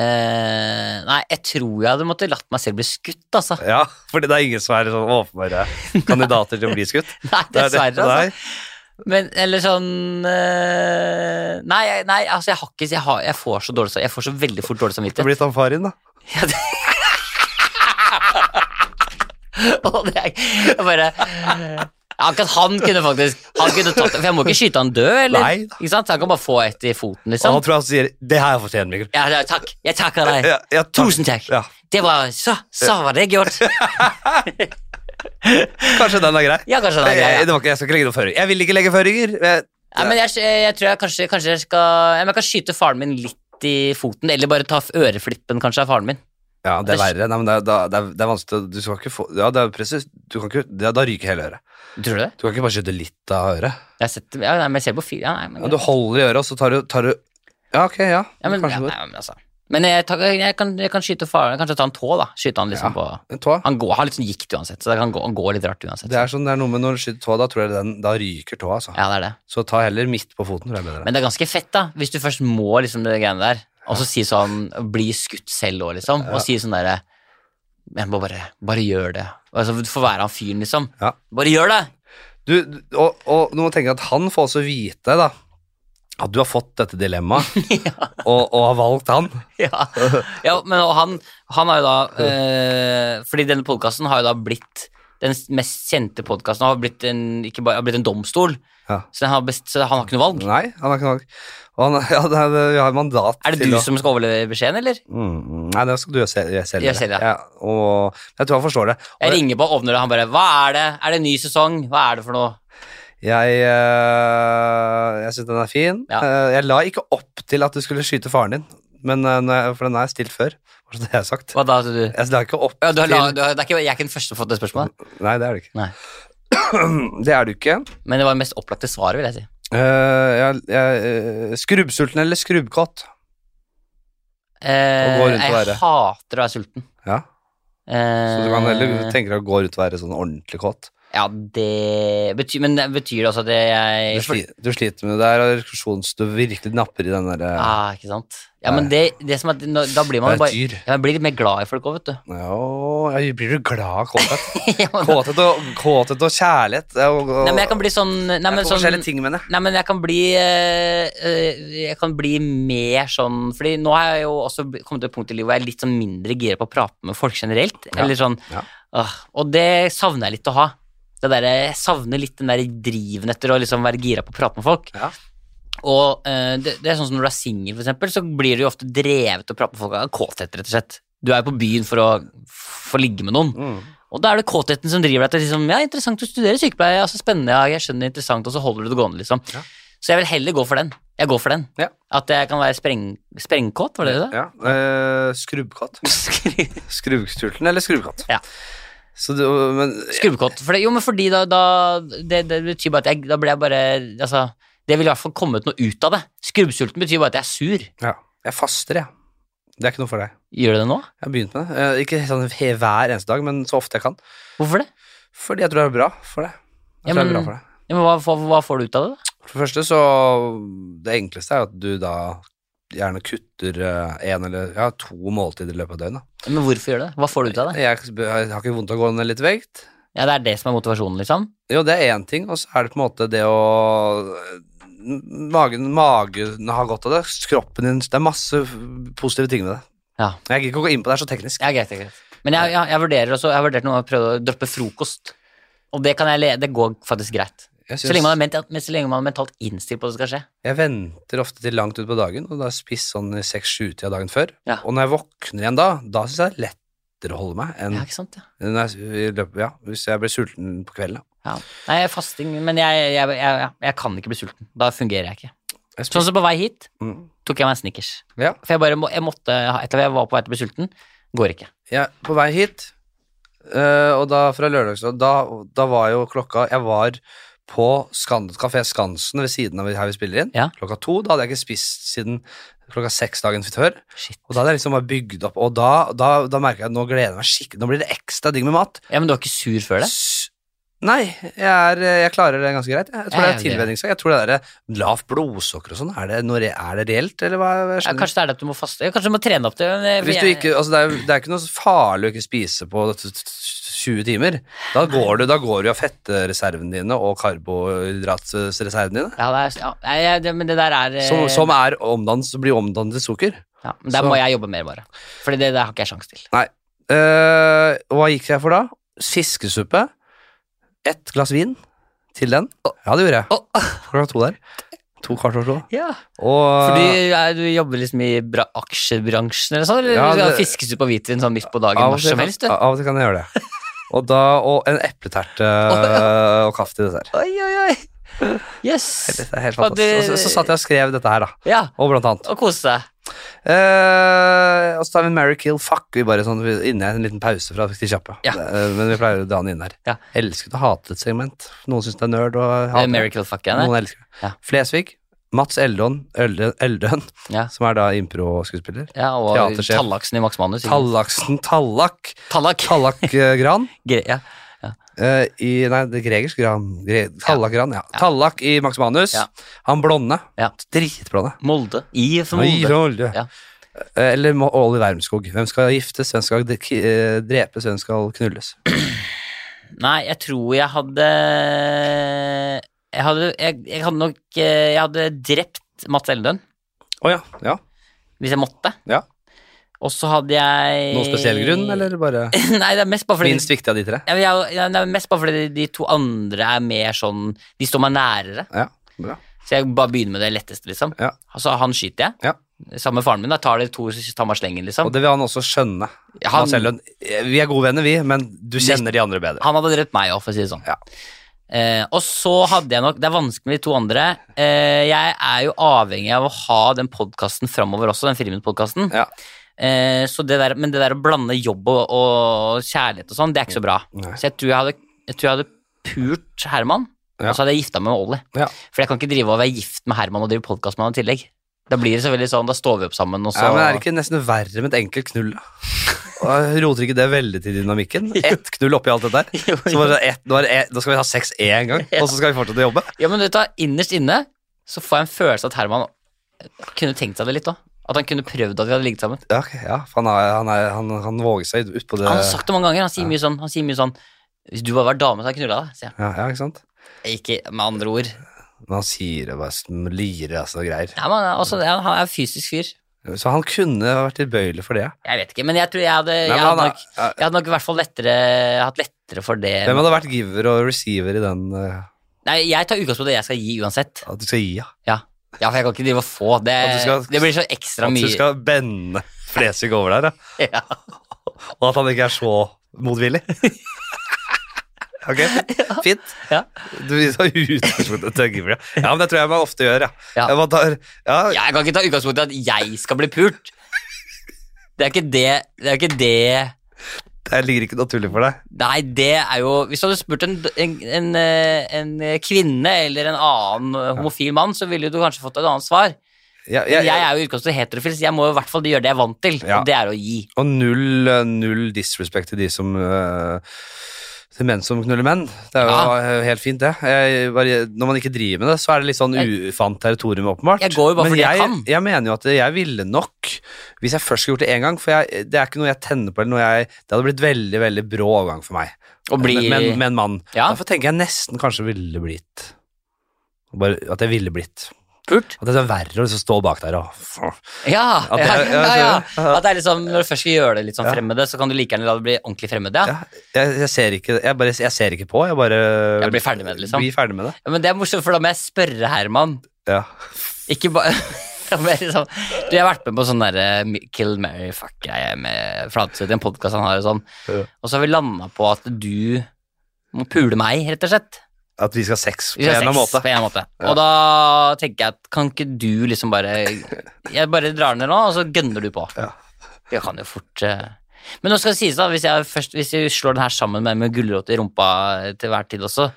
[SPEAKER 2] eh, nei, jeg tror jeg hadde måttet latt meg selv bli skutt, altså.
[SPEAKER 1] Ja, fordi det er ingen som er sånn åpenbare kandidater til å bli skutt.
[SPEAKER 2] Nei,
[SPEAKER 1] Det er det-
[SPEAKER 2] dessverre, altså.
[SPEAKER 1] Nei.
[SPEAKER 2] Men, eller sånn eh, nei, jeg- nei, altså jeg har ikke Jeg, har, jeg får så dårlig sam- Jeg får så veldig fort dårlig
[SPEAKER 1] Det
[SPEAKER 2] samvittighet.
[SPEAKER 1] blir Tamparin, da.
[SPEAKER 2] Og det er jeg bare ja, Akkurat han kunne faktisk Han kunne tatt det, For jeg må ikke skyte han død, eller?
[SPEAKER 1] Nei.
[SPEAKER 2] Ikke sant? Så Han kan bare få et i foten,
[SPEAKER 1] Og han
[SPEAKER 2] liksom.
[SPEAKER 1] tror han sier 'Det her fortjener du', Mikkel.
[SPEAKER 2] Ja, ja, takk. Jeg takker deg.
[SPEAKER 1] Ja, ja, takk.
[SPEAKER 2] Tusen takk.
[SPEAKER 1] Ja.
[SPEAKER 2] Det var Så, så var det gjort.
[SPEAKER 1] Kanskje den er grei.
[SPEAKER 2] Ja, kanskje den er grei.
[SPEAKER 1] Jeg,
[SPEAKER 2] Ja.
[SPEAKER 1] Eh, det var ikke, jeg skal ikke legge noen føringer. Jeg vil ikke legge føringer. Eh, Jeg,
[SPEAKER 2] Nei, men jeg, jeg tror jeg kanskje, kanskje jeg skal ja, men Jeg kan skyte faren min litt i foten, eller bare ta f- øreflippen kanskje av faren min.
[SPEAKER 1] ja, det er
[SPEAKER 2] Det-
[SPEAKER 1] verre. Nei, men det, er- da- det, er, det er vanskelig å- Du skal ikke få Ja, det er presis. Du kan ikke ja, Da ryker hele øret.
[SPEAKER 2] Tror du det?
[SPEAKER 1] Du kan ikke bare skyte litt av øret.
[SPEAKER 2] Jeg, har sett, ja, nei, men jeg ser på fire ja, nei, men,
[SPEAKER 1] Ja, du holder i øret, og så tar du, tar du Ja, ok, ja.
[SPEAKER 2] ja, men, ja,
[SPEAKER 1] Kanskje
[SPEAKER 2] nei, men, altså. men jeg, tar- jeg, kan, jeg kan skyte faren Kanskje ta en tå, da. Skyte han liksom på
[SPEAKER 1] det- en tå.
[SPEAKER 2] Han går, har litt sånn gikt uansett, så det kan gå, han går litt rart uansett.
[SPEAKER 1] Det er sånn det er noe med når du skyter tåa, da tror jeg den Da ryker tåa, altså.
[SPEAKER 2] Ja, det er det.
[SPEAKER 1] Så ta heller midt på foten, tror jeg er bedre.
[SPEAKER 2] Men det er ganske fett, da, hvis du først må liksom det greiene der, og så si sånn Bli skutt selv òg, liksom, og si sånn derre Jeg må bare Bare gjør det. Altså, du får være han fyren, liksom.
[SPEAKER 1] Ja.
[SPEAKER 2] Bare gjør det!
[SPEAKER 1] Du, du- og, og nå må jeg tenke at han får også vite, da. At du har fått dette dilemmaet, og, og har valgt han.
[SPEAKER 2] Ja, ja men og han, han har jo da eh, Fordi denne podkasten har jo da blitt den mest kjente podkasten har blitt en, ikke bare, har blitt en domstol,
[SPEAKER 1] Ja.
[SPEAKER 2] så, den har best, så han har ikke noe valg.
[SPEAKER 1] Nei, han har ikke noe Og han, ja, det er, vi har mandat
[SPEAKER 2] Er det
[SPEAKER 1] til
[SPEAKER 2] du
[SPEAKER 1] å-
[SPEAKER 2] som skal overlevere beskjeden, eller?
[SPEAKER 1] Mm, nei, det skal du gjøre selv. Gjøre selv,
[SPEAKER 2] Gjør selv, ja.
[SPEAKER 1] ja. og jeg tror han forstår det. Og
[SPEAKER 2] Jeg ringer på ovner, og han bare 'Hva er det? Er det en ny sesong? Hva er det for noe?'
[SPEAKER 1] Jeg, øh, jeg syns den er fin.
[SPEAKER 2] Ja.
[SPEAKER 1] Eh, Jeg la ikke opp til at du skulle skyte faren din, men, eh, når jeg, for den er stilt før. Hva er det jeg har sagt?
[SPEAKER 2] Hva da, sa du?
[SPEAKER 1] Jeg la ikke opp
[SPEAKER 2] Ja, du har, la-
[SPEAKER 1] til
[SPEAKER 2] du har, det er ikke, jeg er ikke den første som har fått det spørsmålet,
[SPEAKER 1] Nei, det er du ikke.
[SPEAKER 2] Nei.
[SPEAKER 1] Det er du ikke.
[SPEAKER 2] men det var det mest opplagte svaret, vil jeg si.
[SPEAKER 1] Eh, jeg, jeg, eh, skrubbsulten eller skrubbkåt?
[SPEAKER 2] Eh,
[SPEAKER 1] Å gå rundt og
[SPEAKER 2] jeg
[SPEAKER 1] være.
[SPEAKER 2] hater å være sulten.
[SPEAKER 1] Ja.
[SPEAKER 2] Eh,
[SPEAKER 1] Så du kan heller tenke deg å gå rundt og være sånn ordentlig kåt.
[SPEAKER 2] Ja, det betyr Men det betyr det også at jeg
[SPEAKER 1] Du, sli, du sliter med det. Det er rekusjons du virkelig napper i den eh, derre
[SPEAKER 2] Ah, ikke sant? Ja, men det, det som er nå- Da blir
[SPEAKER 1] Det
[SPEAKER 2] man jo
[SPEAKER 1] er
[SPEAKER 2] bare
[SPEAKER 1] et dyr.
[SPEAKER 2] ja, man blir litt mer glad i folk òg, vet du.
[SPEAKER 1] Ja, ja, blir du glad av kåthet?
[SPEAKER 2] Ja, men,
[SPEAKER 1] Kåthet og, kåthet og kjærlighet og, og,
[SPEAKER 2] nei, men jeg kan bli sånn Nei,
[SPEAKER 1] Det er
[SPEAKER 2] men
[SPEAKER 1] to
[SPEAKER 2] sånn
[SPEAKER 1] forskjellige ting, mener jeg.
[SPEAKER 2] Nei, men jeg kan bli eh, eh, Jeg kan bli mer sånn Fordi nå har jeg jo også bl- kommet til et punkt i livet hvor jeg er litt sånn mindre gira på å prate med folk generelt. Eller sånn
[SPEAKER 1] Ja.
[SPEAKER 2] Åh, Og det savner jeg litt å ha. det der, jeg savner litt den der driven etter å liksom være gira på å prate med folk.
[SPEAKER 1] Ja.
[SPEAKER 2] Og eh, det, det er sånn som når du er singel, for eksempel, så blir du jo ofte drevet til å prate med folk av kåthet, rett og slett. Du er jo på byen for å få ligge med noen.
[SPEAKER 1] Mm.
[SPEAKER 2] Og da er det kåtheten som driver deg til liksom, ja, interessant å studere sykepleie, ja, så spennende, ja, jeg skjønner det er interessant, og så holder du det gående, liksom.
[SPEAKER 1] Ja.
[SPEAKER 2] Så jeg vil heller gå for den. Jeg går for den.
[SPEAKER 1] Ja.
[SPEAKER 2] At jeg kan være spreng, sprengkåt, var det det?
[SPEAKER 1] Ja. Eh, skrubbkatt.
[SPEAKER 2] Skru-
[SPEAKER 1] Skrubbstulten eller skrubbkatt.
[SPEAKER 2] Ja.
[SPEAKER 1] Så du, men
[SPEAKER 2] Skrubbkåt. For det, jo, men fordi da, da det, det betyr bare at jeg, da blir jeg bare Altså, det vil i hvert fall komme ut noe ut av det. Skrubbsulten betyr bare at jeg er sur.
[SPEAKER 1] ja, jeg faster, jeg. Det er ikke noe for deg.
[SPEAKER 2] Gjør det det nå?
[SPEAKER 1] Jeg har begynt med det. Eh, Ikke sånn he- hver eneste dag, men så ofte jeg kan.
[SPEAKER 2] Hvorfor det?
[SPEAKER 1] Fordi jeg tror det er bra for deg. Jeg
[SPEAKER 2] Ja,
[SPEAKER 1] tror det er
[SPEAKER 2] men-
[SPEAKER 1] bra for deg.
[SPEAKER 2] Ja, men hva, hva, hva får du ut av det, da?
[SPEAKER 1] For det første så Det enkleste er jo at du da gjerne kutter eh, en eller ja, to måltider i løpet av døgnet.
[SPEAKER 2] Ja, Men hvorfor gjør du det? Hva får du ut av det?
[SPEAKER 1] Jeg, jeg har ikke vondt av å gå ned litt vekt.
[SPEAKER 2] Ja, det er det som er motivasjonen, liksom?
[SPEAKER 1] Jo, det er én ting, og så er det på en måte det å eh, Magen, magen har godt av det. Kroppen din Det er masse positive ting med det.
[SPEAKER 2] Ja.
[SPEAKER 1] Jeg gidder ikke å gå inn på det, det er så teknisk.
[SPEAKER 2] Ja, greit, det er greit. Men jeg, jeg, jeg vurderer også, jeg har vurdert noe å prøve å droppe frokost. Og det, kan jeg, le- det går faktisk greit.
[SPEAKER 1] Jeg,
[SPEAKER 2] Så lenge,
[SPEAKER 1] synes,
[SPEAKER 2] man er mentalt, men så lenge man er mentalt innstilt på at det skal skje.
[SPEAKER 1] jeg venter ofte til langt utpå dagen, og da har jeg spist sånn i seks-sju-tida dagen før.
[SPEAKER 2] Ja.
[SPEAKER 1] Og når jeg våkner igjen da, da syns jeg det er lettere å holde meg enn
[SPEAKER 2] Ja, ikke sant, ja.
[SPEAKER 1] når jeg, i løpet, ja, hvis jeg blir sulten på kvelden. da.
[SPEAKER 2] ja. Nei, jeg er fasting, men jeg, jeg, jeg, jeg, jeg kan ikke bli sulten. Da fungerer jeg ikke.
[SPEAKER 1] Jeg
[SPEAKER 2] Sånn som på vei hit
[SPEAKER 1] Mm.
[SPEAKER 2] tok jeg meg en Snickers.
[SPEAKER 1] Ja.
[SPEAKER 2] For jeg bare må, jeg måtte, etter at jeg var på vei til å bli sulten, går ikke.
[SPEAKER 1] Jeg er på vei hit, eh, og da fra lørdagsrådet, da, da var jo klokka Jeg var på Skand, Café Skansen ved siden av her vi spiller inn.
[SPEAKER 2] Ja.
[SPEAKER 1] Klokka to. Da hadde jeg ikke spist siden klokka seks dagen før.
[SPEAKER 2] Shit.
[SPEAKER 1] Og da hadde jeg liksom bare bygd opp, og da, da, da merker jeg at nå gleder jeg meg skikkelig. Nå blir det ekstra digg med mat.
[SPEAKER 2] Ja, men du var ikke sur før det?
[SPEAKER 1] S- Nei, jeg, er, jeg klarer det ganske greit. Jeg tror det
[SPEAKER 2] Ja,
[SPEAKER 1] er
[SPEAKER 2] ja, det-
[SPEAKER 1] tilvenningssak. Jeg tror det der lavt blodsukker og sånn, er, det noe re- er det reelt, eller hva? Jeg
[SPEAKER 2] Ja,
[SPEAKER 1] skjønner
[SPEAKER 2] kanskje det er det at du må faste. Ja, Kanskje du må trene opp det. men eh, jeg-
[SPEAKER 1] Hvis du ikke, altså det, er, jo- det er ikke noe farlig å ikke spise på 20 timer. Da går du, da går du av fettreservene dine og karbohydratreservene dine,
[SPEAKER 2] Ja, det er, ja, nei, jeg- det, men det der er eh,
[SPEAKER 1] som, som er omdannet, blir omdannet til sukker.
[SPEAKER 2] ja, men Der
[SPEAKER 1] så-
[SPEAKER 2] må jeg jobbe mer, bare. Fordi det der har ikke jeg sjanse til.
[SPEAKER 1] Eh, hva gikk jeg for da? Fiskesuppe. Ett glass vin til den. Ja, det gjorde jeg.
[SPEAKER 2] Å.
[SPEAKER 1] Klokka to der. To kvart over to.
[SPEAKER 2] Ja.
[SPEAKER 1] Og
[SPEAKER 2] Fordi eh, du jobber liksom i bra aksjebransjen eller sånn, eller
[SPEAKER 1] Ja,
[SPEAKER 2] du skal
[SPEAKER 1] det-
[SPEAKER 2] fiskes ut på hvitvin sånn midt på dagen
[SPEAKER 1] av og
[SPEAKER 2] når
[SPEAKER 1] til
[SPEAKER 2] som
[SPEAKER 1] kan-
[SPEAKER 2] helst, du.
[SPEAKER 1] Av og til kan jeg gjøre det. Og, da, og en epleterte og kaffe til dessert.
[SPEAKER 2] Oi, oi, oi. Yes.
[SPEAKER 1] Dette er helt
[SPEAKER 2] Og det-
[SPEAKER 1] fantastisk. Og så, så satt jeg og skrev dette her, da.
[SPEAKER 2] Ja,
[SPEAKER 1] Og blant annet.
[SPEAKER 2] og kose seg.
[SPEAKER 1] Eh, og så tar vi en Mary Kill Fuck vi bare sånn inne en liten pause fra til kjappe.
[SPEAKER 2] Ja.
[SPEAKER 1] Eh, men vi pleier å dra den inn her.
[SPEAKER 2] Ja.
[SPEAKER 1] Elsket og hatet segment. Noen syns det er nerd og
[SPEAKER 2] Det er
[SPEAKER 1] hater. det.
[SPEAKER 2] miracle fuck igjen,
[SPEAKER 1] Noen
[SPEAKER 2] det.
[SPEAKER 1] elsker det.
[SPEAKER 2] Ja.
[SPEAKER 1] Flesvig. Mats Eldon, Elde- Eldøen,
[SPEAKER 2] Ja.
[SPEAKER 1] som er da impro-skuespiller.
[SPEAKER 2] Ja, og
[SPEAKER 1] Teatersjef.
[SPEAKER 2] Tallaksen i Max Manus. ikke?
[SPEAKER 1] Tallaksen Tallak
[SPEAKER 2] Tallak.
[SPEAKER 1] Tallak eh, Gran
[SPEAKER 2] Gre- Ja.
[SPEAKER 1] eh, i Nei, det er Gregers Gran. Gre Tallak Gran, ja. Tallak i Max Manus.
[SPEAKER 2] Ja.
[SPEAKER 1] Han blonde.
[SPEAKER 2] Ja.
[SPEAKER 1] Dritblonde.
[SPEAKER 2] Molde. I for
[SPEAKER 1] Oi,
[SPEAKER 2] Molde.
[SPEAKER 1] Rolde.
[SPEAKER 2] Ja.
[SPEAKER 1] Eh, Eller må- Oliver Wermskog. Hvem skal giftes, hvem skal de- ki- eh, drepes, hvem skal knulles?
[SPEAKER 2] Nei, jeg tror jeg hadde eh, Jeg hadde, jeg, jeg hadde nok eh, Jeg hadde drept Mats Eldøen,
[SPEAKER 1] Å ja. ja.
[SPEAKER 2] hvis jeg måtte.
[SPEAKER 1] Ja.
[SPEAKER 2] Og så hadde jeg
[SPEAKER 1] Noen spesiell grunn, eller bare
[SPEAKER 2] Nei, det er mest bare Eh, fordi
[SPEAKER 1] minst viktig av de tre?
[SPEAKER 2] Ja, men jeg, ja, det er mest bare fordi de to andre er mer sånn De står meg nærere.
[SPEAKER 1] Ja, bra.
[SPEAKER 2] Så jeg bare begynner med det letteste, liksom.
[SPEAKER 1] Ja.
[SPEAKER 2] Altså, han skyter jeg.
[SPEAKER 1] Ja.
[SPEAKER 2] Sammen med faren min. Da tar de to tar meg slengen, liksom.
[SPEAKER 1] Og det vil han også skjønne.
[SPEAKER 2] Han-
[SPEAKER 1] Mats Ellund, eh, vi er gode venner, vi, men du kjenner de andre bedre.
[SPEAKER 2] Han hadde drept meg òg, for å si det sånn.
[SPEAKER 1] Ja.
[SPEAKER 2] Eh, og så hadde jeg nok Det er vanskelig med de to andre. Eh, jeg er jo avhengig av å ha den podkasten framover også, den Friminutt-podkasten.
[SPEAKER 1] Ja.
[SPEAKER 2] Eh, så det der, men det der å blande jobb og, og kjærlighet og sånn, det er ikke så bra.
[SPEAKER 1] Nei.
[SPEAKER 2] Så jeg tror jeg hadde, jeg tror jeg hadde pult Herman,
[SPEAKER 1] Ja.
[SPEAKER 2] og så hadde jeg gifta meg med Ollie.
[SPEAKER 1] Ja.
[SPEAKER 2] For jeg kan ikke drive og være gift med Herman og drive podkast med han i tillegg. Da blir det selvfølgelig sånn, da står vi opp sammen, og så
[SPEAKER 1] Ja, men er det ikke nesten verre med et enkelt knull, da? Og Roter ikke det veldig til dynamikken? Ett knull oppi alt det der.
[SPEAKER 2] Jo,
[SPEAKER 1] Så
[SPEAKER 2] jo.
[SPEAKER 1] bare ett, nå, er det ett, nå skal vi ha sex én gang, og så skal vi fortsette å jobbe?
[SPEAKER 2] Ja, men vet du, hva, innerst inne så får jeg en følelse at Herman kunne tenkt seg det litt òg. At han kunne prøvd at vi hadde ligget sammen.
[SPEAKER 1] Ja, ok, ja. for Han, er, han, er, han, han våger seg ut på det
[SPEAKER 2] Han har sagt det mange ganger. Han sier mye sånn, han sier mye sånn Hvis du bare var dame, så hadde jeg knulla deg. sier
[SPEAKER 1] ja, ja, ikke sant?
[SPEAKER 2] jeg. Ikke med andre ord.
[SPEAKER 1] Men han sier det bare som lirer altså, og greier.
[SPEAKER 2] Ja, men han er også, han er en fysisk fyr.
[SPEAKER 1] Så han kunne vært tilbøyelig for det.
[SPEAKER 2] Jeg vet ikke, men jeg tror jeg hadde,
[SPEAKER 1] Nei, men
[SPEAKER 2] jeg hadde
[SPEAKER 1] han er-
[SPEAKER 2] nok Jeg hadde nok i hvert fall lettere hatt lett, lettere for det.
[SPEAKER 1] Hvem hadde vært giver og receiver i den eh,
[SPEAKER 2] Nei, jeg tar utgangspunkt i det jeg skal gi uansett.
[SPEAKER 1] At du skal gi, ja.
[SPEAKER 2] Ja, ja for jeg kan ikke drive og få. Det,
[SPEAKER 1] At du skal-
[SPEAKER 2] det blir så ekstra
[SPEAKER 1] At du
[SPEAKER 2] mye.
[SPEAKER 1] skal bende Flesvig over der, ja.
[SPEAKER 2] Ja.
[SPEAKER 1] Og at han ikke er så motvillig. Ok, fint.
[SPEAKER 2] Ja.
[SPEAKER 1] Du tar utgangspunktet til giver, ja. Ja, men det tror jeg man ofte gjør, ja.
[SPEAKER 2] Ja.
[SPEAKER 1] Jeg, bare tar, ja,
[SPEAKER 2] Jeg kan ikke ta utgangspunkt i at jeg skal bli pult. Det er ikke det, det er ikke det
[SPEAKER 1] Det ligger ikke naturlig for deg.
[SPEAKER 2] Nei, det er jo Hvis du hadde spurt en, en, en, eh, en kvinne eller en annen eh, homofil mann, så ville du kanskje fått et annet svar.
[SPEAKER 1] Ja, ja,
[SPEAKER 2] Men jeg er jo i utgangspunktet heterofil, så jeg må jo i hvert fall gjøre det jeg er vant til,
[SPEAKER 1] Ja.
[SPEAKER 2] og det er å gi.
[SPEAKER 1] Og null, eh, null disrespect til de som øh, Til menn som knuller menn. Det er jo eh, helt fint, det. Jeg bare, når man ikke driver med det, så er det litt sånn ufant territorium, åpenbart.
[SPEAKER 2] Jeg går jo bare
[SPEAKER 1] Men
[SPEAKER 2] fordi jeg kan.
[SPEAKER 1] Jeg mener jo at jeg ville nok, hvis jeg først skulle gjort det én gang For jeg, det er ikke noe jeg tenner på, eller noe jeg Det hadde blitt veldig, veldig brå overgang for meg.
[SPEAKER 2] Og bli
[SPEAKER 1] Men- Men men mann.
[SPEAKER 2] Ja.
[SPEAKER 1] Derfor tenker jeg nesten kanskje ville blitt bare, At jeg ville blitt.
[SPEAKER 2] pult.
[SPEAKER 1] At det er verre å liksom stå bak der og
[SPEAKER 2] Ja,
[SPEAKER 1] At
[SPEAKER 2] ja,
[SPEAKER 1] jeg-
[SPEAKER 2] ja,
[SPEAKER 1] jeg
[SPEAKER 2] ja.
[SPEAKER 1] ser det.
[SPEAKER 2] At det er liksom, Når du først skal gjøre det litt sånn
[SPEAKER 1] Ja.
[SPEAKER 2] fremmede, så kan du like gjerne la det bli ordentlig fremmede. Ja.
[SPEAKER 1] Ja, jeg, jeg, ser ikke, jeg, bare, jeg ser ikke på, jeg bare
[SPEAKER 2] Jeg blir ferdig med det, liksom.
[SPEAKER 1] Blir ferdig med det.
[SPEAKER 2] Ja, Men det er morsomt, for da må jeg spørre Herman.
[SPEAKER 1] Ja.
[SPEAKER 2] Ikke bare Da må jeg liksom, Du, jeg har vært med på sånn derre Kill Mary Fuck-greie med Fladseth i en podkast han har og sånn.
[SPEAKER 1] Ja.
[SPEAKER 2] Og så har vi landa på at du må pule meg, rett og slett.
[SPEAKER 1] At vi skal ha sex på
[SPEAKER 2] Vi
[SPEAKER 1] en
[SPEAKER 2] skal
[SPEAKER 1] eller
[SPEAKER 2] ha
[SPEAKER 1] annen
[SPEAKER 2] sex
[SPEAKER 1] måte.
[SPEAKER 2] På en eller annen måte. Og da tenker jeg at kan ikke du liksom bare Jeg bare drar ned nå, og så gønner du på.
[SPEAKER 1] Ja.
[SPEAKER 2] Jeg kan jo fort eh. Men nå skal det sies, da, hvis jeg, først, hvis jeg slår den her sammen med, med gulrot i rumpa til hver tid også,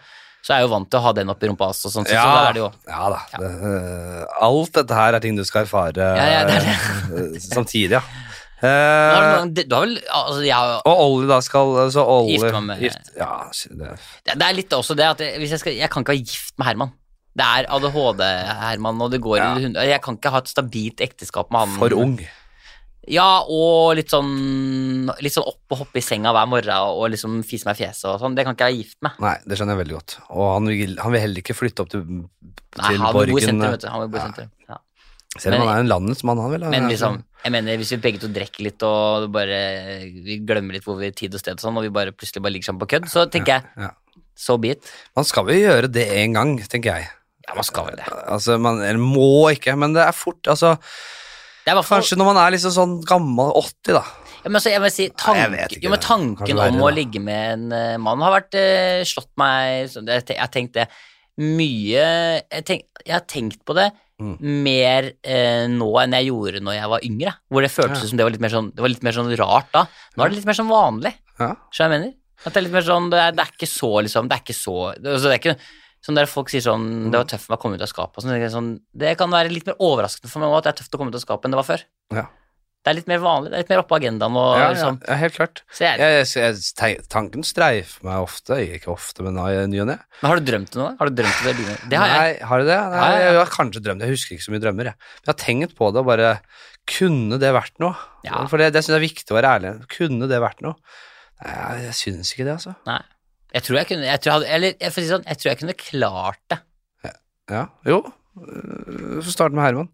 [SPEAKER 2] så er jeg jo vant til å ha den oppi rumpa også, sånn, så, så da er det jo
[SPEAKER 1] ja da. Det, øh, alt dette her er ting du skal erfare
[SPEAKER 2] ja, det er
[SPEAKER 1] øh, samtidig, ja.
[SPEAKER 2] Nå har du
[SPEAKER 1] Eh,
[SPEAKER 2] noen- det- du har vel, altså, jeg, har jo-
[SPEAKER 1] og Ollie da skal så Ollie,
[SPEAKER 2] Gifte meg med-
[SPEAKER 1] gift- Ja, sy- det.
[SPEAKER 2] det det er litt også det at jeg, hvis jeg, skal, jeg kan ikke være gift med Herman. Det er ADHD-Herman, og det går
[SPEAKER 1] Ja.
[SPEAKER 2] i det hundre Jeg kan ikke ha et stabilt ekteskap med han.
[SPEAKER 1] For ung.
[SPEAKER 2] Ja, og litt sånn, litt sånn opp og hoppe i senga hver morgen og, og liksom fise meg i fjeset og sånn. Det kan ikke jeg være gift med.
[SPEAKER 1] Nei, det skjønner jeg veldig godt. Og han vil, han vil heller ikke flytte opp til,
[SPEAKER 2] Nei,
[SPEAKER 1] til
[SPEAKER 2] han bor i
[SPEAKER 1] Borgen.
[SPEAKER 2] sentrum, vet du. Han bor i
[SPEAKER 1] Ja.
[SPEAKER 2] sentrum. Ja.
[SPEAKER 1] Selv om han er en landets mann, han vil.
[SPEAKER 2] Men liksom, jeg mener, hvis vi begge to drikker litt og bare vi glemmer litt hvor vi er tid og sted og sånn, og vi bare plutselig bare ligger sammen på kødd, så tenker jeg
[SPEAKER 1] ja.
[SPEAKER 2] so be it.
[SPEAKER 1] Man skal jo gjøre det en gang, tenker jeg.
[SPEAKER 2] Ja, man skal vel det.
[SPEAKER 1] Altså, man eller må ikke, men det er fort altså,
[SPEAKER 2] Det er i hvert fall
[SPEAKER 1] Kanskje når man er liksom sånn gammel, 80, da.
[SPEAKER 2] Ja, men altså, jeg vil si,
[SPEAKER 1] Nei, jeg
[SPEAKER 2] tanken,
[SPEAKER 1] vet ikke.
[SPEAKER 2] jo, men
[SPEAKER 1] Kanskje
[SPEAKER 2] tanken
[SPEAKER 1] verre,
[SPEAKER 2] om å
[SPEAKER 1] da.
[SPEAKER 2] ligge med en eh, mann har vært eh, slått meg så det- Jeg har tenkt det mye Jeg, tenk, jeg har tenkt på det
[SPEAKER 1] Mm.
[SPEAKER 2] mer eh, nå enn jeg gjorde når jeg var yngre. Hvor det føltes
[SPEAKER 1] Ja.
[SPEAKER 2] som det var, litt mer sånn, det var litt mer sånn rart da. Nå er det litt mer sånn vanlig.
[SPEAKER 1] Ja.
[SPEAKER 2] Skjønner jeg mener? At det er litt mer sånn Det er, det er ikke så, liksom Det er ikke så det, altså, det er ikke Sånn der folk sier sånn Det var tøft for meg å komme ut av skapet og sånn, det er sånn. Det kan være litt mer overraskende for meg nå at det er tøft å komme ut av skapet enn det var før.
[SPEAKER 1] Ja.
[SPEAKER 2] Det er litt mer vanlig. Det er litt mer oppe på agendaen
[SPEAKER 1] Ja,
[SPEAKER 2] og
[SPEAKER 1] ja,
[SPEAKER 2] liksom
[SPEAKER 1] ja, helt klart.
[SPEAKER 2] så jeg,
[SPEAKER 1] Jeg, jeg, tenk- tanken streifer meg ofte, ikke ofte, men i ny og ne.
[SPEAKER 2] Men har du drømt noe? Har du drømt det? Line? Det har jeg.
[SPEAKER 1] Nei, har du det? Nei,
[SPEAKER 2] Ja, ja, ja.
[SPEAKER 1] Jeg har kanskje drømt, jeg husker ikke så mye drømmer. Jeg. Men jeg har tenkt på det og bare Kunne det vært noe?
[SPEAKER 2] Ja.
[SPEAKER 1] For det, det syns jeg er viktig å være ærlig. Kunne det vært noe? Nei, jeg- jeg syns ikke det, altså.
[SPEAKER 2] Nei. Jeg tror jeg kunne jeg tror jeg hadde, Eller jeg får si det sånn, jeg tror jeg kunne klart det.
[SPEAKER 1] Ja, jo. Øh, Så start med Herman.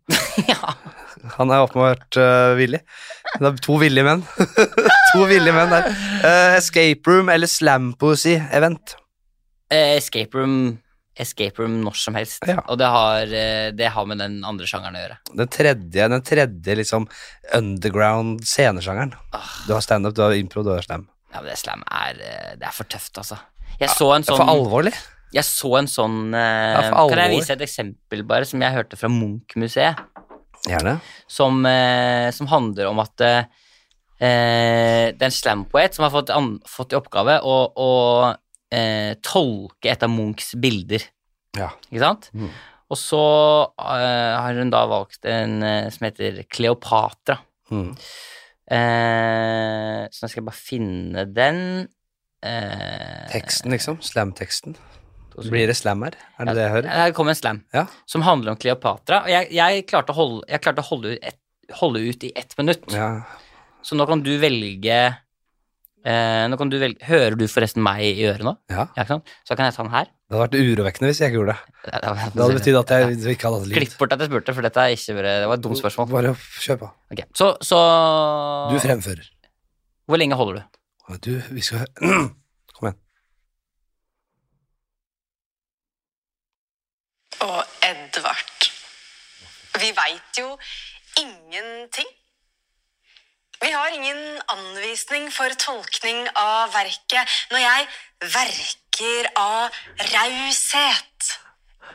[SPEAKER 2] ja.
[SPEAKER 1] Han er åpenbart øh, villig. Det er to villige menn. to villige menn der. Eh, escape room eller slam poesy-event.
[SPEAKER 2] Eh, Escape room Escape room når som helst.
[SPEAKER 1] Ja.
[SPEAKER 2] Og det har, eh, det har med den andre sjangeren å gjøre.
[SPEAKER 1] Den tredje, den tredje liksom underground scenesjangeren. Du har standup, du har impro, du har slam.
[SPEAKER 2] Ja, men det slam er eh, Det er for tøft, altså. Jeg så en
[SPEAKER 1] Det er for
[SPEAKER 2] sånn,
[SPEAKER 1] alvorlig.
[SPEAKER 2] jeg så en sånn
[SPEAKER 1] Ja,
[SPEAKER 2] eh,
[SPEAKER 1] for alvor.
[SPEAKER 2] Kan jeg vise et eksempel bare som jeg hørte fra Munch-museet,
[SPEAKER 1] Gjerne.
[SPEAKER 2] som, eh, som handler om at eh, eh, det er en slampoet som har fått, an, fått i oppgave å, å eh, tolke et av Munchs bilder.
[SPEAKER 1] Ja.
[SPEAKER 2] Ikke sant?
[SPEAKER 1] Mm.
[SPEAKER 2] Og så eh, har hun da valgt en eh, som heter Kleopatra.
[SPEAKER 1] Mm.
[SPEAKER 2] Eh, så nå skal jeg bare finne den. Eh,
[SPEAKER 1] Teksten, liksom. Slam-teksten.
[SPEAKER 2] to sekunder.
[SPEAKER 1] Blir det slam her? Er det det jeg hører?
[SPEAKER 2] Ja, Her kommer en slam
[SPEAKER 1] Ja.
[SPEAKER 2] som handler om Kleopatra. Og jeg, jeg klarte å holde, jeg klarte å holde, ut, ett, holde ut i ett minutt.
[SPEAKER 1] Ja.
[SPEAKER 2] Så nå kan du velge eh, Nå kan du velge Hører du forresten meg i øret nå?
[SPEAKER 1] ja.
[SPEAKER 2] Ja, ikke sant? Så kan jeg ta den her.
[SPEAKER 1] Det hadde vært urovekkende hvis jeg ikke gjorde det.
[SPEAKER 2] Det hadde
[SPEAKER 1] Det hadde betydd at jeg ikke hadde hatt lyd.
[SPEAKER 2] Klipp bort at jeg spurte, for dette er ikke bare, det var et dumt spørsmål.
[SPEAKER 1] Bare kjør på.
[SPEAKER 2] Ok, Så, så
[SPEAKER 1] Du fremfører.
[SPEAKER 2] Hvor lenge holder du?
[SPEAKER 1] Du, vi skal Kom igjen.
[SPEAKER 5] og Edvard. Vi veit jo ingenting. Vi har ingen anvisning for tolkning av verket. Når jeg verker av raushet,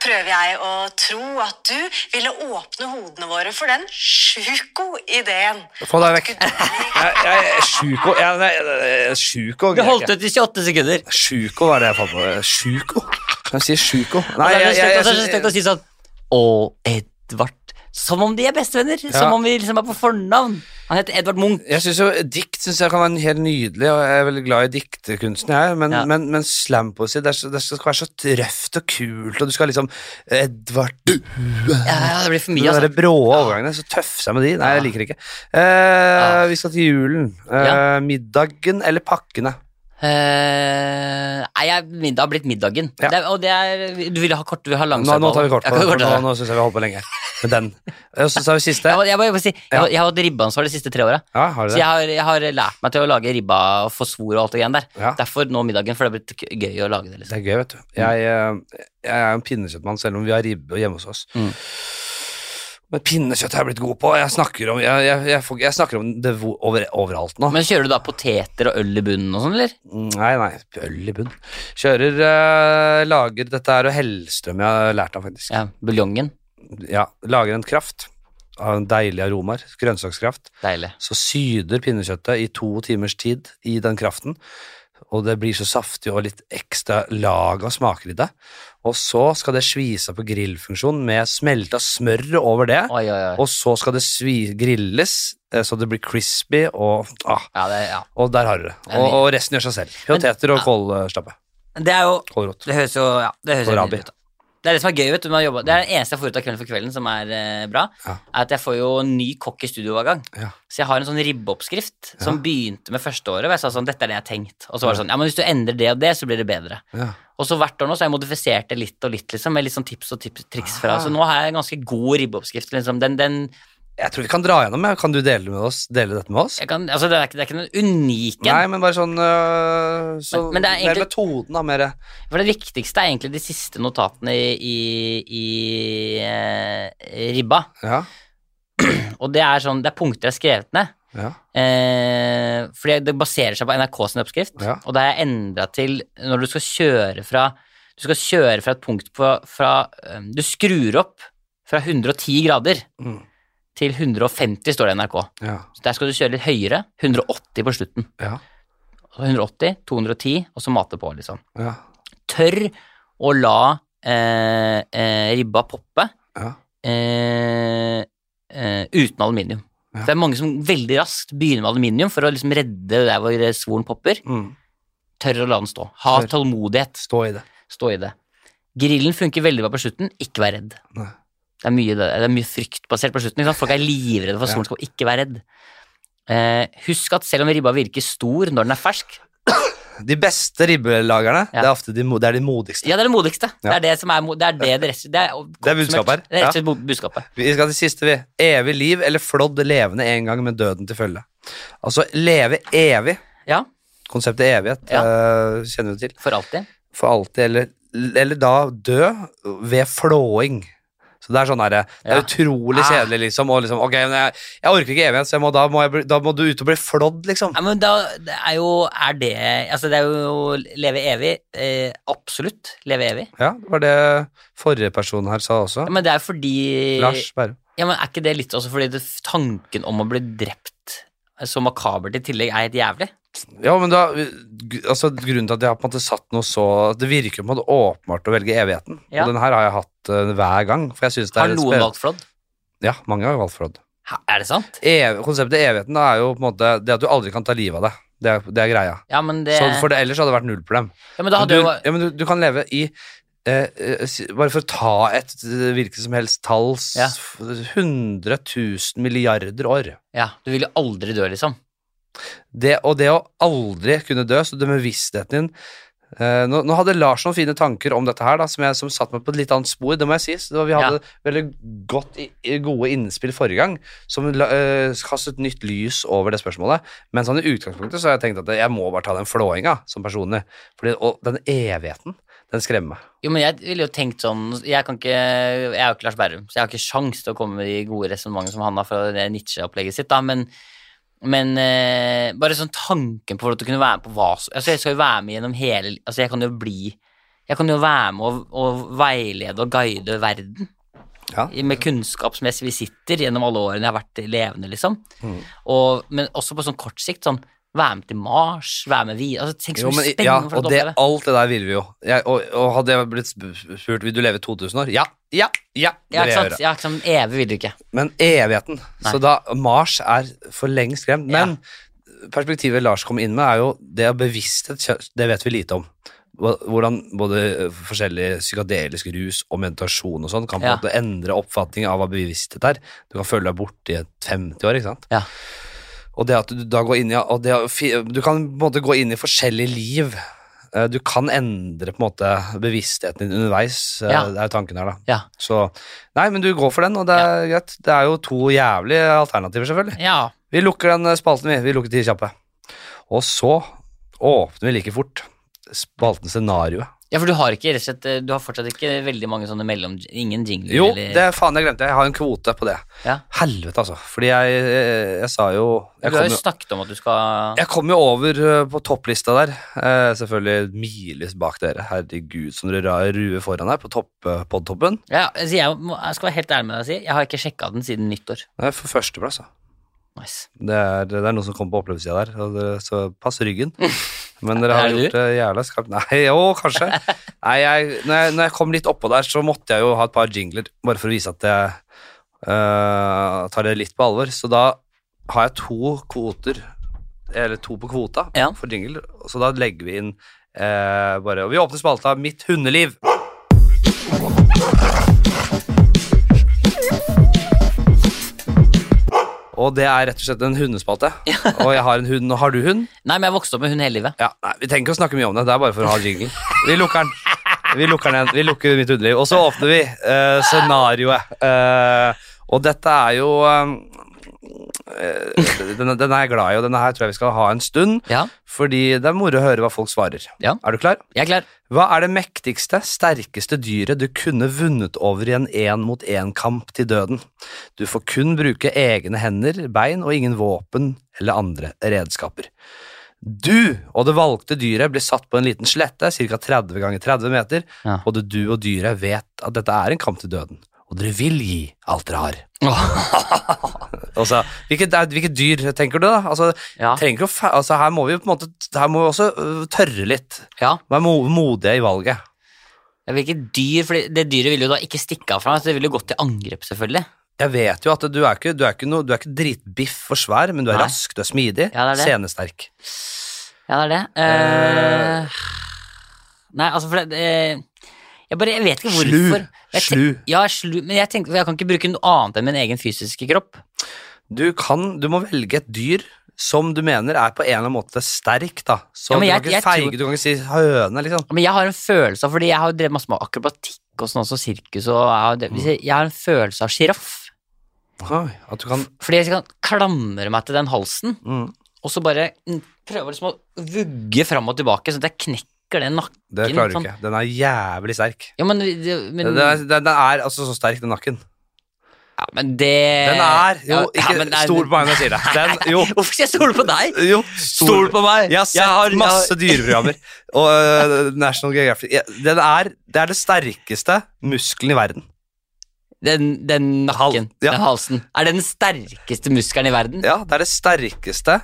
[SPEAKER 5] prøver jeg å tro at du ville åpne hodene våre for den sjuko ideen.
[SPEAKER 1] Få deg vekk. Jeg, jeg er sjuk og jeg, jeg, jeg er sjuk og
[SPEAKER 2] Det holdt ut i 28 sekunder.
[SPEAKER 1] Sjuko, hva er det jeg fant på? Sjuko? Hvem sier sjuko?
[SPEAKER 2] Og
[SPEAKER 1] Nei,
[SPEAKER 2] så er
[SPEAKER 1] jeg,
[SPEAKER 2] det
[SPEAKER 1] jeg,
[SPEAKER 2] stygt- og så er det stygt å
[SPEAKER 1] jeg,
[SPEAKER 2] si sånn Å, Edvard. Som om de er bestevenner. Som om vi liksom er på fornavn. Han heter Edvard Munch.
[SPEAKER 1] jeg synes jo dikt synes jeg kan være helt nydelig, og jeg er veldig glad i diktekunsten, jeg, men,
[SPEAKER 2] Ja.
[SPEAKER 1] men, men slampoesi, det, er så- det skal være så røft og kult, og du skal liksom Edvard du,
[SPEAKER 2] Ja, ja, det blir for mye,
[SPEAKER 1] De der
[SPEAKER 2] altså.
[SPEAKER 1] brå overgangene, så tøffe seg med de. Nei, jeg
[SPEAKER 2] Ja.
[SPEAKER 1] liker det ikke. Eh, Vi skal til julen. Eh,
[SPEAKER 2] Ja.
[SPEAKER 1] Middagen eller pakkene?
[SPEAKER 2] Eh, nei, jeg, middag har blitt middagen.
[SPEAKER 1] Ja.
[SPEAKER 2] Det er, og det er Du ville ha kort, du vil ha
[SPEAKER 1] Nå,
[SPEAKER 2] lang
[SPEAKER 1] nå tar vi
[SPEAKER 2] samtale.
[SPEAKER 1] kort
[SPEAKER 2] Jeg
[SPEAKER 1] på
[SPEAKER 2] kan
[SPEAKER 1] det, for
[SPEAKER 2] korte
[SPEAKER 1] nå,
[SPEAKER 2] det.
[SPEAKER 1] nå syns jeg vi har holdt på lenge her. Med den. Og så tar vi siste.
[SPEAKER 2] Jeg, må- jeg, må- jeg, må si, jeg,
[SPEAKER 1] Ja.
[SPEAKER 2] har- jeg har hatt ribbeansvar de siste tre åra.
[SPEAKER 1] Ja, har du
[SPEAKER 2] Så jeg
[SPEAKER 1] det?
[SPEAKER 2] har, jeg har lært meg til å lage ribba og få svor og alt det greiene der.
[SPEAKER 1] Ja.
[SPEAKER 2] Derfor nå middagen, for det har blitt k- gøy å lage det. liksom
[SPEAKER 1] Det er gøy, vet du. Jeg, eh, jeg er en pinnekjøttmann, selv om vi har ribbe hjemme hos oss.
[SPEAKER 2] Mm.
[SPEAKER 1] Men pinnekjøtt har jeg blitt god på. Jeg snakker om, jeg, jeg, jeg, får- jeg snakker om det vo- over, overalt nå. Mm,
[SPEAKER 2] Men kjører du da poteter og øl i bunnen og sånn, eller?
[SPEAKER 1] Nei, nei, øl i bunn. Kjører, eh, lager Dette er jo Hellstrøm jeg har lært av, faktisk.
[SPEAKER 2] Ja, Buljongen.
[SPEAKER 1] ja, lager en kraft av en deilig aromaer, grønnsakskraft,
[SPEAKER 2] Deilig.
[SPEAKER 1] så syder pinnekjøttet i to timers tid i den kraften, og det blir så saftig og litt ekstra lag av smaker i det. Og så skal det svise på grillfunksjon med smelta smør over det,
[SPEAKER 2] Oi, oi, oi.
[SPEAKER 1] og så skal det svi grilles eh, så det blir crispy, og, ah,
[SPEAKER 2] Ja, det, ja.
[SPEAKER 1] og der har du det. Og, og resten gjør seg selv. Poteter og
[SPEAKER 2] ah.
[SPEAKER 1] kålstappe.
[SPEAKER 2] det er jo
[SPEAKER 1] Kålrot.
[SPEAKER 2] Det høres jo ja, det høres
[SPEAKER 1] Og
[SPEAKER 2] helt
[SPEAKER 1] rabbi.
[SPEAKER 2] nydelig ut. da. Det er det som er gøy, vet du. Man jobber, det er det eneste jeg får ut av Kvelden for kvelden som er eh, bra,
[SPEAKER 1] Ja.
[SPEAKER 2] er at jeg får jo en ny kokk i studio hver gang.
[SPEAKER 1] Ja.
[SPEAKER 2] Så jeg har en sånn ribbeoppskrift som begynte med første året. hvor Jeg sa sånn, dette er det jeg har tenkt. Og så var det sånn, ja, men hvis du endrer det og det, så blir det bedre.
[SPEAKER 1] Ja.
[SPEAKER 2] Og så hvert år nå så har jeg modifisert det litt og litt, liksom, med litt sånn tips og tips, triks
[SPEAKER 1] Ah.
[SPEAKER 2] fra. Så nå har jeg en ganske god ribbeoppskrift, liksom. Den, den,
[SPEAKER 1] Jeg tror vi kan dra gjennom, ja. kan du dele, med oss, dele dette med oss?
[SPEAKER 2] jeg kan, altså det er ikke, det er ikke noen uniken.
[SPEAKER 1] Nei, men bare sånn, øh, så,
[SPEAKER 2] Men- men det er
[SPEAKER 1] mer
[SPEAKER 2] egentlig-
[SPEAKER 1] metoden, da. Mer
[SPEAKER 2] For det viktigste er egentlig de siste notatene i, i, i eh, ribba.
[SPEAKER 1] ja,
[SPEAKER 2] Og det er sånn, det er punkter jeg har skrevet ned.
[SPEAKER 1] ja.
[SPEAKER 2] Eh, fordi det baserer seg på NRK sin oppskrift,
[SPEAKER 1] Ja.
[SPEAKER 2] og det har jeg endra til når du skal kjøre fra Du skal kjøre fra et punkt på fra, eh, Du skrur opp fra 110 grader
[SPEAKER 1] Mm,
[SPEAKER 2] til 150, står det i NRK.
[SPEAKER 1] ja,
[SPEAKER 2] Så der skal du kjøre litt høyere. 180 på slutten.
[SPEAKER 1] ja,
[SPEAKER 2] Og så 180, 210, og så mate på, liksom.
[SPEAKER 1] ja,
[SPEAKER 2] Tør å la eh, eh, ribba poppe
[SPEAKER 1] ja.
[SPEAKER 2] eh, eh, uten aluminium.
[SPEAKER 1] Ja.
[SPEAKER 2] Det er mange som veldig raskt begynner med aluminium for å liksom redde der hvor svoren popper.
[SPEAKER 1] Mm.
[SPEAKER 2] Tør å la den stå. Ha
[SPEAKER 1] Tør.
[SPEAKER 2] tålmodighet.
[SPEAKER 1] Stå i det.
[SPEAKER 2] Stå i det. Grillen funker veldig bra på slutten. Ikke vær redd.
[SPEAKER 1] Nei.
[SPEAKER 2] Det er mye, det, det er mye fryktbasert på slutten. Ikke sant? Folk er livredde for at
[SPEAKER 1] Ja.
[SPEAKER 2] svoren skal gå. Ikke vær redd. Eh, husk at selv om ribba virker stor når den er fersk
[SPEAKER 1] De beste ribbelagerne,
[SPEAKER 2] Ja.
[SPEAKER 1] det er ofte de, mo- det er de modigste.
[SPEAKER 2] Ja, det er det modigste. Det
[SPEAKER 1] Ja.
[SPEAKER 2] er det som er, mo- det er det det rest, det er,
[SPEAKER 1] Det er budskapet her.
[SPEAKER 2] Det er rett og slett bo- budskapet.
[SPEAKER 1] Vi skal til siste, vi. Evig liv eller flådd levende en gang med døden til følge. Altså leve evig.
[SPEAKER 2] Ja,
[SPEAKER 1] Konseptet evighet
[SPEAKER 2] Ja.
[SPEAKER 1] øh, kjenner vi til.
[SPEAKER 2] for alltid.
[SPEAKER 1] For alltid, eller, eller da dø ved flåing. Så det er sånn derre Det er
[SPEAKER 2] Ja.
[SPEAKER 1] utrolig
[SPEAKER 2] Ah.
[SPEAKER 1] kjedelig, liksom. Og liksom ok, men jeg, jeg orker ikke evighet, så jeg må, da, må jeg, bli- da må du ut og bli flådd, liksom.
[SPEAKER 2] Ja, men da det er jo Er det Altså, det er jo leve evig. Eh, absolutt. Leve evig.
[SPEAKER 1] Ja, det var det forrige person her sa også.
[SPEAKER 2] Ja, men det er fordi
[SPEAKER 1] Lars Bærum.
[SPEAKER 2] Ja, men Er ikke det litt også fordi det, tanken om å bli drept eh, så makabert i tillegg er helt jævlig?
[SPEAKER 1] Ja, men da, gr- altså, grunnen til at jeg har på en måte satt noe så Det virker på en måte åpenbart å velge evigheten.
[SPEAKER 2] Ja.
[SPEAKER 1] Og den her har jeg hatt eh, hver gang. For jeg synes det
[SPEAKER 2] Har
[SPEAKER 1] er
[SPEAKER 2] noen valgt flådd?
[SPEAKER 1] Ja, mange har jo valgt flådd.
[SPEAKER 2] Hæ, Er det sant?
[SPEAKER 1] Ev konseptet evigheten da, er jo på en måte det at du aldri kan ta livet av deg. Det er, det er greia.
[SPEAKER 2] Ja, men det,
[SPEAKER 1] Så for det, ellers hadde det vært null problem.
[SPEAKER 2] ja, men da
[SPEAKER 1] du,
[SPEAKER 2] hadde jo
[SPEAKER 1] ja, men du, du kan leve i eh, eh, si- Bare for å ta et eh, hvilket som helst tall s-
[SPEAKER 2] Ja.
[SPEAKER 1] 100 000 milliarder år.
[SPEAKER 2] Ja, du vil jo aldri dø, liksom.
[SPEAKER 1] det, og det å aldri kunne dø, så det med vissheten din eh, nå, nå hadde Lars noen fine tanker om dette her, da, som, jeg, som satt meg på et litt annet spor. Det må jeg si. Så det var, vi hadde veldig godt, i- i- gode innspill forrige gang, som la- eh, kastet nytt lys over det spørsmålet. Men sånn i utgangspunktet så har jeg tenkt at jeg må bare ta den flåinga som personlig. Fordi, og den evigheten, Den skremmer meg.
[SPEAKER 2] Jo, men jeg ville jo tenkt sånn Jeg kan ikke, jeg er jo ikke Lars Berrum, så jeg har ikke sjans til å komme med de gode resonnementene som han har fra det Nietzsche-opplegget sitt, da, men, men eh, bare sånn tanken på at du kunne være med på hva som Altså, jeg skal jo være med gjennom hele li- Altså, jeg kan jo bli Jeg kan jo være med og, og veilede og guide verden.
[SPEAKER 1] Ja.
[SPEAKER 2] i- Med kunnskapsmessige visitter gjennom alle årene jeg har vært levende, liksom.
[SPEAKER 1] Mm.
[SPEAKER 2] Og, men også på sånn kort sikt, sånn være med til Mars, være med videre altså, Tenk
[SPEAKER 1] Jo,
[SPEAKER 2] så mye
[SPEAKER 1] men,
[SPEAKER 2] spennende
[SPEAKER 1] ja,
[SPEAKER 2] for
[SPEAKER 1] og
[SPEAKER 2] å
[SPEAKER 1] det,
[SPEAKER 2] oppleve.
[SPEAKER 1] alt det der vil vi jo. Jeg, og, og hadde jeg blitt sp- spurt vil du leve 2000 år, ja, ja, ja, det
[SPEAKER 2] Ja,
[SPEAKER 1] vil
[SPEAKER 2] ikke
[SPEAKER 1] jeg
[SPEAKER 2] sant?
[SPEAKER 1] gjøre.
[SPEAKER 2] Ja, ikke sant? Evig vil du ikke.
[SPEAKER 1] Men evigheten. Så da Mars er for lengst glemt. Men perspektivet Lars kom inn med, er jo det å bevissthet kjø- Det vet vi lite om. Hva- Hvordan både eh, forskjellige psykadeliske rus og meditasjon og sånn kan på en
[SPEAKER 2] Ja.
[SPEAKER 1] måte endre oppfatningen av hva bevissthet er. Du kan føle deg borte i et 50 år, ikke sant.
[SPEAKER 2] Ja.
[SPEAKER 1] Og det at du da går inn i og det, å fi- Du kan på en måte gå inn i forskjellige liv. Eh, Du kan endre på en måte bevisstheten din underveis. eh,
[SPEAKER 2] Ja.
[SPEAKER 1] Det er jo tanken her, da.
[SPEAKER 2] Ja.
[SPEAKER 1] Så Nei, men du går for den, og det er greit. Det er jo to jævlige alternativer, selvfølgelig.
[SPEAKER 2] ja.
[SPEAKER 1] Vi lukker den eh, spalten, vi. Vi lukker ti kjappe. Og så åpner vi like fort spalten scenarioet.
[SPEAKER 2] Ja, for du har ikke rett og slett eh, Du har fortsatt ikke veldig mange sånne mellom Ingen jingler
[SPEAKER 1] Jo,
[SPEAKER 2] eller
[SPEAKER 1] det faen jeg glemte. Jeg har en kvote på det.
[SPEAKER 2] Ja.
[SPEAKER 1] Helvete, altså. Fordi jeg, eh, jeg sa jo
[SPEAKER 2] Du
[SPEAKER 1] jeg
[SPEAKER 2] har
[SPEAKER 1] kom
[SPEAKER 2] jo
[SPEAKER 1] jo,
[SPEAKER 2] snakket om at du skal
[SPEAKER 1] jeg kom jo over eh, på topplista der. Eh, Selvfølgelig milevis bak dere. Herregud, som dere ra- ruer foran her på topp, eh, podtoppen.
[SPEAKER 2] Ja, altså, jeg, må, jeg skal være helt ærlig med deg og si jeg har ikke sjekka den siden nyttår.
[SPEAKER 1] Det er for førsteplass, da.
[SPEAKER 2] Nice.
[SPEAKER 1] Det er, det er noen som kommer på opplevelsessida der, og det, så pass ryggen. Men dere
[SPEAKER 2] Er
[SPEAKER 1] har
[SPEAKER 2] det
[SPEAKER 1] gjort det jævla skarpt. Nei, jo, kanskje. Nei, jeg, når, jeg, når jeg kom litt oppå der, så måtte jeg jo ha et par jingler, bare for å vise at jeg øh, tar det litt på alvor. Så da har jeg to kvoter, eller to på kvota,
[SPEAKER 2] Ja.
[SPEAKER 1] for jingler. Så da legger vi inn eh, bare Og vi åpner spalta Mitt hundeliv. Og det er rett og slett en hundespalte. Og jeg har en hund, og har du hund?
[SPEAKER 2] Nei, men jeg vokste opp med hund hele livet.
[SPEAKER 1] Ja, nei, Vi trenger ikke å snakke mye om det. Det er bare for å ha jingle. Vi lukker den. Vi lukker den igjen. Vi lukker mitt underliv. Og så åpner vi eh, scenarioet. Eh, og dette er jo eh, denne, denne er jeg glad i, og denne her tror jeg vi skal ha en stund.
[SPEAKER 2] Ja,
[SPEAKER 1] Fordi det er moro å høre hva folk svarer.
[SPEAKER 2] Ja.
[SPEAKER 1] Er du klar?
[SPEAKER 2] jeg er klar.
[SPEAKER 1] Hva er det mektigste, sterkeste dyret du kunne vunnet over i en én-mot-én-kamp til døden? Du får kun bruke egne hender, bein og ingen våpen eller andre redskaper. Du og det valgte dyret blir satt på en liten slette, ca. 30 ganger 30 meter.
[SPEAKER 2] Ja.
[SPEAKER 1] Både du og dyret vet at dette er en kamp til døden, og dere vil gi alt dere har. Og så, hvilket, er- hvilket dyr tenker du, da? Altså,
[SPEAKER 2] Ja.
[SPEAKER 1] trenger ikke å, fa- altså, her må vi jo på en måte Her må vi også øh, tørre litt.
[SPEAKER 2] ja.
[SPEAKER 1] Vær mo- modige i valget.
[SPEAKER 2] Jeg vil ikke dyr, for det dyret ville jo da ikke stikke av fra meg, så det ville jo gått til angrep, selvfølgelig.
[SPEAKER 1] Jeg vet jo at du er ikke, du er ikke, noe, du er ikke dritbiff og svær, men du er
[SPEAKER 2] Nei.
[SPEAKER 1] rask, du er smidig,
[SPEAKER 2] Ja, det er det.
[SPEAKER 1] senesterk.
[SPEAKER 2] Ja, det er det. Eh, Nei, altså, for det eh, Jeg bare, jeg vet ikke
[SPEAKER 1] Slu.
[SPEAKER 2] hvorfor. Jeg tenk-
[SPEAKER 1] Slu.
[SPEAKER 2] Ja, slu, men jeg tenkte, for jeg kan ikke bruke noe annet enn min egen fysiske kropp.
[SPEAKER 1] Du, kan, du må velge et dyr som du mener er på en eller annen måte sterk, da. Så
[SPEAKER 2] Ja, men
[SPEAKER 1] du,
[SPEAKER 2] jeg-
[SPEAKER 1] kan ikke
[SPEAKER 2] jeg
[SPEAKER 1] feige,
[SPEAKER 2] tror-
[SPEAKER 1] du kan ikke si høne, liksom.
[SPEAKER 2] Men jeg har en følelse av, fordi jeg har jo drevet masse med akrobatikk og sånn også, sirkus og jeg har, drevet- jeg har en følelse av sjiraff.
[SPEAKER 1] Oi, at du kan
[SPEAKER 2] Fordi jeg kan klamre meg til den halsen,
[SPEAKER 1] mm,
[SPEAKER 2] og så bare mm, prøve liksom å vugge fram og tilbake, sånn at jeg knekker den nakken.
[SPEAKER 1] Det klarer du
[SPEAKER 2] sånn. Mm.
[SPEAKER 1] ikke. Den er jævlig sterk.
[SPEAKER 2] Ja, men, det- men,
[SPEAKER 1] Den er, den er altså så sterk, den nakken.
[SPEAKER 2] ja, men det
[SPEAKER 1] Den er Jo,
[SPEAKER 2] Eh, Ja,
[SPEAKER 1] ikke
[SPEAKER 2] ja, men det er-
[SPEAKER 1] stol på meg når jeg sier det. Den, jo.
[SPEAKER 2] Hvorfor skal jeg stole på deg?
[SPEAKER 1] Jo,
[SPEAKER 2] Stol på meg!
[SPEAKER 1] Jeg har sett
[SPEAKER 2] har-
[SPEAKER 1] masse dyreprogrammer. Og øh, National Geographic Jeg- Den er, Det er det sterkeste muskelen i verden.
[SPEAKER 2] Den, den nakken,
[SPEAKER 1] Hal- ja.
[SPEAKER 2] den halsen. Er det den sterkeste muskelen i verden?
[SPEAKER 1] Ja, det er det sterkeste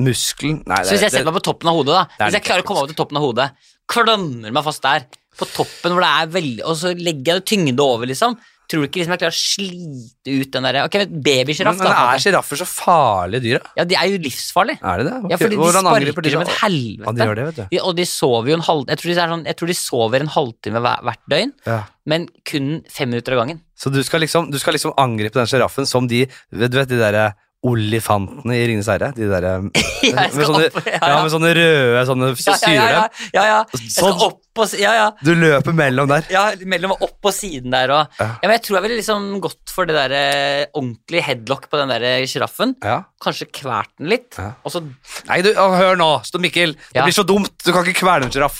[SPEAKER 1] muskelen Nei,
[SPEAKER 2] Så hvis jeg
[SPEAKER 1] det,
[SPEAKER 2] setter meg på toppen av hodet, da
[SPEAKER 1] er
[SPEAKER 2] Hvis jeg
[SPEAKER 1] litt
[SPEAKER 2] klarer å komme over til toppen av hodet, klamrer meg fast der, på toppen hvor det er veldig Og så legger jeg det tyngde over, liksom. Tror du ikke liksom jeg klarer å slite ut den derre Ok, men
[SPEAKER 1] men,
[SPEAKER 2] babysjiraff,
[SPEAKER 1] men
[SPEAKER 2] da.
[SPEAKER 1] er sjiraffer så farlige dyr, da?
[SPEAKER 2] Ja, de er jo livsfarlige.
[SPEAKER 1] Er de det?
[SPEAKER 2] Ja, fordi de
[SPEAKER 1] Hvordan angriper
[SPEAKER 2] sparker som et
[SPEAKER 1] så- Ja,
[SPEAKER 2] helvete.
[SPEAKER 1] de gjør det, vet du.
[SPEAKER 2] De- Og de sover jo en halv... Jeg tror de, er sånn, jeg tror de sover en halvtime hver- hvert døgn,
[SPEAKER 1] Ja.
[SPEAKER 2] men kun fem minutter av gangen.
[SPEAKER 1] Så du skal liksom, du skal liksom angripe den sjiraffen som de Du vet de derre olifantene i Ringenes herre? De derre
[SPEAKER 2] Jeg
[SPEAKER 1] med,
[SPEAKER 2] skal
[SPEAKER 1] sånne-
[SPEAKER 2] opp- ja, ja.
[SPEAKER 1] ja, med sånne røde sånne, så
[SPEAKER 2] ja,
[SPEAKER 1] syr
[SPEAKER 2] ja, ja,
[SPEAKER 1] dem.
[SPEAKER 2] ja, ja. Jeg skal
[SPEAKER 1] Sånn-
[SPEAKER 2] opp opp og s- Ja, ja.
[SPEAKER 1] Du løper mellom der.
[SPEAKER 2] Ja, mellom og opp og siden der og
[SPEAKER 1] Ja.
[SPEAKER 2] ja. men Jeg tror jeg ville liksom gått for det der eh, ordentlig headlock på den der eh, sjiraffen.
[SPEAKER 1] Ja.
[SPEAKER 2] Kanskje kvert den litt,
[SPEAKER 1] Ja.
[SPEAKER 2] og så
[SPEAKER 1] Nei, du, å, hør nå, Sto Mikkel. Det
[SPEAKER 2] Ja.
[SPEAKER 1] blir så dumt. Du kan ikke kvele en sjiraff.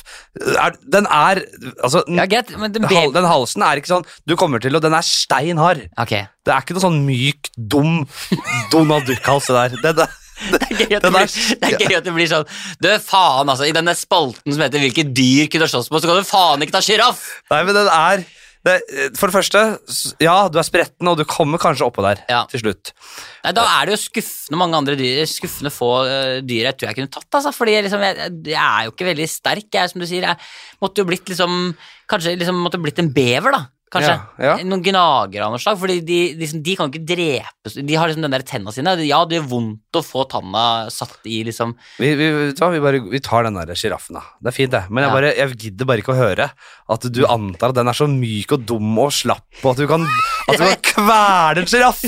[SPEAKER 1] Er- Den er Altså, den,
[SPEAKER 2] Ja, greit, men den
[SPEAKER 1] hal-
[SPEAKER 2] baby...
[SPEAKER 1] den halsen er ikke sånn du kommer til, og den er stein hard.
[SPEAKER 2] Ok.
[SPEAKER 1] Det er ikke noe sånn myk, dum Donald Duck-hals, det der. Det, det,
[SPEAKER 2] Det er gøy at det
[SPEAKER 1] Den er-
[SPEAKER 2] blir, det er gøy at det blir sånn Du, faen, altså. I denne spalten som heter 'Hvilke dyr kunne slåss på', så kan du faen ikke ta sjiraff!
[SPEAKER 1] nei, men den er det, For det første, s- ja, du er spretten, og du kommer kanskje oppå der
[SPEAKER 2] Ja.
[SPEAKER 1] til slutt.
[SPEAKER 2] Nei, Da er det jo skuffende mange andre dyr Skuffende få eh, dyr jeg tror jeg kunne tatt. Altså, fordi jeg liksom, jeg, jeg er jo ikke veldig sterk, jeg, som du sier. Jeg måtte jo blitt liksom Kanskje liksom måtte blitt en bever, da. Kanskje.
[SPEAKER 1] Ja, ja.
[SPEAKER 2] Noen gnagere av noe slag. Fordi de, de, som- de kan jo ikke drepes De har liksom den der tenna sine. Ja, det gjør vondt å få tanna satt i, liksom.
[SPEAKER 1] Vi, vi, vet du hva, vi, bare, vi tar den der sjiraffen, da. Det er fint, det. Men jeg,
[SPEAKER 2] Ja.
[SPEAKER 1] bare, jeg gidder bare ikke å høre at du antar at den er så myk og dum og slapp, og at du kan, at du kan kvele en sjiraff!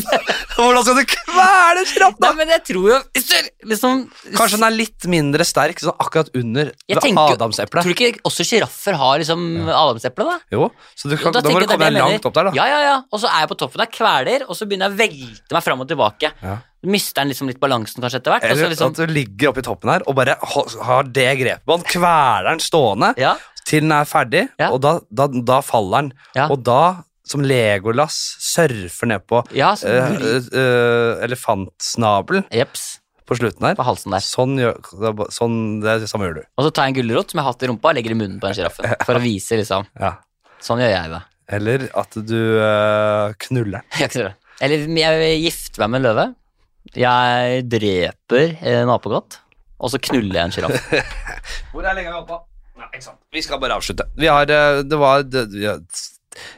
[SPEAKER 1] Hvordan skal du kvele en sjiraff, da?
[SPEAKER 2] Nei, men jeg tror jo hvis du liksom
[SPEAKER 1] Kanskje den er litt mindre sterk, sånn akkurat under
[SPEAKER 2] Jeg
[SPEAKER 1] ved
[SPEAKER 2] tenker- Tror
[SPEAKER 1] adamseplet.
[SPEAKER 2] du ikke også sjiraffer har liksom adamseple, da?
[SPEAKER 1] Jo, så du kan, da,
[SPEAKER 2] Jo,
[SPEAKER 1] må
[SPEAKER 2] tenker
[SPEAKER 1] du komme
[SPEAKER 2] jeg det er det
[SPEAKER 1] deg
[SPEAKER 2] jeg
[SPEAKER 1] langt
[SPEAKER 2] mener.
[SPEAKER 1] opp der, da.
[SPEAKER 2] Ja, ja, ja. Og så er jeg på toppen av kveler, og så begynner jeg å velte meg fram og tilbake.
[SPEAKER 1] Ja.
[SPEAKER 2] Mister den liksom litt balansen kanskje etter hvert. og så
[SPEAKER 1] Eller
[SPEAKER 2] liksom,
[SPEAKER 1] at du ligger oppe i toppen her og bare ho- har det grepet på den, kveler den stående
[SPEAKER 2] ja,
[SPEAKER 1] til den er ferdig,
[SPEAKER 2] Ja.
[SPEAKER 1] og da, da, da faller den.
[SPEAKER 2] Ja.
[SPEAKER 1] Og da, som Legolas surfer ned på
[SPEAKER 2] ja, så,
[SPEAKER 1] eh, eh, elefantsnabelen
[SPEAKER 2] Jeps,
[SPEAKER 1] på slutten her
[SPEAKER 2] på halsen der.
[SPEAKER 1] Sånn, gjør, sånn det er det samme gjør du.
[SPEAKER 2] Og så tar jeg en gulrot som jeg har hatt i rumpa, og legger i munnen på den sjiraffen. For å vise, liksom.
[SPEAKER 1] Ja.
[SPEAKER 2] Sånn gjør jeg det.
[SPEAKER 1] Eller at du eh, knuller den.
[SPEAKER 2] Jeg kan gjøre det. Eller jeg gifter meg med en løve. Jeg dreper en apekatt. Og så knuller jeg en sjiraff.
[SPEAKER 1] Hvor er lenge vi holdt på? Nei, ikke sant. Vi skal bare avslutte. Vi har eh, Det var det, vi har-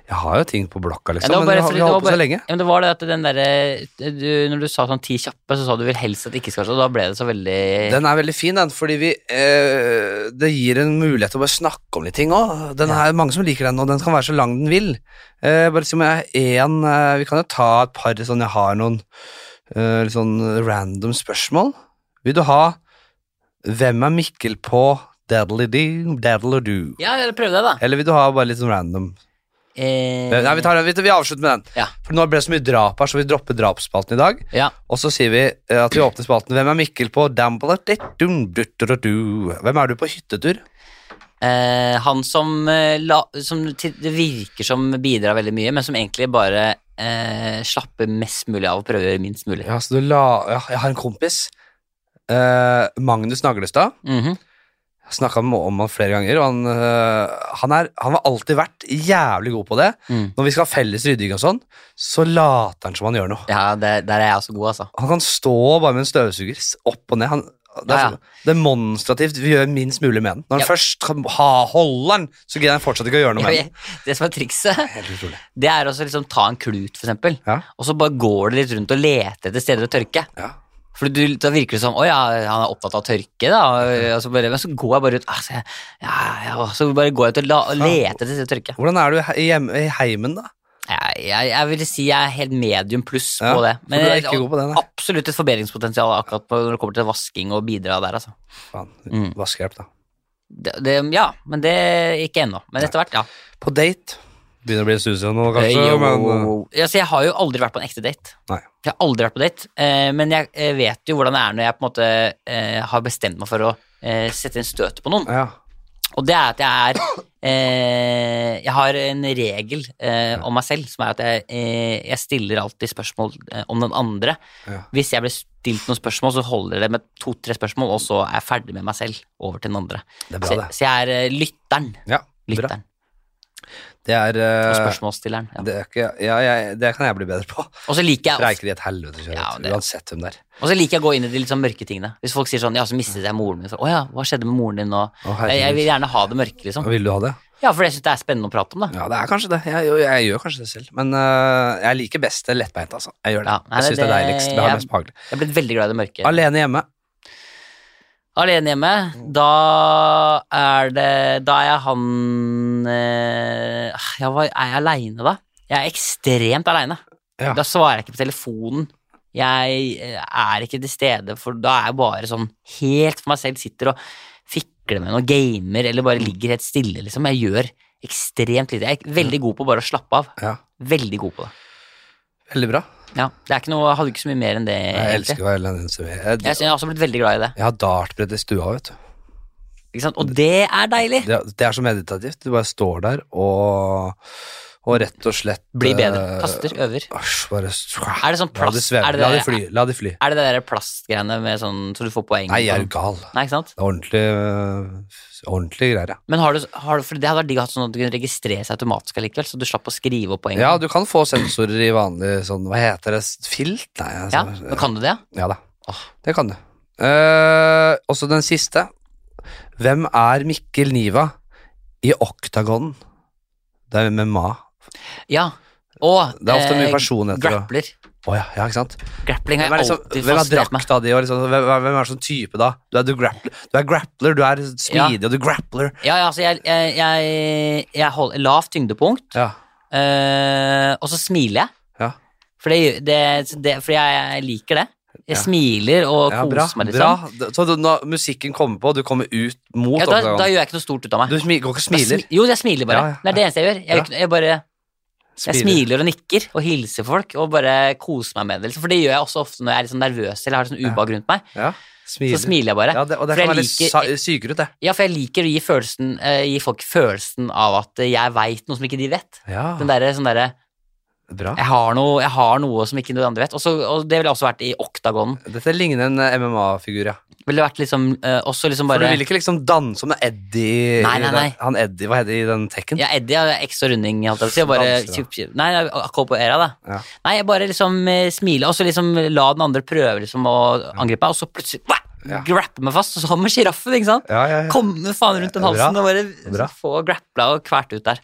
[SPEAKER 1] Jeg har jo ting på blokka,
[SPEAKER 2] Ja,
[SPEAKER 1] liksom,
[SPEAKER 2] det var
[SPEAKER 1] men
[SPEAKER 2] bare
[SPEAKER 1] vi har,
[SPEAKER 2] fordi
[SPEAKER 1] vi
[SPEAKER 2] det
[SPEAKER 1] har
[SPEAKER 2] var
[SPEAKER 1] holdt på så
[SPEAKER 2] bare-
[SPEAKER 1] lenge.
[SPEAKER 2] Ja, men det var det at den derre du- Når du sa sånn ti kjappe, så sa du vel helst at det ikke skal slå. Da ble det så veldig
[SPEAKER 1] Den er veldig fin, den, fordi vi, eh, det gir en mulighet til å bare snakke om litt ting òg. Den er mange som liker den, og den kan være så lang den vil. Eh, bare si om jeg har én eh, Vi kan jo ta et par sånn jeg har noen eh, litt sånn random spørsmål. Vil du ha 'Hvem er Mikkel på Daddly-dee, daddly-doo'?
[SPEAKER 2] Ja, eller prøv det, da.
[SPEAKER 1] Eller vil du ha bare litt sånn random?
[SPEAKER 2] Eh,
[SPEAKER 1] Eh, Nei, vi, tar, den- vi, vi avslutter med den.
[SPEAKER 2] Ja.
[SPEAKER 1] For nå ble det så mye drap her, så vi dropper drapsspalten i dag.
[SPEAKER 2] ja.
[SPEAKER 1] Og så sier vi eh, at vi åpner spalten Hvem er Mikkel på Dambladettum, dutteradu? Hvem er du på hyttetur?
[SPEAKER 2] Eh, han som, eh, la, som til, det virker som bidrar veldig mye, men som egentlig bare eh, slapper mest mulig av og prøver minst mulig.
[SPEAKER 1] Ja, så du la, ja, jeg har en kompis eh, Magnus Naglestad
[SPEAKER 2] Mhm.
[SPEAKER 1] Jeg snakket med om han flere ganger og han, eh, han, er, han har alltid vært jævlig god på det
[SPEAKER 2] Mm.
[SPEAKER 1] Når vi skal ha felles rydding og sånn Så later han som han gjør noe
[SPEAKER 2] Ja, det, der er jeg også god, altså.
[SPEAKER 1] Han kan stå bare med en støvsuger s- Opp og ned han, det,
[SPEAKER 2] Ja,
[SPEAKER 1] er
[SPEAKER 2] ja.
[SPEAKER 1] så, demonstrativt Vi gjør minst mulig med den Når han
[SPEAKER 2] Ja.
[SPEAKER 1] først kan ha, holder den Så greier han fortsatt ikke å gjøre noe med den
[SPEAKER 2] Jeg- Det som er trikset,
[SPEAKER 1] Helt utrolig
[SPEAKER 2] det er også liksom ta en klut, for eksempel.
[SPEAKER 1] Ja.
[SPEAKER 2] Og så bare går du litt rundt og leter etter steder å tørke.
[SPEAKER 1] Ja.
[SPEAKER 2] For du, da virker det som å ja, han er opptatt av å tørke, da. Og så bare, men så går jeg bare ut altså, jeg- ja, ja, og Så bare går jeg ut og, la, og leter etter steder å tørke.
[SPEAKER 1] Hvordan er du he- hjemme, i heimen, da?
[SPEAKER 2] Jeg, jeg, jeg vil si jeg er helt medium pluss
[SPEAKER 1] Ja,
[SPEAKER 2] på det.
[SPEAKER 1] for du er ikke god på det, nei.
[SPEAKER 2] absolutt et forbedringspotensial akkurat på, når det kommer til vasking og bidra der, altså.
[SPEAKER 1] Faen,
[SPEAKER 2] Mm.
[SPEAKER 1] vaskehjelp, da.
[SPEAKER 2] Det, det, ja, men det ikke ennå. Men etter hvert, ja.
[SPEAKER 1] På date. Begynner å bli susi nå, kanskje,
[SPEAKER 2] Eh, jo.
[SPEAKER 1] men eh,
[SPEAKER 2] altså, jeg har jo aldri vært på en ekte date.
[SPEAKER 1] Nei.
[SPEAKER 2] Jeg har aldri vært på date, eh, men jeg eh, vet jo hvordan det er når jeg på en måte eh, har bestemt meg for å eh, sette en støt på noen.
[SPEAKER 1] eh, ja.
[SPEAKER 2] Og det er at jeg er eh, Jeg har en regel eh, om meg selv som er at jeg, eh, jeg stiller alltid spørsmål eh, om den andre.
[SPEAKER 1] Ja.
[SPEAKER 2] Hvis jeg blir stilt noen spørsmål, så holder det med to-tre spørsmål, og så er jeg ferdig med meg selv over til den andre.
[SPEAKER 1] Det er
[SPEAKER 2] Så,
[SPEAKER 1] bra, det.
[SPEAKER 2] så jeg er eh, lytteren.
[SPEAKER 1] Ja, bra.
[SPEAKER 2] Lytteren
[SPEAKER 1] Det er
[SPEAKER 2] og
[SPEAKER 1] eh,
[SPEAKER 2] spørsmålsstilleren. Ja.
[SPEAKER 1] det, er ikke, ja, jeg, det kan jeg bli bedre på.
[SPEAKER 2] Og så liker jeg ofte-
[SPEAKER 1] Streiker i et helvete, kjører,
[SPEAKER 2] Ja, det-
[SPEAKER 1] uansett hvem det er.
[SPEAKER 2] og så liker jeg å gå inn i de litt sånn mørke tingene. Hvis folk sier sånn 'ja, så mistet jeg moren min', så 'å ja, hva skjedde med moren din nå?'
[SPEAKER 1] Å, herregud.
[SPEAKER 2] jeg, jeg vil gjerne ha det mørke, liksom.
[SPEAKER 1] Vil du ha det?
[SPEAKER 2] Ja, for jeg syns det er spennende å prate om, da.
[SPEAKER 1] Ja, det er kanskje det. Jeg, jo, jeg gjør kanskje det selv. Men eh, jeg liker best det lettbeinte, altså. Jeg gjør det.
[SPEAKER 2] Ja, nei,
[SPEAKER 1] jeg syns det,
[SPEAKER 2] det-
[SPEAKER 1] er deiligst. Det er
[SPEAKER 2] jeg-
[SPEAKER 1] mest behagelig.
[SPEAKER 2] Jeg er blitt veldig glad i det mørke.
[SPEAKER 1] Alene hjemme.
[SPEAKER 2] Alene hjemme, da er det Da er jeg han eh, ja, hva- Er jeg aleine, da? Jeg er ekstremt aleine.
[SPEAKER 1] Ja.
[SPEAKER 2] Da svarer jeg ikke på telefonen. Jeg eh, er ikke til stede, for da er jeg bare sånn helt for meg selv. Sitter og mekler med noe, gamer, eller
[SPEAKER 1] Mm.
[SPEAKER 2] bare ligger helt stille, liksom. Jeg gjør ekstremt lite. Jeg er veldig god på bare å slappe av.
[SPEAKER 1] Ja,
[SPEAKER 2] Veldig god på det.
[SPEAKER 1] Veldig bra.
[SPEAKER 2] Ja, det er ikke noe, jeg hadde ikke så mye mer enn det.
[SPEAKER 1] Jeg
[SPEAKER 2] egentlig.
[SPEAKER 1] elsker å være alene. Jeg,
[SPEAKER 2] Jeg, synes jeg har også blitt veldig glad i det.
[SPEAKER 1] jeg har dartbrett i stua, vet du.
[SPEAKER 2] Ikke sant? Og det er deilig!
[SPEAKER 1] Det, det er så meditativt. Du bare står der og, og rett og slett
[SPEAKER 2] Bli bedre.
[SPEAKER 1] eh,
[SPEAKER 2] Kaster, øver.
[SPEAKER 1] Asj, bare
[SPEAKER 2] Er det sånn
[SPEAKER 1] La de
[SPEAKER 2] plast-
[SPEAKER 1] sveve.
[SPEAKER 2] er det
[SPEAKER 1] La
[SPEAKER 2] det-
[SPEAKER 1] de fly. La de fly.
[SPEAKER 2] Er det det der plastgreiene med sånn så du får poeng?
[SPEAKER 1] Nei, jeg er
[SPEAKER 2] sånn?
[SPEAKER 1] jo gal. Det
[SPEAKER 2] Nei, ikke sant?
[SPEAKER 1] er ordentlig, eh, ordentlig greier, ja.
[SPEAKER 2] Men har du, har du, for det hadde vært digg å ha sånn at du kunne registrere seg automatisk allikevel, så du slapp å skrive opp poeng.
[SPEAKER 1] Ja, du kan få sensorer i vanlig sånn, hva heter det, filt? Nei,
[SPEAKER 2] Ja,
[SPEAKER 1] altså,
[SPEAKER 2] men kan du det?
[SPEAKER 1] ja da,
[SPEAKER 2] Åh.
[SPEAKER 1] det kan du. Eh, også den siste. Hvem er Mikkel Niva i Oktagon? Det er med Ma.
[SPEAKER 2] Ja. Og eh,
[SPEAKER 1] Det er ofte mye personligheter, da.
[SPEAKER 2] Grappler.
[SPEAKER 1] Åja, ja, ikke sant?
[SPEAKER 2] Grappling
[SPEAKER 1] Hvem
[SPEAKER 2] har
[SPEAKER 1] er,
[SPEAKER 2] jeg
[SPEAKER 1] liksom,
[SPEAKER 2] alltid
[SPEAKER 1] hvem er
[SPEAKER 2] fascinert meg.
[SPEAKER 1] drakta di, og liksom, hvem, hvem er sånn type da? Du er, du, grappler, du er grappler, du er smidig, og du grappler.
[SPEAKER 2] Ja, ja, altså jeg, jeg, jeg, jeg holder lavt tyngdepunkt,
[SPEAKER 1] Ja,
[SPEAKER 2] eh, og så smiler jeg.
[SPEAKER 1] Ja.
[SPEAKER 2] For, det, det, det, for jeg, jeg liker det. Jeg
[SPEAKER 1] Ja.
[SPEAKER 2] smiler og
[SPEAKER 1] ja
[SPEAKER 2] koser
[SPEAKER 1] bra,
[SPEAKER 2] meg litt.
[SPEAKER 1] bra.
[SPEAKER 2] sånn.
[SPEAKER 1] Så du, når musikken kommer på, du kommer ut mot
[SPEAKER 2] Ja, da, da
[SPEAKER 1] Oktagon.
[SPEAKER 2] gjør jeg ikke noe stort ut av meg.
[SPEAKER 1] Du smi- går ikke og
[SPEAKER 2] Da
[SPEAKER 1] smiler.
[SPEAKER 2] smi- Jo, jeg smiler bare.
[SPEAKER 1] Ja, ja,
[SPEAKER 2] Det er det eneste jeg gjør. Jeg, gjør
[SPEAKER 1] Bra.
[SPEAKER 2] ikke noe- jeg bare Jeg smiler og nikker og hilser folk og bare koser meg med det. liksom. For det gjør jeg også ofte når jeg er litt sånn nervøs eller har sånn ubehag rundt meg.
[SPEAKER 1] Ja, smiler.
[SPEAKER 2] Så smiler jeg bare.
[SPEAKER 1] Ja, det, og det
[SPEAKER 2] For
[SPEAKER 1] kan være
[SPEAKER 2] jeg
[SPEAKER 1] litt
[SPEAKER 2] liker-
[SPEAKER 1] sa- sykere ut, det.
[SPEAKER 2] Ja, for jeg liker å gi, følelsen, eh, gi folk følelsen av at eh, jeg veit noe som ikke de vet.
[SPEAKER 1] Ja,
[SPEAKER 2] Den derre sånn derre
[SPEAKER 1] bra.
[SPEAKER 2] jeg, har noe- 'Jeg har noe som ikke noen andre vet'. Og, så, og det ville også vært i oktagonen.
[SPEAKER 1] Dette ligner en eh, MMA-figur, ja.
[SPEAKER 2] Ville vært liksom eh, også liksom
[SPEAKER 1] For
[SPEAKER 2] bare
[SPEAKER 1] du vil ikke liksom danse som en Eddie
[SPEAKER 2] Nei, nei, nei.
[SPEAKER 1] Han Eddie, hva heter det i den tekken?
[SPEAKER 2] Ja, Eddie er X og runding, holdt jeg på å si. og
[SPEAKER 1] Danser,
[SPEAKER 2] Bare,
[SPEAKER 1] da.
[SPEAKER 2] kjup- nei, nei, akkompagnere, da.
[SPEAKER 1] Ja.
[SPEAKER 2] Nei, jeg bare liksom eh, smile, og så liksom la den andre prøve liksom å angripe meg, og så plutselig wah,
[SPEAKER 1] Ja.
[SPEAKER 2] grappe meg fast, og så kommer sjiraffen, ikke sant?
[SPEAKER 1] Ja, ja, ja.
[SPEAKER 2] Komme faen rundt den halsen
[SPEAKER 1] Bra.
[SPEAKER 2] og bare
[SPEAKER 1] Bra.
[SPEAKER 2] få grappla og kvært ut der.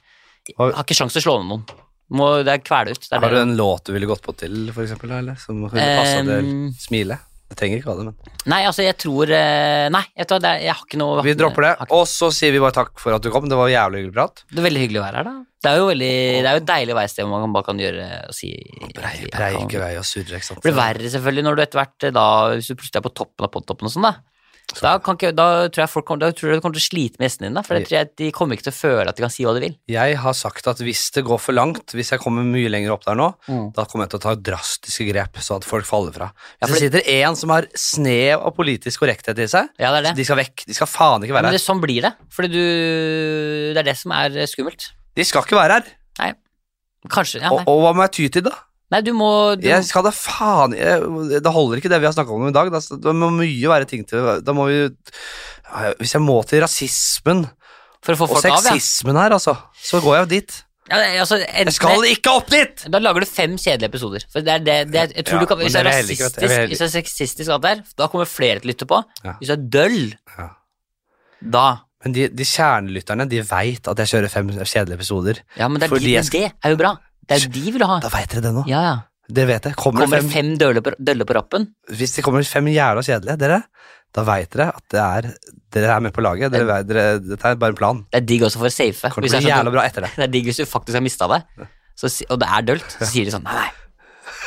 [SPEAKER 2] Jeg
[SPEAKER 1] Har-
[SPEAKER 2] har ikke sjans til å slå ned noen. Må, det er kvele ut. Det er
[SPEAKER 1] Har du
[SPEAKER 2] det.
[SPEAKER 1] en låt du ville gått på til, for eksempel? Eller? Som kunne passa
[SPEAKER 2] Ehm.
[SPEAKER 1] til smile? Du trenger ikke ha det, men
[SPEAKER 2] Nei, altså, jeg tror eh, Nei, vet du hva, det er, jeg har ikke noe
[SPEAKER 1] Vi dropper det.
[SPEAKER 2] har ikke-
[SPEAKER 1] Og så sier vi bare takk for at du kom. Det var jævlig hyggelig prat.
[SPEAKER 2] Det er veldig hyggelig å være her, da. Det er jo, veldig, det er jo et deilig veisted hvor man bare kan gjøre og si
[SPEAKER 1] Brei,
[SPEAKER 2] jeg
[SPEAKER 1] brei,
[SPEAKER 2] kan-
[SPEAKER 1] ikke vei og surre, ikke sant.
[SPEAKER 2] Det blir verre selvfølgelig når du etter hvert eh, da, hvis du plutselig er på toppen av podtoppen og sånn, da. Da, kan ikke, da tror jeg folk kommer, da tror jeg du kommer til å slite med gjestene dine, da, for jeg tror jeg, de kommer ikke til å føle at de kan si hva de vil.
[SPEAKER 1] Jeg har sagt at hvis det går for langt, hvis jeg kommer mye lenger opp der nå, da kommer jeg til å ta drastiske grep, så at folk faller fra. Hvis
[SPEAKER 2] Ja, for
[SPEAKER 1] det sitter en som har snev av politisk korrekthet i seg,
[SPEAKER 2] Ja, det er det.
[SPEAKER 1] de skal vekk. De skal faen ikke
[SPEAKER 2] Men
[SPEAKER 1] være
[SPEAKER 2] det,
[SPEAKER 1] her.
[SPEAKER 2] sånn blir det, fordi du, det er det som er eh, skummelt.
[SPEAKER 1] De skal ikke være her.
[SPEAKER 2] Nei, kanskje, ja,
[SPEAKER 1] Og,
[SPEAKER 2] nei.
[SPEAKER 1] og hva må jeg ty til, da?
[SPEAKER 2] Nei, du må, du,
[SPEAKER 1] Jeg skal da faen jeg, Det holder ikke det vi har snakka om i dag. Da, det må mye være ting til Da må vi Ja, Hvis jeg må til rasismen
[SPEAKER 2] for å få
[SPEAKER 1] og
[SPEAKER 2] folk av, ja.
[SPEAKER 1] sexismen her, altså, så går jeg jo dit.
[SPEAKER 2] ja det er- altså, enten-
[SPEAKER 1] Jeg skal ikke opp dit!
[SPEAKER 2] Da lager du fem kjedelige episoder. For det er det, det jeg tror
[SPEAKER 1] Ja,
[SPEAKER 2] du kan,
[SPEAKER 1] men
[SPEAKER 2] Hvis det er
[SPEAKER 1] det er heller ikke, vet du.
[SPEAKER 2] rasistisk,
[SPEAKER 1] Det er heller-
[SPEAKER 2] hvis det er sexistisk og alt der, da kommer flere til å lytte på.
[SPEAKER 1] Ja.
[SPEAKER 2] Hvis det er døll,
[SPEAKER 1] Ja.
[SPEAKER 2] da
[SPEAKER 1] Men de, de kjernelytterne de veit at jeg kjører fem kjedelige episoder.
[SPEAKER 2] Ja, men det er,
[SPEAKER 1] Fordi
[SPEAKER 2] de,
[SPEAKER 1] jeg
[SPEAKER 2] men det er jo bra. Det er jo de vil ha.
[SPEAKER 1] Da veit dere det nå.
[SPEAKER 2] Ja, ja.
[SPEAKER 1] Dere vet det. Kommer,
[SPEAKER 2] Kommer
[SPEAKER 1] det
[SPEAKER 2] det
[SPEAKER 1] fem,
[SPEAKER 2] fem døller på, døller på rappen?
[SPEAKER 1] hvis det kommer fem jævla kjedelige, dere, da veit dere at det er, dere er med på laget. Dere, vet- dere, dette er bare en plan.
[SPEAKER 2] Det er digg også for å safe.
[SPEAKER 1] Kommer
[SPEAKER 2] Hvis
[SPEAKER 1] til å
[SPEAKER 2] det er
[SPEAKER 1] bli
[SPEAKER 2] sånn-
[SPEAKER 1] jævla bra etter det.
[SPEAKER 2] det er digg hvis du faktisk har mista deg, så, si- og det er dølt, så sier de sånn nei, nei.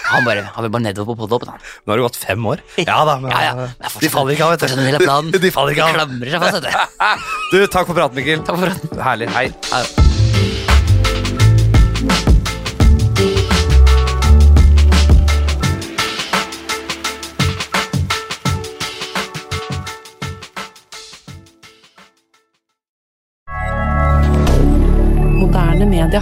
[SPEAKER 2] Han bare, han vil bare nedover på podhoppen, han.
[SPEAKER 1] Nå har det gått fem år. Ja da, men
[SPEAKER 2] Ja, ja. Det er fortsatt-
[SPEAKER 1] de faller ikke av,
[SPEAKER 2] fortsatt en del av planen.
[SPEAKER 1] vet du. De faller ikke av.
[SPEAKER 2] Klamrer seg fast, vet du.
[SPEAKER 1] Ah, Du, takk for praten, Mikkel.
[SPEAKER 2] Takk for praten.
[SPEAKER 1] Herlig. Hei.
[SPEAKER 6] Moderne media.